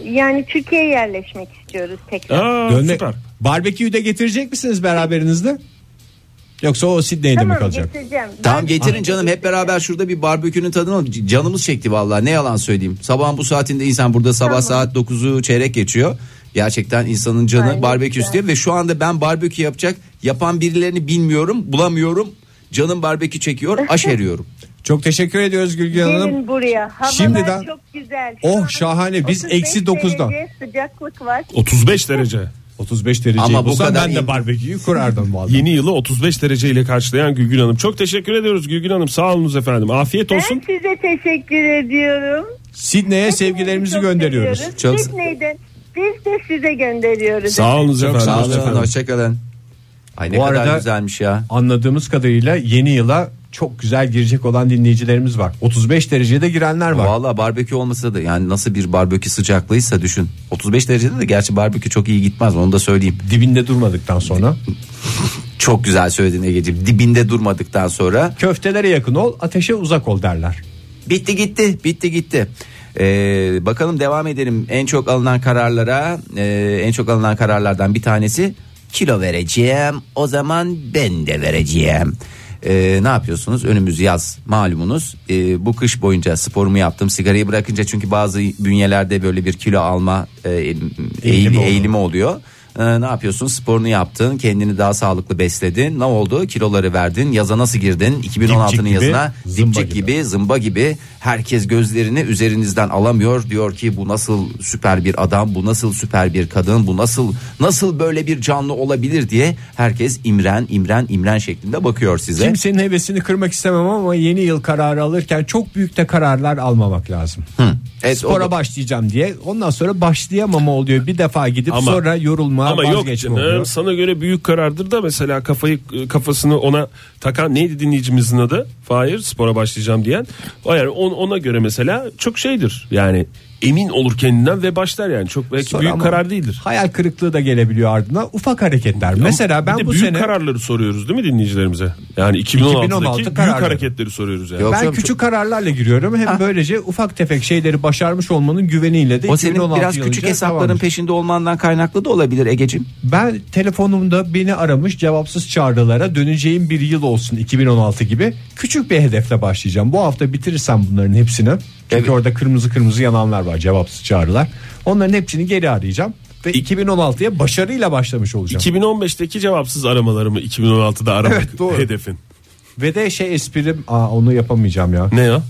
Speaker 6: Yani Türkiye'ye yerleşmek istiyoruz tekrar.
Speaker 4: Aa,
Speaker 2: Dönme-
Speaker 4: süper.
Speaker 2: Barbeküyü de getirecek misiniz beraberinizde? Yoksa o Sydney'de mi
Speaker 6: tamam
Speaker 2: kalacak?
Speaker 6: getireceğim.
Speaker 3: Tamam
Speaker 6: Ben-
Speaker 3: getirin canım hep beraber şurada bir barbekünün tadını al. C- Canımız çekti vallahi ne yalan söyleyeyim. Sabahın bu saatinde insan burada sabah saat 9'u çeyrek geçiyor. Gerçekten insanın canı
Speaker 6: Aynen.
Speaker 3: barbekü istiyor ve şu anda ben barbekü yapacak yapan birilerini bilmiyorum bulamıyorum. Canım barbekü çekiyor aş eriyorum.
Speaker 2: Çok teşekkür ediyoruz Gülgün Hanım.
Speaker 6: Gelin buraya. Havalar
Speaker 2: Şimdiden-
Speaker 6: çok güzel. Şu
Speaker 2: Oh,
Speaker 6: an
Speaker 2: şahane. Biz
Speaker 6: 35
Speaker 2: eksi dokuzda.
Speaker 6: derece Sıcaklık var.
Speaker 4: 35 derece.
Speaker 2: 35 derece
Speaker 3: Ama
Speaker 2: Ama
Speaker 3: bu kadar
Speaker 2: ben de
Speaker 3: iyi-
Speaker 2: barbeküyü kurardım vallahi.
Speaker 4: Yeni yılı 35 dereceyle karşılayan Gülgün Hanım. Çok teşekkür ediyoruz Gülgün Hanım. Sağ olunuz efendim. Afiyet olsun.
Speaker 6: Ben size teşekkür ediyorum.
Speaker 2: Sydney'e sevgilerimizi
Speaker 6: Çok
Speaker 2: gönderiyoruz.
Speaker 6: seviyoruz.
Speaker 3: Çok-
Speaker 6: Sydney'den biz de size gönderiyoruz.
Speaker 4: Sağ olunuz efendim.
Speaker 3: Sağ
Speaker 4: Hoşça kalın.
Speaker 3: olun hoşçakalın. Ay ne
Speaker 2: Bu
Speaker 3: kadar
Speaker 2: arada-
Speaker 3: güzelmiş ya.
Speaker 2: Anladığımız kadarıyla yeni yıla çok güzel girecek olan dinleyicilerimiz var. 35 derecede girenler var.
Speaker 3: Vallahi barbekü olmasa da yani nasıl bir barbekü sıcaklığıysa düşün. 35 derecede de gerçi barbekü çok iyi gitmez onu da söyleyeyim.
Speaker 2: Dibinde durmadıktan sonra
Speaker 3: Çok güzel söyledin Ege'ciğim. Dibinde durmadıktan sonra
Speaker 2: köftelere yakın ol, ateşe uzak ol derler.
Speaker 3: Bitti gitti bitti gitti. Ee, bakalım devam edelim en çok alınan kararlara e, en çok alınan kararlardan bir tanesi kilo vereceğim o zaman ben de vereceğim. Ee, ne yapıyorsunuz önümüz yaz malumunuz Ee, bu kış boyunca sporumu yaptım sigarayı bırakınca çünkü bazı bünyelerde böyle bir kilo alma e, eğilimi,
Speaker 2: oluyor.
Speaker 3: eğilimi oluyor. Ee, ne yapıyorsun sporunu yaptın kendini daha sağlıklı besledin ne oldu kiloları verdin yaza nasıl girdin 2016'nın
Speaker 2: gibi,
Speaker 3: yazına
Speaker 2: zımba
Speaker 3: dipçik
Speaker 2: gibi.
Speaker 3: gibi gibi, zımba gibi herkes gözlerini üzerinizden alamıyor. Diyor ki bu nasıl süper bir adam, bu nasıl süper bir kadın, bu nasıl nasıl böyle bir canlı olabilir diye herkes imren imren imren şeklinde bakıyor size.
Speaker 2: Kimsenin hevesini kırmak istemem ama yeni yıl kararı alırken çok büyük de kararlar almamak lazım.
Speaker 3: Evet,
Speaker 2: Spora
Speaker 3: o da-
Speaker 2: başlayacağım diye ondan sonra başlayamama oluyor. Bir defa gidip
Speaker 4: Ama-
Speaker 2: sonra yorulma
Speaker 4: Ama yok
Speaker 2: vazgeçme
Speaker 4: canım,
Speaker 2: oluyor.
Speaker 4: sana göre büyük karardır da mesela kafayı e, kafasını ona takan neydi dinleyicimizin adı? Fahir spora başlayacağım diyen. O yani on- ona göre mesela çok şeydir. Yani emin olur kendinden ve başlar yani. Çok belki
Speaker 2: Sonra
Speaker 4: büyük
Speaker 2: ama
Speaker 4: karar değildir.
Speaker 2: Hayal kırıklığı da gelebiliyor ardına. Ufak hareketler. Mesela
Speaker 4: Bir
Speaker 2: ben
Speaker 4: de
Speaker 2: bu
Speaker 4: büyük
Speaker 2: sene
Speaker 4: kararları soruyoruz değil mi dinleyicilerimize? Yani 2016'daki
Speaker 2: 2016
Speaker 4: büyük
Speaker 2: kararları.
Speaker 4: hareketleri soruyoruz yani.
Speaker 3: Yok.
Speaker 2: ben
Speaker 3: canım,
Speaker 2: küçük kararlarla giriyorum. Hem böylece ufak tefek şeyleri başarmış olmanın güveniyle de
Speaker 3: Ah. o senin
Speaker 2: 2016
Speaker 3: biraz
Speaker 2: yılınca
Speaker 3: küçük hesapların
Speaker 2: tamamdır.
Speaker 3: peşinde olmandan kaynaklı da olabilir Egeciğim.
Speaker 2: Ben telefonumda beni aramış cevapsız çağrılara döneceğim bir yıl olsun 2016 gibi küçük bir hedefle başlayacağım. Bu hafta bitirirsem bunların hepsini. Çünkü
Speaker 3: Evet.
Speaker 2: orada kırmızı kırmızı yananlar var cevapsız çağrılar. Onların hepsini geri arayacağım ve 2016'ya başarıyla başlamış olacağım.
Speaker 4: 2015'teki cevapsız aramalarımı 2016'da aramak
Speaker 2: Evet, doğru.
Speaker 4: hedefin.
Speaker 2: Ve de şey esprim aa onu yapamayacağım ya.
Speaker 4: Ne ya?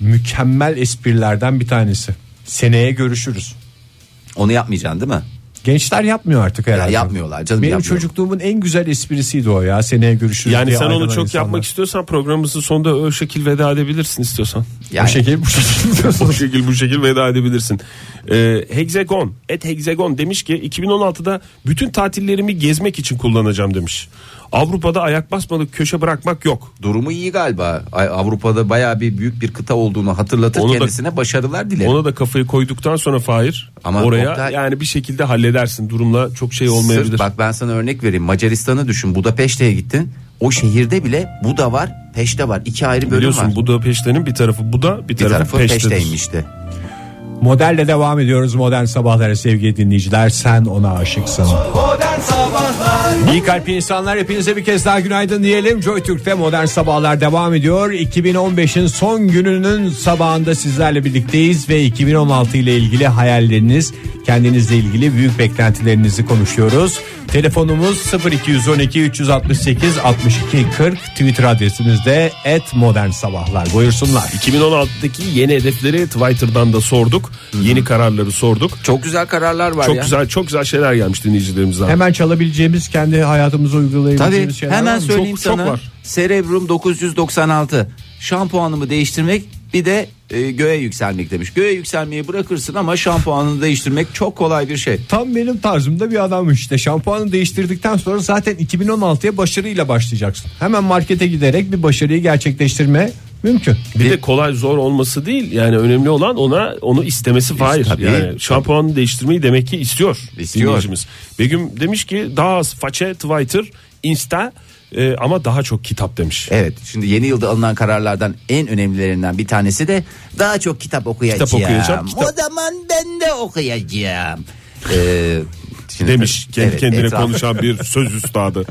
Speaker 2: Mükemmel esprilerden bir tanesi. Seneye görüşürüz.
Speaker 3: Onu yapmayacaksın değil mi?
Speaker 2: Gençler yapmıyor artık herhalde.
Speaker 3: yapmıyorlar canım,
Speaker 2: Benim
Speaker 3: yapmıyor.
Speaker 2: çocukluğumun en güzel esprisiydi o ya. Seneye görüşürüz
Speaker 4: Yani
Speaker 2: diye
Speaker 4: sen onu
Speaker 2: ayrılan
Speaker 4: çok
Speaker 2: insanlar.
Speaker 4: yapmak istiyorsan programımızın sonunda o şekil veda edebilirsin istiyorsan.
Speaker 3: Yani
Speaker 2: Bu şekil bu şekil diyorsunuz.
Speaker 4: Bu şekil bu şekil veda edebilirsin. Ee, hexagon, et hexagon demiş ki 2016'da bütün tatillerimi gezmek için kullanacağım demiş. Avrupa'da ayak basmadık köşe bırakmak yok.
Speaker 3: Durumu iyi galiba. Ay- Avrupa'da bayağı bir büyük bir kıta olduğunu hatırlatır
Speaker 4: Onu da-
Speaker 3: kendisine başarılar dilerim.
Speaker 4: Ona da kafayı koyduktan sonra Fahir
Speaker 3: Ama
Speaker 4: oraya
Speaker 3: Oktay-
Speaker 4: yani bir şekilde halledersin. Durumla çok şey
Speaker 3: Sırf
Speaker 4: olmayabilir.
Speaker 3: bak ben sana örnek vereyim. Macaristan'ı düşün. Budapeşte'ye gittin. O şehirde bile Buda var, Peşte var. İki ayrı bölüm
Speaker 4: Biliyorsun
Speaker 3: var.
Speaker 4: bu da Peşte'nin bir tarafı bu da bir
Speaker 3: bir
Speaker 4: tarafı,
Speaker 3: tarafı
Speaker 4: Peşte'dir.
Speaker 3: Peşte'ymişti.
Speaker 2: Modelle devam ediyoruz modern sabahlara sevgili dinleyiciler. Sen ona aşıksın.
Speaker 5: Modern Sabahlar
Speaker 2: İyi kalpli insanlar hepinize bir kez daha günaydın diyelim. Joy Türk'te modern sabahlar devam ediyor. 2015'in son gününün sabahında sizlerle birlikteyiz ve 2016 ile ilgili hayalleriniz, kendinizle ilgili büyük beklentilerinizi konuşuyoruz. Telefonumuz 0212 368 62 40 Twitter adresimiz de @modern sabahlar. Buyursunlar.
Speaker 4: 2016'daki yeni hedefleri Twitter'dan da sorduk. Yeni kararları sorduk.
Speaker 3: Çok güzel kararlar var
Speaker 4: Çok
Speaker 3: ya.
Speaker 4: güzel çok güzel şeyler gelmiş dinleyicilerimizden.
Speaker 2: Hemen çalabileceğimiz kendi hayatımıza uygulayabileceğimiz
Speaker 3: Tabii
Speaker 2: şeyler var
Speaker 3: hemen
Speaker 2: mı?
Speaker 3: söyleyeyim
Speaker 4: Çok- çok
Speaker 3: sana.
Speaker 4: var.
Speaker 3: Cerebrum 996. Şampuanımı değiştirmek bir de e, göğe yükselmek demiş. Göğe yükselmeyi bırakırsın ama şampuanını değiştirmek çok kolay bir şey.
Speaker 2: Tam benim tarzımda bir adammış işte. Şampuanı değiştirdikten sonra zaten 2016'ya başarıyla başlayacaksın. Hemen markete giderek bir başarıyı gerçekleştirme mümkün.
Speaker 4: Bir de kolay zor olması değil yani önemli olan ona onu istemesi Fahir.
Speaker 3: tabii.
Speaker 4: Yani şampuanı değiştirmeyi demek ki istiyor.
Speaker 3: İstiyor.
Speaker 4: dinleyicimiz. Begüm demiş ki daha az façe Twitter, Insta e, ama daha çok kitap demiş.
Speaker 3: Evet şimdi yeni yılda alınan kararlardan en önemlilerinden bir tanesi de daha çok kitap okuyacağım.
Speaker 4: Kitap okuyacağım, kitap-
Speaker 3: O zaman ben de okuyacağım. Ee, şimdi-
Speaker 4: Demiş kendi
Speaker 3: Evet,
Speaker 4: kendine
Speaker 3: etraf-
Speaker 4: konuşan bir söz üstadı.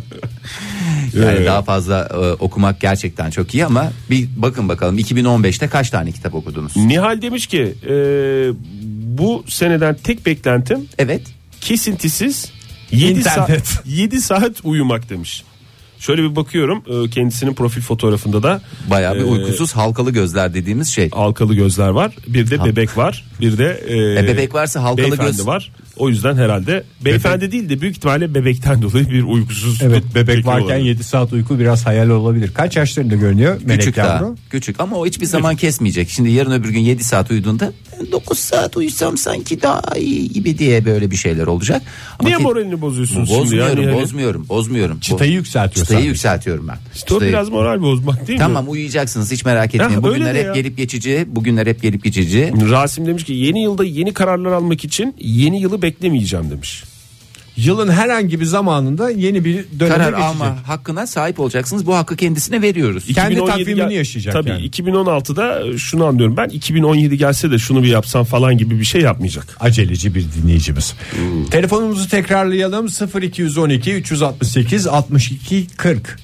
Speaker 3: Yani
Speaker 4: Ee,
Speaker 3: daha fazla e, okumak gerçekten çok iyi ama bir bakın bakalım 2015'te kaç tane kitap okudunuz?
Speaker 4: Nihal demiş ki e, bu seneden tek beklentim
Speaker 3: Evet.
Speaker 4: kesintisiz 7
Speaker 2: İnternet.
Speaker 4: saat 7 saat uyumak demiş. Şöyle bir bakıyorum e, kendisinin profil fotoğrafında da
Speaker 3: Bayağı bir
Speaker 4: e,
Speaker 3: uykusuz halkalı gözler dediğimiz şey.
Speaker 4: halkalı gözler var. Bir de bebek var. Bir de e,
Speaker 3: E, bebek varsa halkalı
Speaker 4: beyefendi
Speaker 3: göz-
Speaker 4: var. O yüzden herhalde beyefendi değil de büyük ihtimalle bebekten dolayı bir uykusuzluk.
Speaker 2: Evet bebek
Speaker 4: çekiyor
Speaker 2: varken
Speaker 4: olabilir.
Speaker 2: 7 saat uyku biraz hayal olabilir. Kaç yaşlarında görünüyor melek
Speaker 3: Küçük daha.
Speaker 2: yavru?
Speaker 3: Küçük ama o hiçbir zaman kesmeyecek. Şimdi yarın öbür gün 7 saat uyuduğunda 9 saat uyusam sanki daha iyi gibi diye böyle bir şeyler olacak. Ama
Speaker 4: Niye
Speaker 3: ki-
Speaker 4: moralini bozuyorsun şimdi ya?
Speaker 3: Bozmuyorum,
Speaker 4: Niye hani?
Speaker 3: bozmuyorum, bozmuyorum.
Speaker 2: Çıtayı
Speaker 3: Bo-
Speaker 2: yükseltiyor
Speaker 3: Çıtayı
Speaker 2: sadece.
Speaker 3: yükseltiyorum ben.
Speaker 4: İşte o
Speaker 3: Çıtayı-
Speaker 4: biraz moral bozmak değil mi?
Speaker 3: Tamam uyuyacaksınız hiç merak etmeyin.
Speaker 4: Ha,
Speaker 3: Bugünler
Speaker 4: öyle de
Speaker 3: hep
Speaker 4: ya.
Speaker 3: gelip geçici, bugünler hep gelip geçici.
Speaker 4: Rasim demiş ki yeni yılda yeni kararlar almak için yeni yılı beklemeyeceğim demiş.
Speaker 2: Yılın herhangi bir zamanında yeni bir döneme
Speaker 3: Karar
Speaker 2: geçecek.
Speaker 3: alma hakkına sahip olacaksınız. Bu hakkı kendisine veriyoruz.
Speaker 2: Kendi
Speaker 4: 2017 gel-
Speaker 2: takvimini yaşayacak
Speaker 4: Tabii
Speaker 2: yani.
Speaker 4: 2016'da şunu anlıyorum ben 2017 gelse de şunu bir yapsam falan gibi bir şey yapmayacak.
Speaker 2: aceleci bir dinleyicimiz.
Speaker 3: Hmm.
Speaker 2: Telefonumuzu tekrarlayalım 0212 368 62 40.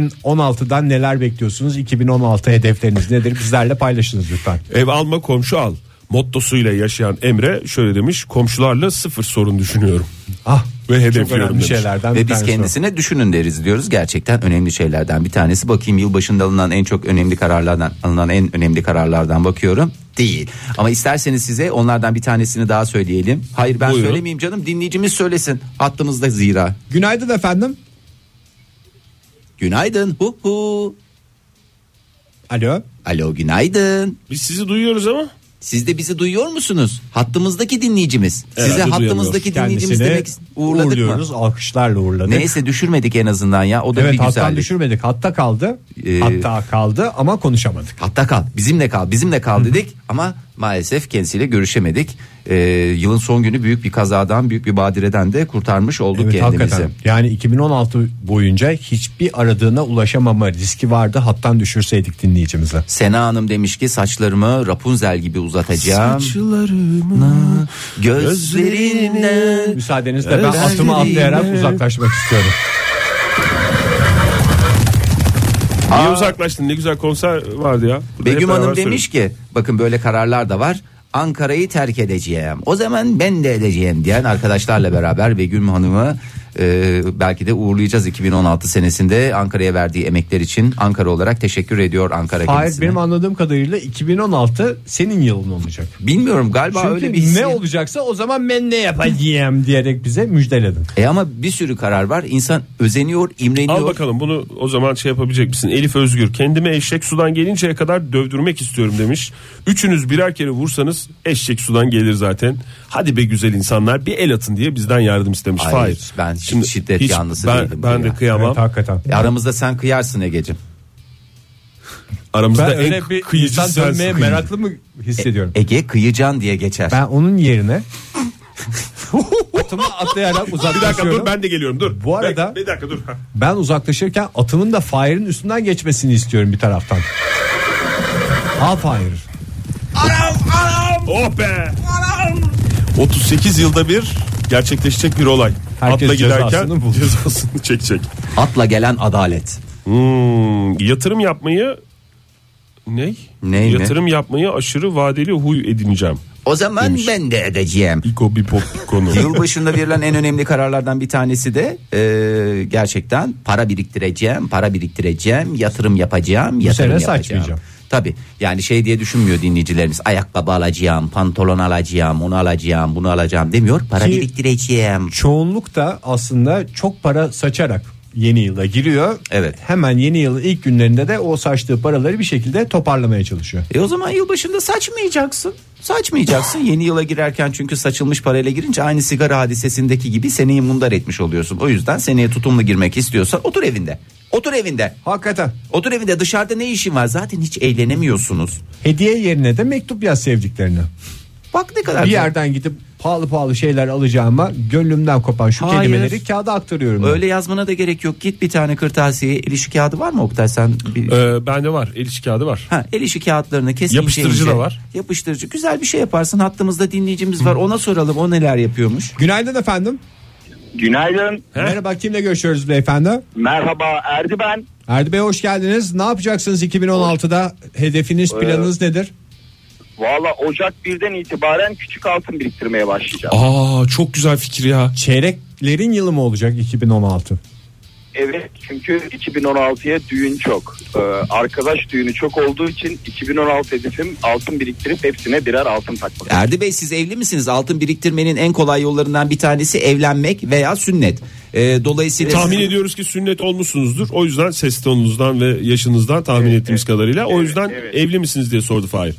Speaker 2: 2016'dan neler bekliyorsunuz? 2016 hedefleriniz nedir? Bizlerle paylaşınız lütfen.
Speaker 4: Ev alma komşu al. Mottosuyla yaşayan Emre şöyle demiş. Komşularla sıfır sorun düşünüyorum.
Speaker 2: Ah
Speaker 4: Ve
Speaker 2: çok
Speaker 4: hedefliyorum
Speaker 2: önemli
Speaker 4: demiş.
Speaker 2: şeylerden bir
Speaker 3: Ve biz
Speaker 2: tanesi. o.
Speaker 3: kendisine düşünün deriz diyoruz. Gerçekten önemli şeylerden bir tanesi. Bakayım yılbaşında alınan en çok önemli kararlardan alınan en önemli kararlardan bakıyorum. Değil. Ama isterseniz size onlardan bir tanesini daha söyleyelim. Hayır ben
Speaker 4: Buyurun.
Speaker 3: söylemeyeyim canım. Dinleyicimiz söylesin. Hattımızda zira.
Speaker 2: Günaydın efendim.
Speaker 3: Günaydın. Hu hu.
Speaker 2: Alo.
Speaker 3: Alo günaydın.
Speaker 4: Biz sizi duyuyoruz ama
Speaker 3: Siz de bizi duyuyor musunuz? Hattımızdaki dinleyicimiz. Size
Speaker 4: Herhalde
Speaker 3: hattımızdaki dinleyicimiz
Speaker 2: Kendisini
Speaker 3: demek uğurladık
Speaker 2: uğurluyoruz.
Speaker 3: mı?
Speaker 2: Alkışlarla uğurladık.
Speaker 3: Neyse düşürmedik en azından ya. O da
Speaker 2: Evet
Speaker 3: bir
Speaker 2: hattan
Speaker 3: güzellik.
Speaker 2: düşürmedik. Hatta kaldı.
Speaker 3: Ee,
Speaker 2: Hatta kaldı ama konuşamadık.
Speaker 3: Hatta kal bizimle kal bizimle kal dedik ama maalesef kendisiyle görüşemedik. Ee, yılın son günü büyük bir kazadan büyük bir badireden de kurtarmış olduk
Speaker 2: Evet
Speaker 3: kendimizi.
Speaker 2: hakikaten. Yani 2016 boyunca hiçbir aradığına ulaşamama riski vardı. Hattan düşürseydik dinleyicimize.
Speaker 3: Sena Hanım demiş ki saçlarımı Rapunzel gibi uzatacağım.
Speaker 4: Saçlarımı
Speaker 3: Gözlerine
Speaker 2: Müsaadenizle ben
Speaker 3: Evet.
Speaker 2: atımı atlayarak uzaklaşmak istiyorum.
Speaker 4: Niye uzaklaştın ne güzel konser vardı ya. Burada hep
Speaker 3: Begüm
Speaker 4: beraber
Speaker 3: Hanım
Speaker 4: söylüyoruz.
Speaker 3: demiş ki bakın böyle kararlar da var. Ankara'yı terk edeceğim. O zaman ben de edeceğim diyen arkadaşlarla beraber Begüm Hanım'ı Ee, belki de uğurlayacağız 2016 senesinde Ankara'ya verdiği emekler için Ankara olarak teşekkür ediyor Ankara
Speaker 2: Hayır
Speaker 3: kendisine.
Speaker 2: benim anladığım kadarıyla 2016 senin yılın olacak.
Speaker 3: Bilmiyorum galiba
Speaker 2: Çünkü
Speaker 3: öyle bir hissi.
Speaker 2: ne olacaksa o zaman ben ne yapacağım diyerek bize müjdeledin.
Speaker 3: E ama bir sürü karar var. İnsan özeniyor, imreniyor.
Speaker 4: Al bakalım bunu o zaman şey yapabilecek misin? Elif Özgür kendime eşek sudan gelinceye kadar dövdürmek istiyorum demiş. Üçünüz birer kere vursanız eşek sudan gelir zaten. Hadi be güzel insanlar bir el atın diye bizden yardım istemiş.
Speaker 3: Hayır, ben şiddet yanlısı
Speaker 4: ben,
Speaker 3: değilim
Speaker 4: Ben
Speaker 3: ya.
Speaker 4: de kıyamam.
Speaker 2: Evet, hakikaten.
Speaker 3: E aramızda sen kıyarsın Ege'cim.
Speaker 4: Aramızda
Speaker 2: Ben
Speaker 4: en
Speaker 2: öyle bir
Speaker 4: kıyıcı
Speaker 2: insan
Speaker 4: sensin.
Speaker 2: dönmeye meraklı mı hissediyorum?
Speaker 3: Ege kıyıcan diye geçer.
Speaker 2: E, ben onun yerine atımı atlayarak
Speaker 4: Bir dakika
Speaker 2: uzaklaşıyorum.
Speaker 4: dur ben de geliyorum dur.
Speaker 2: Bu arada-
Speaker 4: Bek- bir dakika dur. Ha.
Speaker 2: Ben uzaklaşırken atımın da Fahir'in üstünden geçmesini istiyorum bir taraftan. Ha Fahir.
Speaker 4: Oh be. 38 yılda bir gerçekleşecek bir olay.
Speaker 2: Herkes
Speaker 4: Atla giderken
Speaker 2: cezasını buldu.
Speaker 4: cezasını çekecek.
Speaker 3: Atla gelen adalet.
Speaker 4: Hmm, yatırım yapmayı ne?
Speaker 3: Ney ne?
Speaker 4: yatırım yapmayı aşırı vadeli huy edineceğim.
Speaker 3: O zaman ben de edeceğim.
Speaker 4: İko bir pop konu.
Speaker 3: Yılbaşında verilen en önemli kararlardan bir tanesi de e, gerçekten para biriktireceğim, para biriktireceğim, yatırım yapacağım, yatırım
Speaker 2: sene
Speaker 3: yapacağım.
Speaker 2: saçmayacağım.
Speaker 3: Tabi yani şey diye düşünmüyor dinleyicilerimiz ayakkabı alacağım, pantolon alacağım, onu alacağım, bunu alacağım demiyor. Para
Speaker 2: Ki-
Speaker 3: biriktireceğim.
Speaker 2: Çoğunluk da aslında çok para saçarak yeni yıla giriyor.
Speaker 3: Evet.
Speaker 2: Hemen yeni yılın ilk günlerinde de o saçtığı paraları bir şekilde toparlamaya çalışıyor.
Speaker 3: E o zaman yılbaşında saçmayacaksın. Saçmayacaksın yeni yıla girerken çünkü saçılmış parayla girince aynı sigara hadisesindeki gibi seneyi mundar etmiş oluyorsun. O yüzden seneye tutumlu girmek istiyorsan otur evinde. Otur evinde.
Speaker 2: Hakikaten.
Speaker 3: Otur evinde dışarıda ne işin var zaten hiç eğlenemiyorsunuz.
Speaker 2: Hediye yerine de mektup yaz sevdiklerine.
Speaker 3: Bak ne kadar
Speaker 2: Bir
Speaker 3: güzel.
Speaker 2: yerden gidip pahalı pahalı şeyler alacağıma gönlümden kopan şu
Speaker 3: Hayır.
Speaker 2: kelimeleri kağıda aktarıyorum. ben.
Speaker 3: Öyle yazmana da gerek yok. Git bir tane kırtasiyeye el işi kağıdı var mı Oktay sen? Bir...
Speaker 4: ee, bende var. El işi kağıdı var.
Speaker 3: Ha, el işi kağıtlarını kes ince
Speaker 4: Yapıştırıcı
Speaker 3: ince.
Speaker 4: da var.
Speaker 3: Yapıştırıcı. Güzel bir şey yaparsın. Hattımızda dinleyicimiz var. Ona soralım. O neler yapıyormuş?
Speaker 2: Günaydın efendim.
Speaker 7: Günaydın.
Speaker 2: Merhaba kimle görüşüyoruz beyefendi?
Speaker 7: Merhaba Erdi ben.
Speaker 2: Erdi Bey hoş geldiniz. Ne yapacaksınız 2016'da? Hedefiniz, planınız nedir?
Speaker 7: Valla Ocak 1'den itibaren küçük altın biriktirmeye başlayacağım.
Speaker 4: Aa çok güzel fikir ya.
Speaker 2: Çeyreklerin yılı mı olacak 2016?
Speaker 7: Evet çünkü 2016'ya düğün çok. Ee, arkadaş düğünü çok olduğu için 2016 hedefim altın biriktirip hepsine birer altın takmak.
Speaker 3: Erdi Bey siz evli misiniz? Altın biriktirmenin en kolay yollarından bir tanesi evlenmek veya sünnet. Ee, dolayısıyla
Speaker 4: Tahmin ediyoruz ki sünnet olmuşsunuzdur. O yüzden ses tonunuzdan ve yaşınızdan tahmin ettiğimiz kadarıyla. o yüzden
Speaker 7: evet.
Speaker 4: evli misiniz diye sordu Fahir.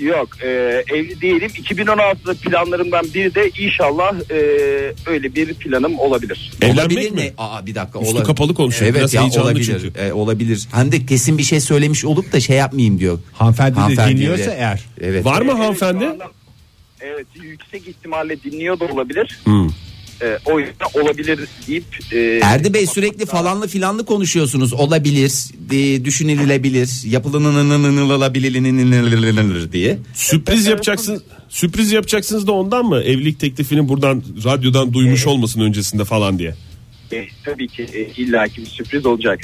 Speaker 7: Yok e, evli değilim. 2016'da planlarımdan biri de inşallah e, öyle bir planım olabilir.
Speaker 4: Evlenmek
Speaker 3: Olabilir
Speaker 4: mi?
Speaker 3: mi? Aa bir dakika.
Speaker 4: Üstü kapalı konuşuyor.
Speaker 3: Evet
Speaker 4: Biraz
Speaker 3: ya
Speaker 4: heyecanlı
Speaker 3: olabilir.
Speaker 4: çünkü.
Speaker 3: Ee, olabilir. Hem de kesin bir şey söylemiş olup da şey yapmayayım diyor.
Speaker 2: Hanımefendi,
Speaker 3: Hanımefendi
Speaker 2: de dinliyorsa
Speaker 3: de-
Speaker 2: eğer.
Speaker 3: Evet.
Speaker 4: Var mı
Speaker 7: Evet,
Speaker 4: hanımefendi?
Speaker 7: şu anda- Evet yüksek ihtimalle dinliyor da olabilir. E, o yüzden olabilir deyip... e,
Speaker 3: Erdi Bey sürekli falanlı filanlı konuşuyorsunuz. Olabilir, e, düşünülebilir, yapılınılabilir diye.
Speaker 4: Sürpriz yapacaksın. Sürpriz yapacaksınız da ondan mı? Evlilik teklifini buradan radyodan duymuş olmasın öncesinde falan diye.
Speaker 7: E, tabii ki e, illaki bir sürpriz olacak.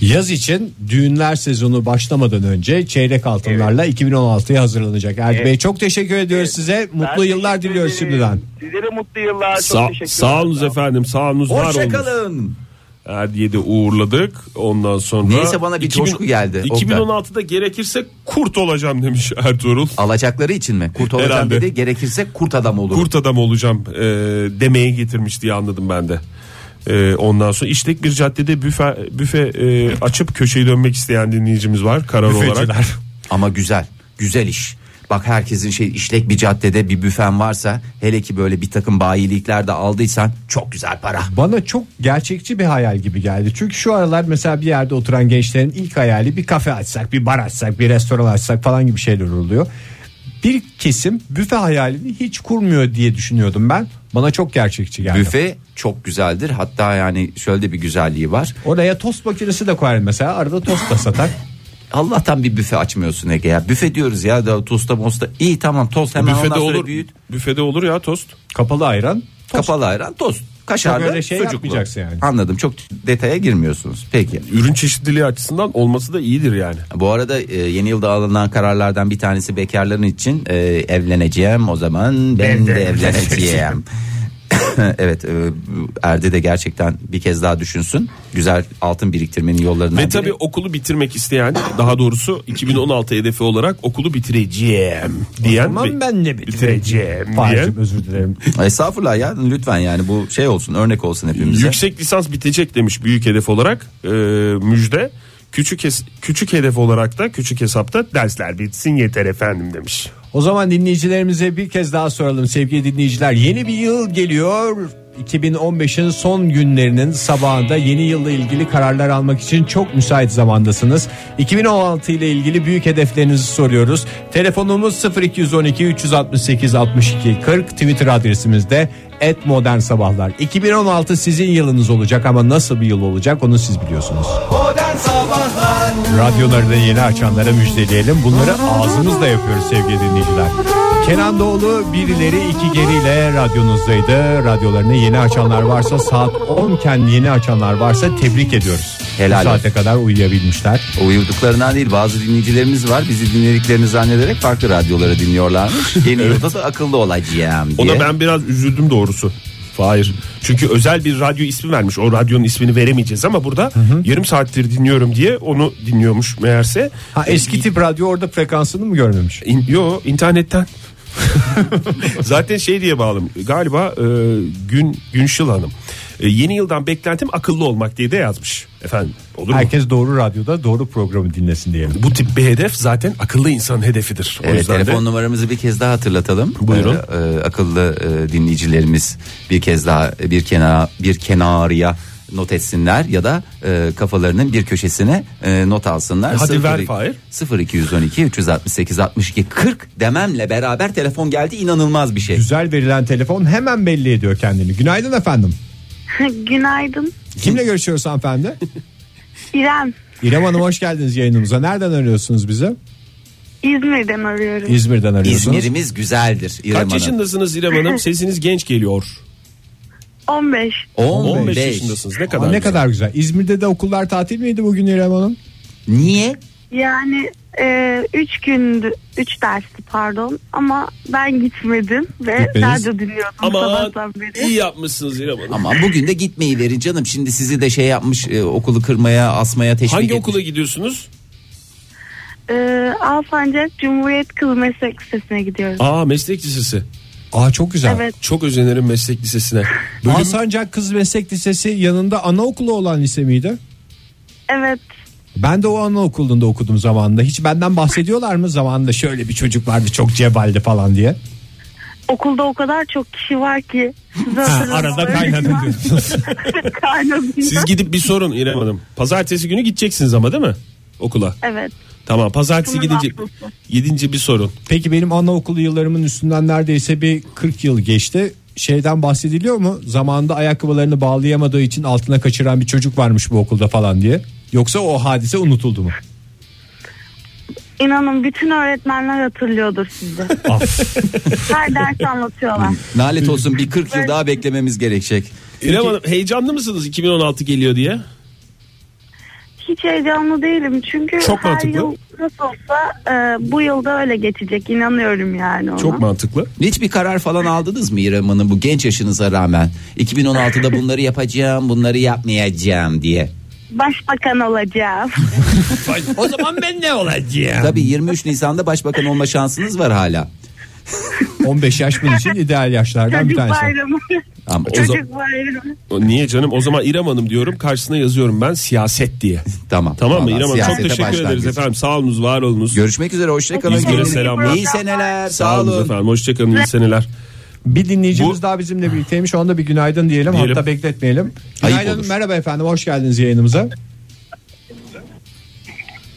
Speaker 2: Yaz için düğünler sezonu başlamadan önce çeyrek altınlarla 2016'ya hazırlanacak. Erdi Bey çok teşekkür ediyoruz size. Mutlu
Speaker 7: Ben
Speaker 2: yıllar
Speaker 7: teşekkür
Speaker 2: diliyoruz
Speaker 7: ederim.
Speaker 2: şimdiden.
Speaker 7: Sizlere mutlu yıllar. Çok
Speaker 4: Sağ,
Speaker 7: teşekkür
Speaker 4: sağ olunuz
Speaker 7: ederim.
Speaker 4: efendim. Sağ olunuz. Var olunuz.
Speaker 3: Hoşçakalın.
Speaker 4: Erdiye de uğurladık. Ondan sonra
Speaker 3: Neyse bana bir coşku geldi. Oktay.
Speaker 4: 2016'da gerekirse kurt olacağım demiş Ertuğrul.
Speaker 3: Alacakları için mi? Kurt olacağım
Speaker 4: Herhalde.
Speaker 3: dedi. Gerekirse kurt adam olur.
Speaker 4: Kurt adam olacağım e, demeye getirmiş diye anladım ben de. E, ondan sonra işlek bir caddede büfe büfe e, açıp köşeyi dönmek isteyen dinleyicimiz var karar olarak.
Speaker 3: Ama güzel. Güzel iş. Bak herkesin şey işlek bir caddede bir büfen varsa hele ki böyle bir takım bayilikler de aldıysan çok güzel para.
Speaker 2: Bana çok gerçekçi bir hayal gibi geldi. Çünkü şu aralar mesela bir yerde oturan gençlerin ilk hayali bir kafe açsak, bir bar açsak, bir restoran açsak falan gibi şeyler oluyor. Bir kesim büfe hayalini hiç kurmuyor diye düşünüyordum ben. Bana çok gerçekçi geldi.
Speaker 3: Büfe çok güzeldir. Hatta yani şöyle de bir güzelliği var.
Speaker 2: Oraya tost makinesi de koyar mesela. Arada tost da satar.
Speaker 3: Allah'tan bir büfe açmıyorsun Ege ya. Büfe diyoruz ya da tosta mosta. İyi tamam tost hemen
Speaker 4: büfede
Speaker 3: ondan sonra
Speaker 4: olur.
Speaker 3: büyüt.
Speaker 4: Büfede olur ya tost.
Speaker 2: Kapalı ayran. tost.
Speaker 3: Kapalı ayran tost. Kaşarlı
Speaker 2: Çok öyle şey
Speaker 3: sucuklu.
Speaker 2: yapmayacaksın yani.
Speaker 3: Anladım çok detaya girmiyorsunuz. Peki.
Speaker 4: Ürün çeşitliliği açısından olması da iyidir yani.
Speaker 3: Bu arada e, yeni yılda alınan kararlardan bir tanesi bekarların için e, evleneceğim o zaman ben, de evleneceğim. evet e, Erdi de gerçekten bir kez daha düşünsün. Güzel altın biriktirmenin yollarından
Speaker 4: Ve E, tabii
Speaker 3: biri.
Speaker 4: okulu bitirmek isteyen daha doğrusu 2016 hedefi olarak okulu bitireceğim diyen
Speaker 2: Tamam
Speaker 4: bir-
Speaker 2: ben de bitireceğim.
Speaker 4: diye.
Speaker 2: Fahir'cim özür dilerim.
Speaker 3: Estağfurullah ya lütfen yani bu şey olsun örnek olsun hepimize.
Speaker 4: Yüksek lisans bitecek demiş büyük hedef olarak Ee, müjde. Küçük hes- küçük hedef olarak da küçük hesapta dersler bitsin yeter efendim demiş.
Speaker 2: O zaman dinleyicilerimize bir kez daha soralım sevgili dinleyiciler. Yeni bir yıl geliyor. 2015'in son günlerinin sabahında yeni yılla ilgili kararlar almak için çok müsait zamandasınız. 2016 ile ilgili büyük hedeflerinizi soruyoruz. Telefonumuz 0212 368 62 40 Twitter adresimiz de @modernsabahlar. 2016 sizin yılınız olacak ama nasıl bir yıl olacak onu siz biliyorsunuz. Radyolarını yeni açanlara müjdeleyelim. Bunları ağzımızla yapıyoruz sevgili dinleyiciler. Kenan Doğulu birileri iki geriyle radyonuzdaydı. Radyolarını yeni açanlar varsa saat 10 iken yeni açanlar varsa tebrik ediyoruz.
Speaker 3: Helal
Speaker 2: Bu saate kadar uyuyabilmişler.
Speaker 3: Uyuduklarından değil bazı dinleyicilerimiz var bizi dinlediklerini zannederek farklı radyoları dinliyorlarmış. Yeni yılda da akıllı olacağım diye.
Speaker 4: Ona ben biraz üzüldüm doğrusu. Hayır. Çünkü özel bir radyo ismi vermiş. O radyonun ismini veremeyeceğiz ama burada yarım saattir dinliyorum diye onu dinliyormuş meğerse.
Speaker 2: Ha, eski tip radyo orada frekansını mı görmemiş?
Speaker 4: İn- yo internetten. Zaten şey diye bağlım. Galiba e, Gün Günşil Hanım. E, yeni yıldan beklentim akıllı olmak diye de yazmış. Efendim olur mu?
Speaker 2: Herkes doğru radyoda doğru programı dinlesin diyelim.
Speaker 4: Bu tip bir hedef zaten akıllı insan hedefidir. O
Speaker 3: Evet,
Speaker 4: yüzden
Speaker 3: telefon
Speaker 4: de
Speaker 3: numaramızı bir kez daha hatırlatalım.
Speaker 4: Buyurun.
Speaker 3: Ee, e, akıllı e, dinleyicilerimiz bir kez daha bir kenara bir kenarıya not etsinler ya da e, kafalarının bir köşesine e, not alsınlar.
Speaker 4: Hadi
Speaker 3: Sıfır-
Speaker 4: ver Fahir.
Speaker 3: 0212 368 62 40 dememle beraber telefon geldi inanılmaz bir şey.
Speaker 2: Güzel verilen telefon hemen belli ediyor kendini. Günaydın efendim.
Speaker 8: Günaydın.
Speaker 2: Kimle görüşüyoruz hanımefendi?
Speaker 8: İrem.
Speaker 2: İrem Hanım hoş geldiniz yayınımıza. Nereden arıyorsunuz bizi?
Speaker 8: İzmir'den arıyorum.
Speaker 2: İzmir'den arıyorsunuz.
Speaker 3: İzmir'imiz güzeldir İrem
Speaker 4: kaç
Speaker 3: Hanım.
Speaker 4: yaşındasınız İrem Hanım? Sesiniz genç geliyor.
Speaker 8: 15.
Speaker 3: 15.
Speaker 4: 15 yaşındasınız. Ne kadar?
Speaker 2: Aa, ne
Speaker 4: güzel.
Speaker 2: kadar güzel. İzmir'de de okullar tatil miydi bugün İrem Hanım?
Speaker 3: Niye?
Speaker 8: Yani e, üç gündü, üç dersti pardon ama ben gitmedim ve
Speaker 2: Gitmediniz.
Speaker 8: radyo dinliyordum
Speaker 4: Ama
Speaker 8: sabahtan beri.
Speaker 4: iyi yapmışsınız İrem Hanım.
Speaker 3: Ama bugün de gitmeyi verin canım. Şimdi sizi de şey yapmış e, okulu kırmaya, asmaya teşvik
Speaker 4: Hangi
Speaker 3: etmiş.
Speaker 4: okula gidiyorsunuz?
Speaker 8: E, Alsancak Cumhuriyet Kız Meslek Lisesi'ne gidiyorum.
Speaker 4: Aa meslek lisesi.
Speaker 2: Aa çok güzel.
Speaker 8: Evet.
Speaker 4: Çok özenirim meslek lisesine. Bölüm-
Speaker 2: Alsancak Kız Meslek Lisesi yanında anaokulu olan lise miydi?
Speaker 8: Evet.
Speaker 2: Ben de o anaokulunda okudum zamanında. Hiç benden bahsediyorlar mı zamanında şöyle bir çocuk vardı çok cebaldi falan diye.
Speaker 8: Okulda o kadar çok kişi var ki. size
Speaker 2: Ha,
Speaker 8: hatırlamam.
Speaker 2: arada kaynadı diyorsunuz.
Speaker 8: Kaynadı.
Speaker 4: Siz gidip bir sorun İrem Hanım. Pazartesi günü gideceksiniz ama değil mi? Okula.
Speaker 8: Evet.
Speaker 4: Tamam pazartesi
Speaker 8: Bunun
Speaker 4: gidince,
Speaker 8: haftası.
Speaker 4: gidince bir sorun.
Speaker 2: Peki benim anaokulu yıllarımın üstünden neredeyse bir 40 yıl geçti. Şeyden bahsediliyor mu? Zamanında ayakkabılarını bağlayamadığı için altına kaçıran bir çocuk varmış bu okulda falan diye. Yoksa o hadise unutuldu mu?
Speaker 8: İnanın bütün öğretmenler hatırlıyordur sizi. Her ders anlatıyorlar.
Speaker 3: Lanet olsun bir 40 yıl daha beklememiz gerekecek.
Speaker 4: İrem Hanım heyecanlı mısınız 2016 geliyor diye?
Speaker 8: Hiç heyecanlı değilim çünkü
Speaker 4: Çok
Speaker 8: her
Speaker 4: mantıklı.
Speaker 8: yıl nasıl olsa e, bu yılda öyle geçecek inanıyorum yani ona.
Speaker 4: Çok mantıklı.
Speaker 3: Hiçbir karar falan aldınız mı İrem Hanım bu genç yaşınıza rağmen? 2016'da bunları yapacağım, bunları yapmayacağım diye.
Speaker 8: Başbakan olacağım.
Speaker 2: o zaman ben ne olacağım?
Speaker 3: Tabii 23 Nisan'da başbakan olma şansınız var hala.
Speaker 2: 15 yaş bunun için ideal yaşlardan bir
Speaker 8: Çocuk
Speaker 2: tanesi.
Speaker 8: bayramı.
Speaker 3: Ama o zaman-
Speaker 8: Çocuk bayramı.
Speaker 4: O Niye canım? O zaman İrem Hanım diyorum karşısına yazıyorum ben siyaset diye.
Speaker 3: tamam.
Speaker 4: Tamam mı
Speaker 3: Vallahi
Speaker 4: İrem Hanım? Çok
Speaker 3: siyasete
Speaker 4: teşekkür ederiz
Speaker 3: başlangıç.
Speaker 4: efendim. Sağ olunuz, var olunuz.
Speaker 3: Görüşmek üzere hoşçakalın.
Speaker 4: İzmir'e selamlar.
Speaker 3: İyi seneler. Sağ
Speaker 4: Sağ olun
Speaker 3: olun.
Speaker 4: efendim. Hoşçakalın. iyi seneler.
Speaker 2: Bir dinleyicimiz
Speaker 4: Bu-
Speaker 2: daha bizimle birlikteymiş. Ona da bir günaydın diyelim.
Speaker 4: Diyelim.
Speaker 2: Hatta bekletmeyelim.
Speaker 3: Ayıp
Speaker 2: Günaydın.
Speaker 3: olur.
Speaker 2: Merhaba efendim. Hoş geldiniz yayınımıza.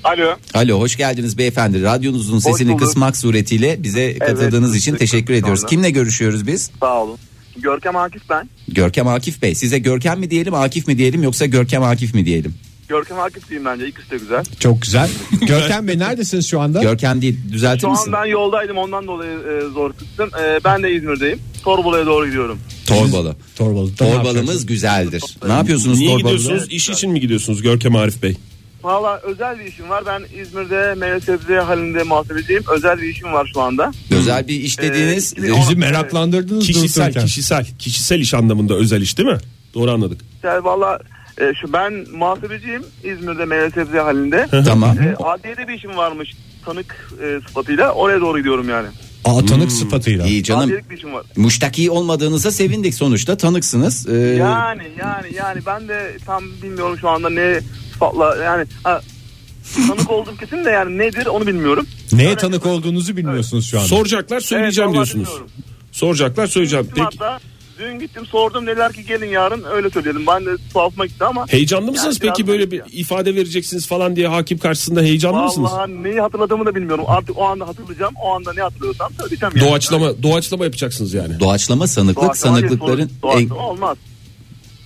Speaker 7: Alo.
Speaker 3: Alo hoş geldiniz beyefendi. Radyonuzun sesini
Speaker 7: bulduk.
Speaker 3: kısmak suretiyle bize katıldığınız için
Speaker 7: teşekkür
Speaker 3: teşekkür ediyoruz.
Speaker 7: sonra.
Speaker 3: Kimle görüşüyoruz biz?
Speaker 7: Sağ olun. Görkem Akif ben.
Speaker 3: Görkem Akif Bey. Size Görkem mi diyelim, Akif mi diyelim yoksa Görkem Akif mi diyelim?
Speaker 7: Görkem Akif diyeyim bence. İkisi de güzel.
Speaker 2: Çok güzel. Görkem Bey neredesiniz şu anda?
Speaker 3: Görkem değil. Düzeltir
Speaker 7: Şu
Speaker 3: misin?
Speaker 7: an ben yoldaydım ondan dolayı e, zor kıstım. E, ben de İzmir'deyim. Torbalı'ya doğru gidiyorum.
Speaker 3: Torbalı.
Speaker 2: Torbalı.
Speaker 3: Torbalımız güzeldir. Ne yapıyorsunuz
Speaker 4: Niye
Speaker 3: Torbalı'da?
Speaker 4: gidiyorsunuz? İş için mi gidiyorsunuz Görkem Arif Bey?
Speaker 9: Valla özel bir işim var. Ben İzmir'de meyve sebze halinde muhasebeciyim. Özel bir işim var şu anda.
Speaker 3: Özel bir iş dediğiniz
Speaker 9: Ee,
Speaker 2: Bizi meraklandırdınız
Speaker 4: Kişisel,
Speaker 2: dururken.
Speaker 4: kişisel, kişisel iş anlamında özel iş değil mi? Doğru anladık.
Speaker 9: Yani valla e, şu ben muhasebeciyim İzmir'de meyve sebze halinde.
Speaker 3: tamam.
Speaker 9: E, adliyede bir işim varmış tanık e, sıfatıyla. Oraya doğru gidiyorum yani.
Speaker 2: Aa, tanık sıfatıyla.
Speaker 3: Hmm. İyi canım.
Speaker 9: Adliyelik bir işim var.
Speaker 3: Müştaki olmadığınıza sevindik sonuçta tanıksınız. Ee,
Speaker 9: Yani yani yani ben de tam bilmiyorum şu anda ne sıfatla yani ha, tanık oldum kesin de yani nedir onu bilmiyorum.
Speaker 2: Neye tanık olduğunuzu bilmiyorsunuz şu anda.
Speaker 4: Soracaklar söyleyeceğim
Speaker 9: Evet, vallahi
Speaker 4: Şey diyorsunuz.
Speaker 9: bilmiyorum.
Speaker 4: Soracaklar söyleyeceğim.
Speaker 9: Gittim
Speaker 4: Peki,
Speaker 9: hatta dün gittim sordum dediler ki gelin yarın öyle söyleyelim. Ben de tuhafıma gitti ama
Speaker 4: heyecanlı mısınız?
Speaker 9: Yani biraz
Speaker 4: Peki böyle bir
Speaker 9: garip
Speaker 4: ifade vereceksiniz falan diye hakim karşısında heyecanlı mısınız?
Speaker 9: Vallahi neyi hatırladığımı da bilmiyorum. Artık o anda hatırlayacağım. O anda ne hatırlıyorsam söyleyeceğim. yani.
Speaker 4: Doğaçlama doğaçlama yapacaksınız yani.
Speaker 3: Doğaçlama sanıklık
Speaker 9: Doğaçlama değil,
Speaker 3: sanıklıkların
Speaker 9: doğaç- doğaçlama
Speaker 3: en-
Speaker 9: olmaz.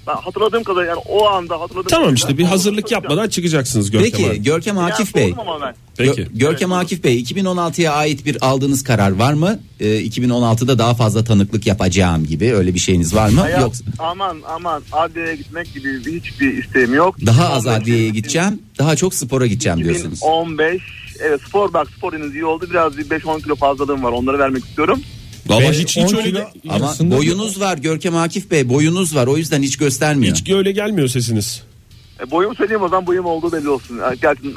Speaker 9: Ben hatırladığım kadar yani o anda hatırladığım
Speaker 4: Tamam
Speaker 9: kadar-
Speaker 4: işte bir hazırlık yapmadan çıkacaksınız Görkem
Speaker 3: Peki
Speaker 4: abi.
Speaker 3: Görkem
Speaker 9: Yani
Speaker 3: Akif Bey.
Speaker 9: sordum ama ben.
Speaker 4: Peki.
Speaker 3: Gö- Görkem Akif Bey 2016'ya ait bir aldığınız karar var mı? Ee, 2016'da daha fazla tanıklık yapacağım gibi öyle bir şeyiniz var mı?
Speaker 9: Hayat,
Speaker 3: Yok.
Speaker 9: Aman aman adliyeye gitmek gibi bir- hiçbir isteğim yok.
Speaker 3: Daha az
Speaker 9: 2015,
Speaker 3: adliyeye gideceğim, daha çok spora gideceğim diyorsunuz.
Speaker 9: 2015 evet spor bak spor henüz iyi oldu. Biraz bir 5-10 kilo fazlalığım var. Onları vermek istiyorum.
Speaker 4: Valla
Speaker 2: Beş,
Speaker 4: hiç
Speaker 2: on
Speaker 4: hiç öyle
Speaker 2: kilo-
Speaker 4: de-
Speaker 3: Ama
Speaker 2: Aslında-
Speaker 3: boyunuz var Görkem Akif Bey, boyunuz var. O yüzden hiç göstermiyor.
Speaker 4: hiç öyle gelmiyor sesiniz.
Speaker 9: E, boyumu söyleyeyim o zaman boyum olduğu belli olsun. E, Gerçi e,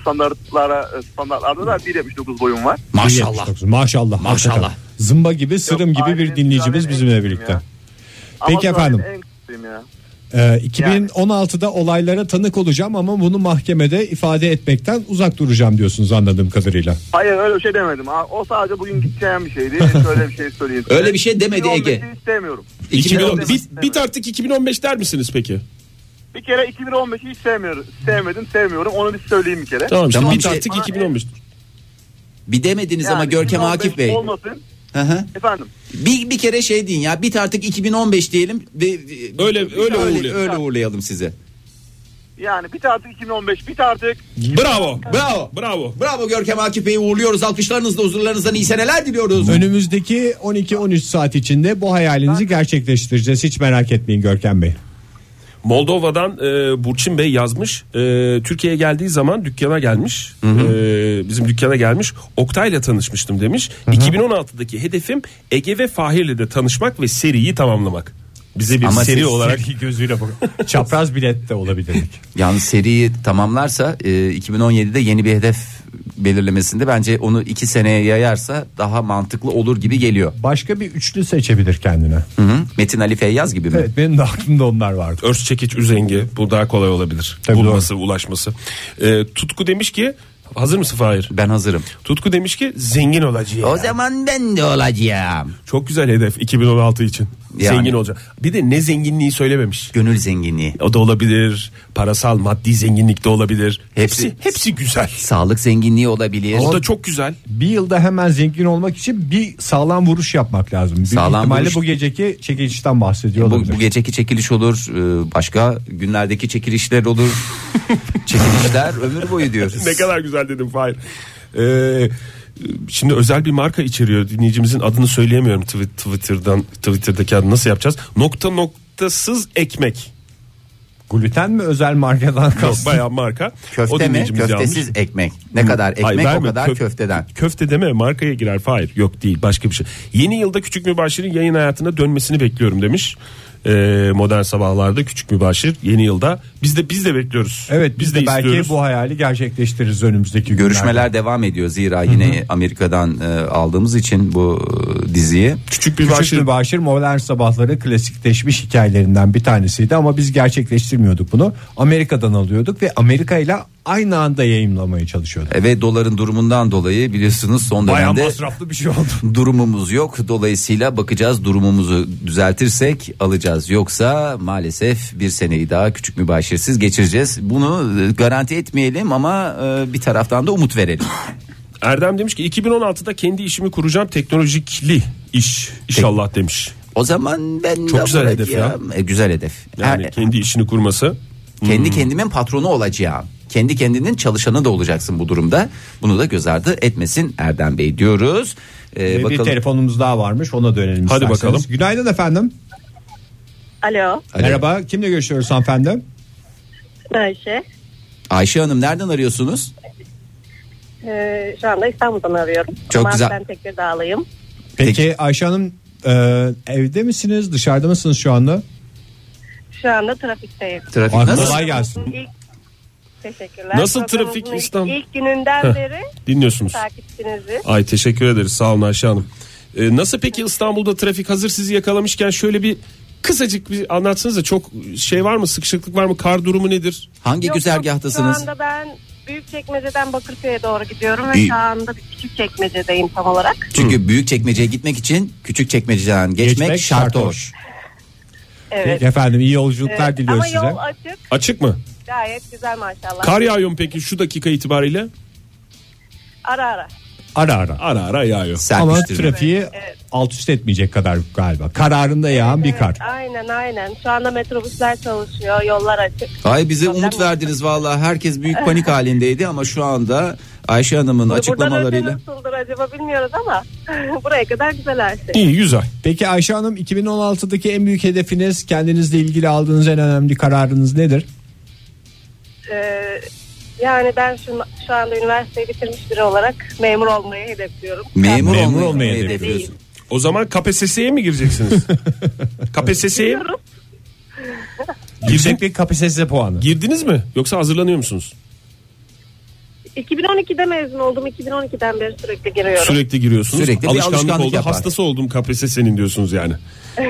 Speaker 9: standartlara e, standartlarda da 1.79 boyum var.
Speaker 3: Maşallah.
Speaker 2: 79. Maşallah.
Speaker 3: Maşallah.
Speaker 2: hakikaten. Zımba gibi, sırım
Speaker 9: Yok,
Speaker 2: gibi bir
Speaker 9: ailenin
Speaker 2: dinleyicimiz
Speaker 9: ailenin
Speaker 2: bizimle
Speaker 9: en
Speaker 2: birlikte.
Speaker 9: ya.
Speaker 2: Peki
Speaker 9: Ama zaten
Speaker 2: efendim.
Speaker 9: En kısayım ya.
Speaker 2: Ee, 2016'da olaylara tanık olacağım ama bunu mahkemede ifade etmekten uzak duracağım diyorsunuz anladığım kadarıyla.
Speaker 9: Hayır öyle bir şey demedim. Ha, O sadece bugün gideceğim bir şeydi. Şöyle bir şey söyleyeyim. size.
Speaker 3: Öyle bir şey demedi Ege.
Speaker 9: 2015'i istemiyorum.
Speaker 4: 2010
Speaker 9: 2015.
Speaker 4: bit, bit artık 2015 der misiniz peki?
Speaker 9: Bir kere 2015'i hiç sevmiyorum. Sevmedim sevmiyorum. Onu bir söyleyeyim bir kere.
Speaker 4: Tamam,
Speaker 3: Tamam,
Speaker 4: tamam bit
Speaker 3: şey-
Speaker 4: artık 2015.
Speaker 3: Bir demediniz
Speaker 9: Yani
Speaker 3: ama Görkem
Speaker 9: 2015
Speaker 3: Akif Bey.
Speaker 9: Olmasın.
Speaker 3: Hı hı.
Speaker 9: Efendim.
Speaker 3: Bir, bir kere şey deyin ya. Bit artık 2015 diyelim ve
Speaker 4: Öyle- öyle
Speaker 3: öyle,
Speaker 4: uğurlayalım.
Speaker 3: öyle uğurlayalım sizi.
Speaker 9: Yani bit artık 2015 bit artık.
Speaker 4: Bravo.
Speaker 3: Bravo.
Speaker 4: Bravo.
Speaker 3: Bravo Görkem Akif Bey'i uğurluyoruz. Alkışlarınızla huzurlarınızdan iyi seneler diliyoruz.
Speaker 2: Önümüzdeki 12-13 saat içinde bu hayalinizi gerçekleştireceğiz. Hiç merak etmeyin Görkem Bey.
Speaker 4: Moldova'dan e, Burçin Bey yazmış. E, Türkiye'ye geldiği zaman dükkana gelmiş. E, bizim dükkana gelmiş. Oktay'la tanışmıştım demiş. 2016'daki hedefim Ege ve Fahir'le de tanışmak ve seriyi tamamlamak. Bize bir
Speaker 3: Ama
Speaker 4: seri
Speaker 3: siz-
Speaker 4: olarak
Speaker 2: gözüyle bakın. Çapraz bilet de olabilirdik.
Speaker 3: Yalnız seriyi tamamlarsa e, 2017'de yeni bir hedef belirlemesinde bence onu iki seneye yayarsa daha mantıklı olur gibi geliyor.
Speaker 2: Başka bir üçlü seçebilir kendine.
Speaker 3: Hı hı. Metin Ali Feyyaz gibi mi?
Speaker 2: Evet benim de aklımda onlar vardı.
Speaker 4: Örs çekiç üzengi bu daha kolay olabilir.
Speaker 2: Tabii
Speaker 4: Bulması, ulaşması. E, Tutku demiş ki hazır mısın Fahir?
Speaker 3: Ben hazırım.
Speaker 4: Tutku demiş ki zengin olacağım.
Speaker 3: O zaman ben de olacağım.
Speaker 4: Çok güzel hedef 2016 için.
Speaker 3: Yani.
Speaker 4: Zengin olacak. Bir de ne zenginliği söylememiş.
Speaker 3: Gönül zenginliği,
Speaker 4: O da olabilir. Parasal, maddi zenginlik de olabilir.
Speaker 3: Hepsi-
Speaker 4: Hepsi hepsi, güzel.
Speaker 3: sağlık zenginliği olabilir.
Speaker 4: O da çok güzel.
Speaker 2: Bir yılda hemen zengin olmak için bir sağlam vuruş yapmak lazım. Büyük
Speaker 3: Sağlam
Speaker 2: ihtimalle
Speaker 3: vuruş- E,
Speaker 2: bu geceki çekilişten bahsediyor
Speaker 3: bu,
Speaker 2: olabilir.
Speaker 3: bu geceki çekiliş olur, e, başka günlerdeki çekilişler olur. Çekilişler ömür boyu diyoruz.
Speaker 4: Ne kadar güzel dedim Fahir. Ee, şimdi özel bir marka içeriyor. Dinleyicimizin adını söyleyemiyorum Twi- Twitter'dan. Twitter'daki adını nasıl yapacağız? Nokta noktasız ekmek.
Speaker 2: Gluten mi özel markadan
Speaker 4: Yok,
Speaker 2: kastın?
Speaker 4: bayağı marka.
Speaker 3: Köfte mi?
Speaker 4: dinleyicimiz
Speaker 3: Köftesiz
Speaker 4: yazmış.
Speaker 3: ekmek. Ne kadar ekmek
Speaker 4: Hayır,
Speaker 3: o
Speaker 4: vermiyor.
Speaker 3: kadar
Speaker 4: Köf-
Speaker 3: köfteden.
Speaker 4: Köfte deme markaya girer. Hayır yok değil başka bir şey. Yeni yılda Küçük Mübaşir'in yayın hayatına dönmesini bekliyorum demiş. Ee, modern sabahlarda Küçük Mübaşir yeni yılda biz de biz de bekliyoruz.
Speaker 2: Evet biz, de, belki
Speaker 4: istiyoruz.
Speaker 2: bu hayali gerçekleştiririz önümüzdeki günlerde.
Speaker 3: Görüşmeler devam ediyor zira yine Amerika'dan e, aldığımız için bu e, diziyi.
Speaker 4: Küçük
Speaker 2: Küçük
Speaker 4: Mübaşir
Speaker 2: Mübaşir modern sabahları klasikleşmiş hikayelerinden bir tanesiydi ama biz gerçekleştirmiyorduk bunu. Amerika'dan alıyorduk ve Amerika ile aynı anda yayımlamaya çalışıyorduk.
Speaker 3: E, Ve doların durumundan dolayı biliyorsunuz son
Speaker 2: Bayağı
Speaker 3: dönemde
Speaker 2: masraflı bir şey oldu.
Speaker 3: durumumuz yok. Dolayısıyla bakacağız durumumuzu düzeltirsek alacağız. Yoksa maalesef bir seneyi daha küçük mübaşirsiz geçireceğiz. Bunu e, garanti etmeyelim ama e, bir taraftan da umut verelim.
Speaker 4: Erdem demiş ki 2016'da kendi işimi kuracağım teknolojikli iş inşallah demiş.
Speaker 3: O zaman ben
Speaker 4: Çok
Speaker 3: de
Speaker 4: güzel hedef ya.
Speaker 3: olacağım. E, güzel hedef.
Speaker 4: Yani
Speaker 3: Her-
Speaker 4: kendi işini kurması.
Speaker 3: Kendi kendimin patronu olacağım. Kendi kendinin çalışanı da olacaksın bu durumda. Bunu da göz ardı etmesin Erdem Bey diyoruz. Ee,
Speaker 2: Ve bir
Speaker 3: bakalım.
Speaker 2: telefonumuz daha varmış ona dönelim
Speaker 4: Hadi
Speaker 2: isterseniz.
Speaker 4: bakalım.
Speaker 2: Günaydın efendim.
Speaker 6: Alo
Speaker 3: Alo.
Speaker 2: Merhaba kimle görüşüyoruz hanımefendi?
Speaker 6: Ayşe.
Speaker 3: Ayşe Hanım nereden arıyorsunuz?
Speaker 10: Ee, şu anda İstanbul'dan arıyorum.
Speaker 3: Çok güzel.
Speaker 10: Ben Tekirdağlıyım.
Speaker 2: Peki, Ayşe Hanım e, evde misiniz dışarıda mısınız şu anda?
Speaker 10: Şu anda trafikteyim.
Speaker 2: Trafik Aa, nasıl? kolay gelsin.
Speaker 10: İlk- Teşekkürler.
Speaker 4: Nasıl
Speaker 10: Programımızın
Speaker 4: trafik İstanbul?
Speaker 10: İlk gününden
Speaker 4: Heh,
Speaker 10: beri
Speaker 4: dinliyorsunuz.
Speaker 10: takipçinizi.
Speaker 4: Ay teşekkür ederiz sağ olun Ayşe Hanım. Ee, nasıl peki İstanbul'da trafik hazır sizi yakalamışken şöyle bir kısacık bir anlatsanız da çok şey var mı sıkışıklık var mı kar durumu nedir?
Speaker 3: Hangi
Speaker 10: Yok, Şu anda ben Büyükçekmece'den Bakırköy'e doğru gidiyorum ve
Speaker 3: İyi.
Speaker 10: şu anda bir küçük çekmecedeyim tam olarak.
Speaker 3: Çünkü büyük çekmeceye gitmek için küçük çekmeceden geçmek,
Speaker 2: Geçmek
Speaker 3: şart
Speaker 2: şart
Speaker 3: hoş.
Speaker 10: Evet.
Speaker 2: Efendim iyi
Speaker 10: Ee,
Speaker 2: yolculuklar
Speaker 10: ama
Speaker 2: diliyoruz size.
Speaker 10: yol açık.
Speaker 4: Açık mı?
Speaker 10: Gayet güzel maşallah.
Speaker 4: Kar yağıyor mu peki şu dakika itibariyle?
Speaker 10: Ara ara.
Speaker 2: Ara ara.
Speaker 4: Ara ara yağıyor.
Speaker 2: Ama
Speaker 4: Serpiştirme.
Speaker 2: trafiği
Speaker 10: Evet.
Speaker 2: alt üst etmeyecek kadar galiba. Kararında yağan bir kar.
Speaker 10: Aynen aynen. Şu anda metrobüsler çalışıyor. Yollar açık.
Speaker 3: Ay bize umut verdiniz vallahi herkes büyük panik halindeydi ama şu anda Ayşe Hanım'ın açıklamalarıyla
Speaker 10: Buradan öte nasıldır acaba bilmiyoruz ama buraya kadar güzel her şey.
Speaker 4: İyi güzel.
Speaker 2: Peki Ayşe Hanım 2016'daki en büyük hedefiniz kendinizle ilgili aldığınız en önemli kararınız nedir?
Speaker 10: Ee, yani ben şu, şu anda üniversiteyi bitirmiş biri olarak memur olmayı hedefliyorum.
Speaker 3: memur,
Speaker 2: Memur
Speaker 3: olmayı,
Speaker 2: olmayı
Speaker 3: hedefliyorsun.
Speaker 4: O zaman KPSS'ye mi gireceksiniz? KPSS'ye mi?
Speaker 2: Yükseklik kapasitesi puanı.
Speaker 4: girdiniz mi? Yoksa hazırlanıyor musunuz?
Speaker 10: 2012'de mezun oldum. 2012'den beri sürekli giriyorum.
Speaker 4: Sürekli giriyorsunuz.
Speaker 3: Sürekli bir
Speaker 4: alışkanlık,
Speaker 3: alışkanlık
Speaker 4: oldu.
Speaker 3: yapar.
Speaker 4: Hastası oldum KPSS'nin diyorsunuz yani.
Speaker 3: Ben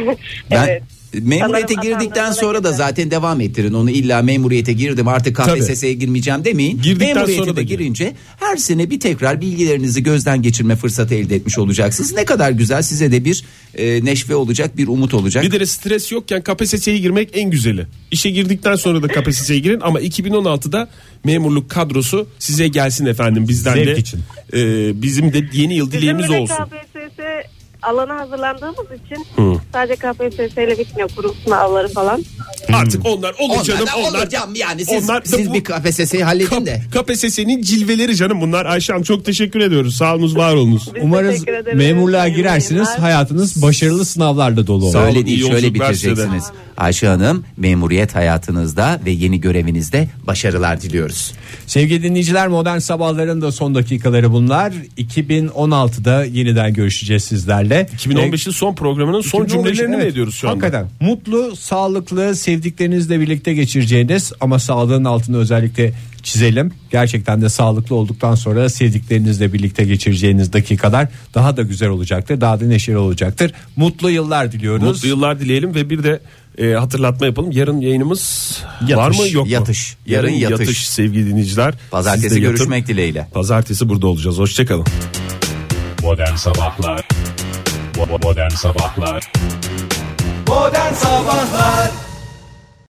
Speaker 10: Evet.
Speaker 3: memuriyete
Speaker 10: Sanırım
Speaker 3: girdikten
Speaker 10: atanmalara
Speaker 3: sonra da
Speaker 10: göre.
Speaker 3: zaten devam ettirin onu illa memuriyete girdim artık KPSS'ye girmeyeceğim demeyin.
Speaker 4: Girdikten
Speaker 3: memuriyete
Speaker 4: sonra da
Speaker 3: de
Speaker 4: girin.
Speaker 3: girince her sene bir tekrar bilgilerinizi gözden geçirme fırsatı elde etmiş olacaksınız. Ne kadar güzel size de bir e, neşve olacak bir umut olacak.
Speaker 4: Bir de stres yokken KPSS'ye girmek en güzeli. İşe girdikten sonra da KPSS'ye girin ama 2016'da memurluk kadrosu size gelsin efendim bizden
Speaker 2: Zevk
Speaker 4: de.
Speaker 2: için.
Speaker 4: e, bizim de yeni yıl dileğimiz
Speaker 10: Bizim bir de
Speaker 4: olsun.
Speaker 10: KPSS alana hazırlandığımız için sadece KPSS ile bitmiyor. Kurum sınavları falan.
Speaker 2: Hmm.
Speaker 4: Artık onlar olur
Speaker 3: Onlar
Speaker 4: canım
Speaker 3: da
Speaker 4: onlar.
Speaker 3: olur canım yani siz,
Speaker 4: onlar da
Speaker 3: siz
Speaker 4: bu-
Speaker 3: bir KPSS'yi halledin de.
Speaker 4: KPSS'nin cilveleri canım bunlar. Ayşe Hanım çok teşekkür ediyoruz. Sağolunuz var olunuz.
Speaker 10: Biz
Speaker 2: Umarız
Speaker 10: teşekkür ederiz.
Speaker 2: memurluğa
Speaker 10: İyi
Speaker 2: girersiniz
Speaker 10: yayınlar.
Speaker 2: hayatınız başarılı sınavlarla dolu olur.
Speaker 4: Sağ olun,
Speaker 3: Öyle
Speaker 4: iyi
Speaker 3: değil şöyle
Speaker 4: yolculuklar size de.
Speaker 3: bitireceksiniz. Ayşe Hanım memuriyet hayatınızda ve yeni görevinizde başarılar diliyoruz.
Speaker 2: Sevgili dinleyiciler modern sabahların da son dakikaları bunlar. 2016'da yeniden görüşeceğiz sizlerle.
Speaker 4: 2015'in son programının son cümlelerini
Speaker 2: Evet,
Speaker 4: mi ediyoruz şu anda?
Speaker 2: Hakikaten mutlu, sağlıklı, sevdiklerinizle birlikte geçireceğiniz ama sağlığın altını özellikle çizelim. Gerçekten de sağlıklı olduktan sonra sevdiklerinizle birlikte geçireceğiniz dakikalar daha da güzel olacaktır. Daha da neşeli olacaktır. Mutlu yıllar diliyoruz.
Speaker 4: Mutlu yıllar dileyelim ve bir de e, hatırlatma yapalım. Yarın yayınımız
Speaker 2: Yatış,
Speaker 4: var mı yok mu?
Speaker 3: yatış. Yarın
Speaker 4: yatış.
Speaker 3: yatış
Speaker 4: sevgili dinleyiciler. Siz
Speaker 3: Pazartesi
Speaker 4: de yatın.
Speaker 3: görüşmek dileğiyle.
Speaker 4: Pazartesi burada olacağız. Hoşçakalın.
Speaker 1: Modern Sabahlar Bo- Modern Sabahlar
Speaker 5: Modern Sabahlar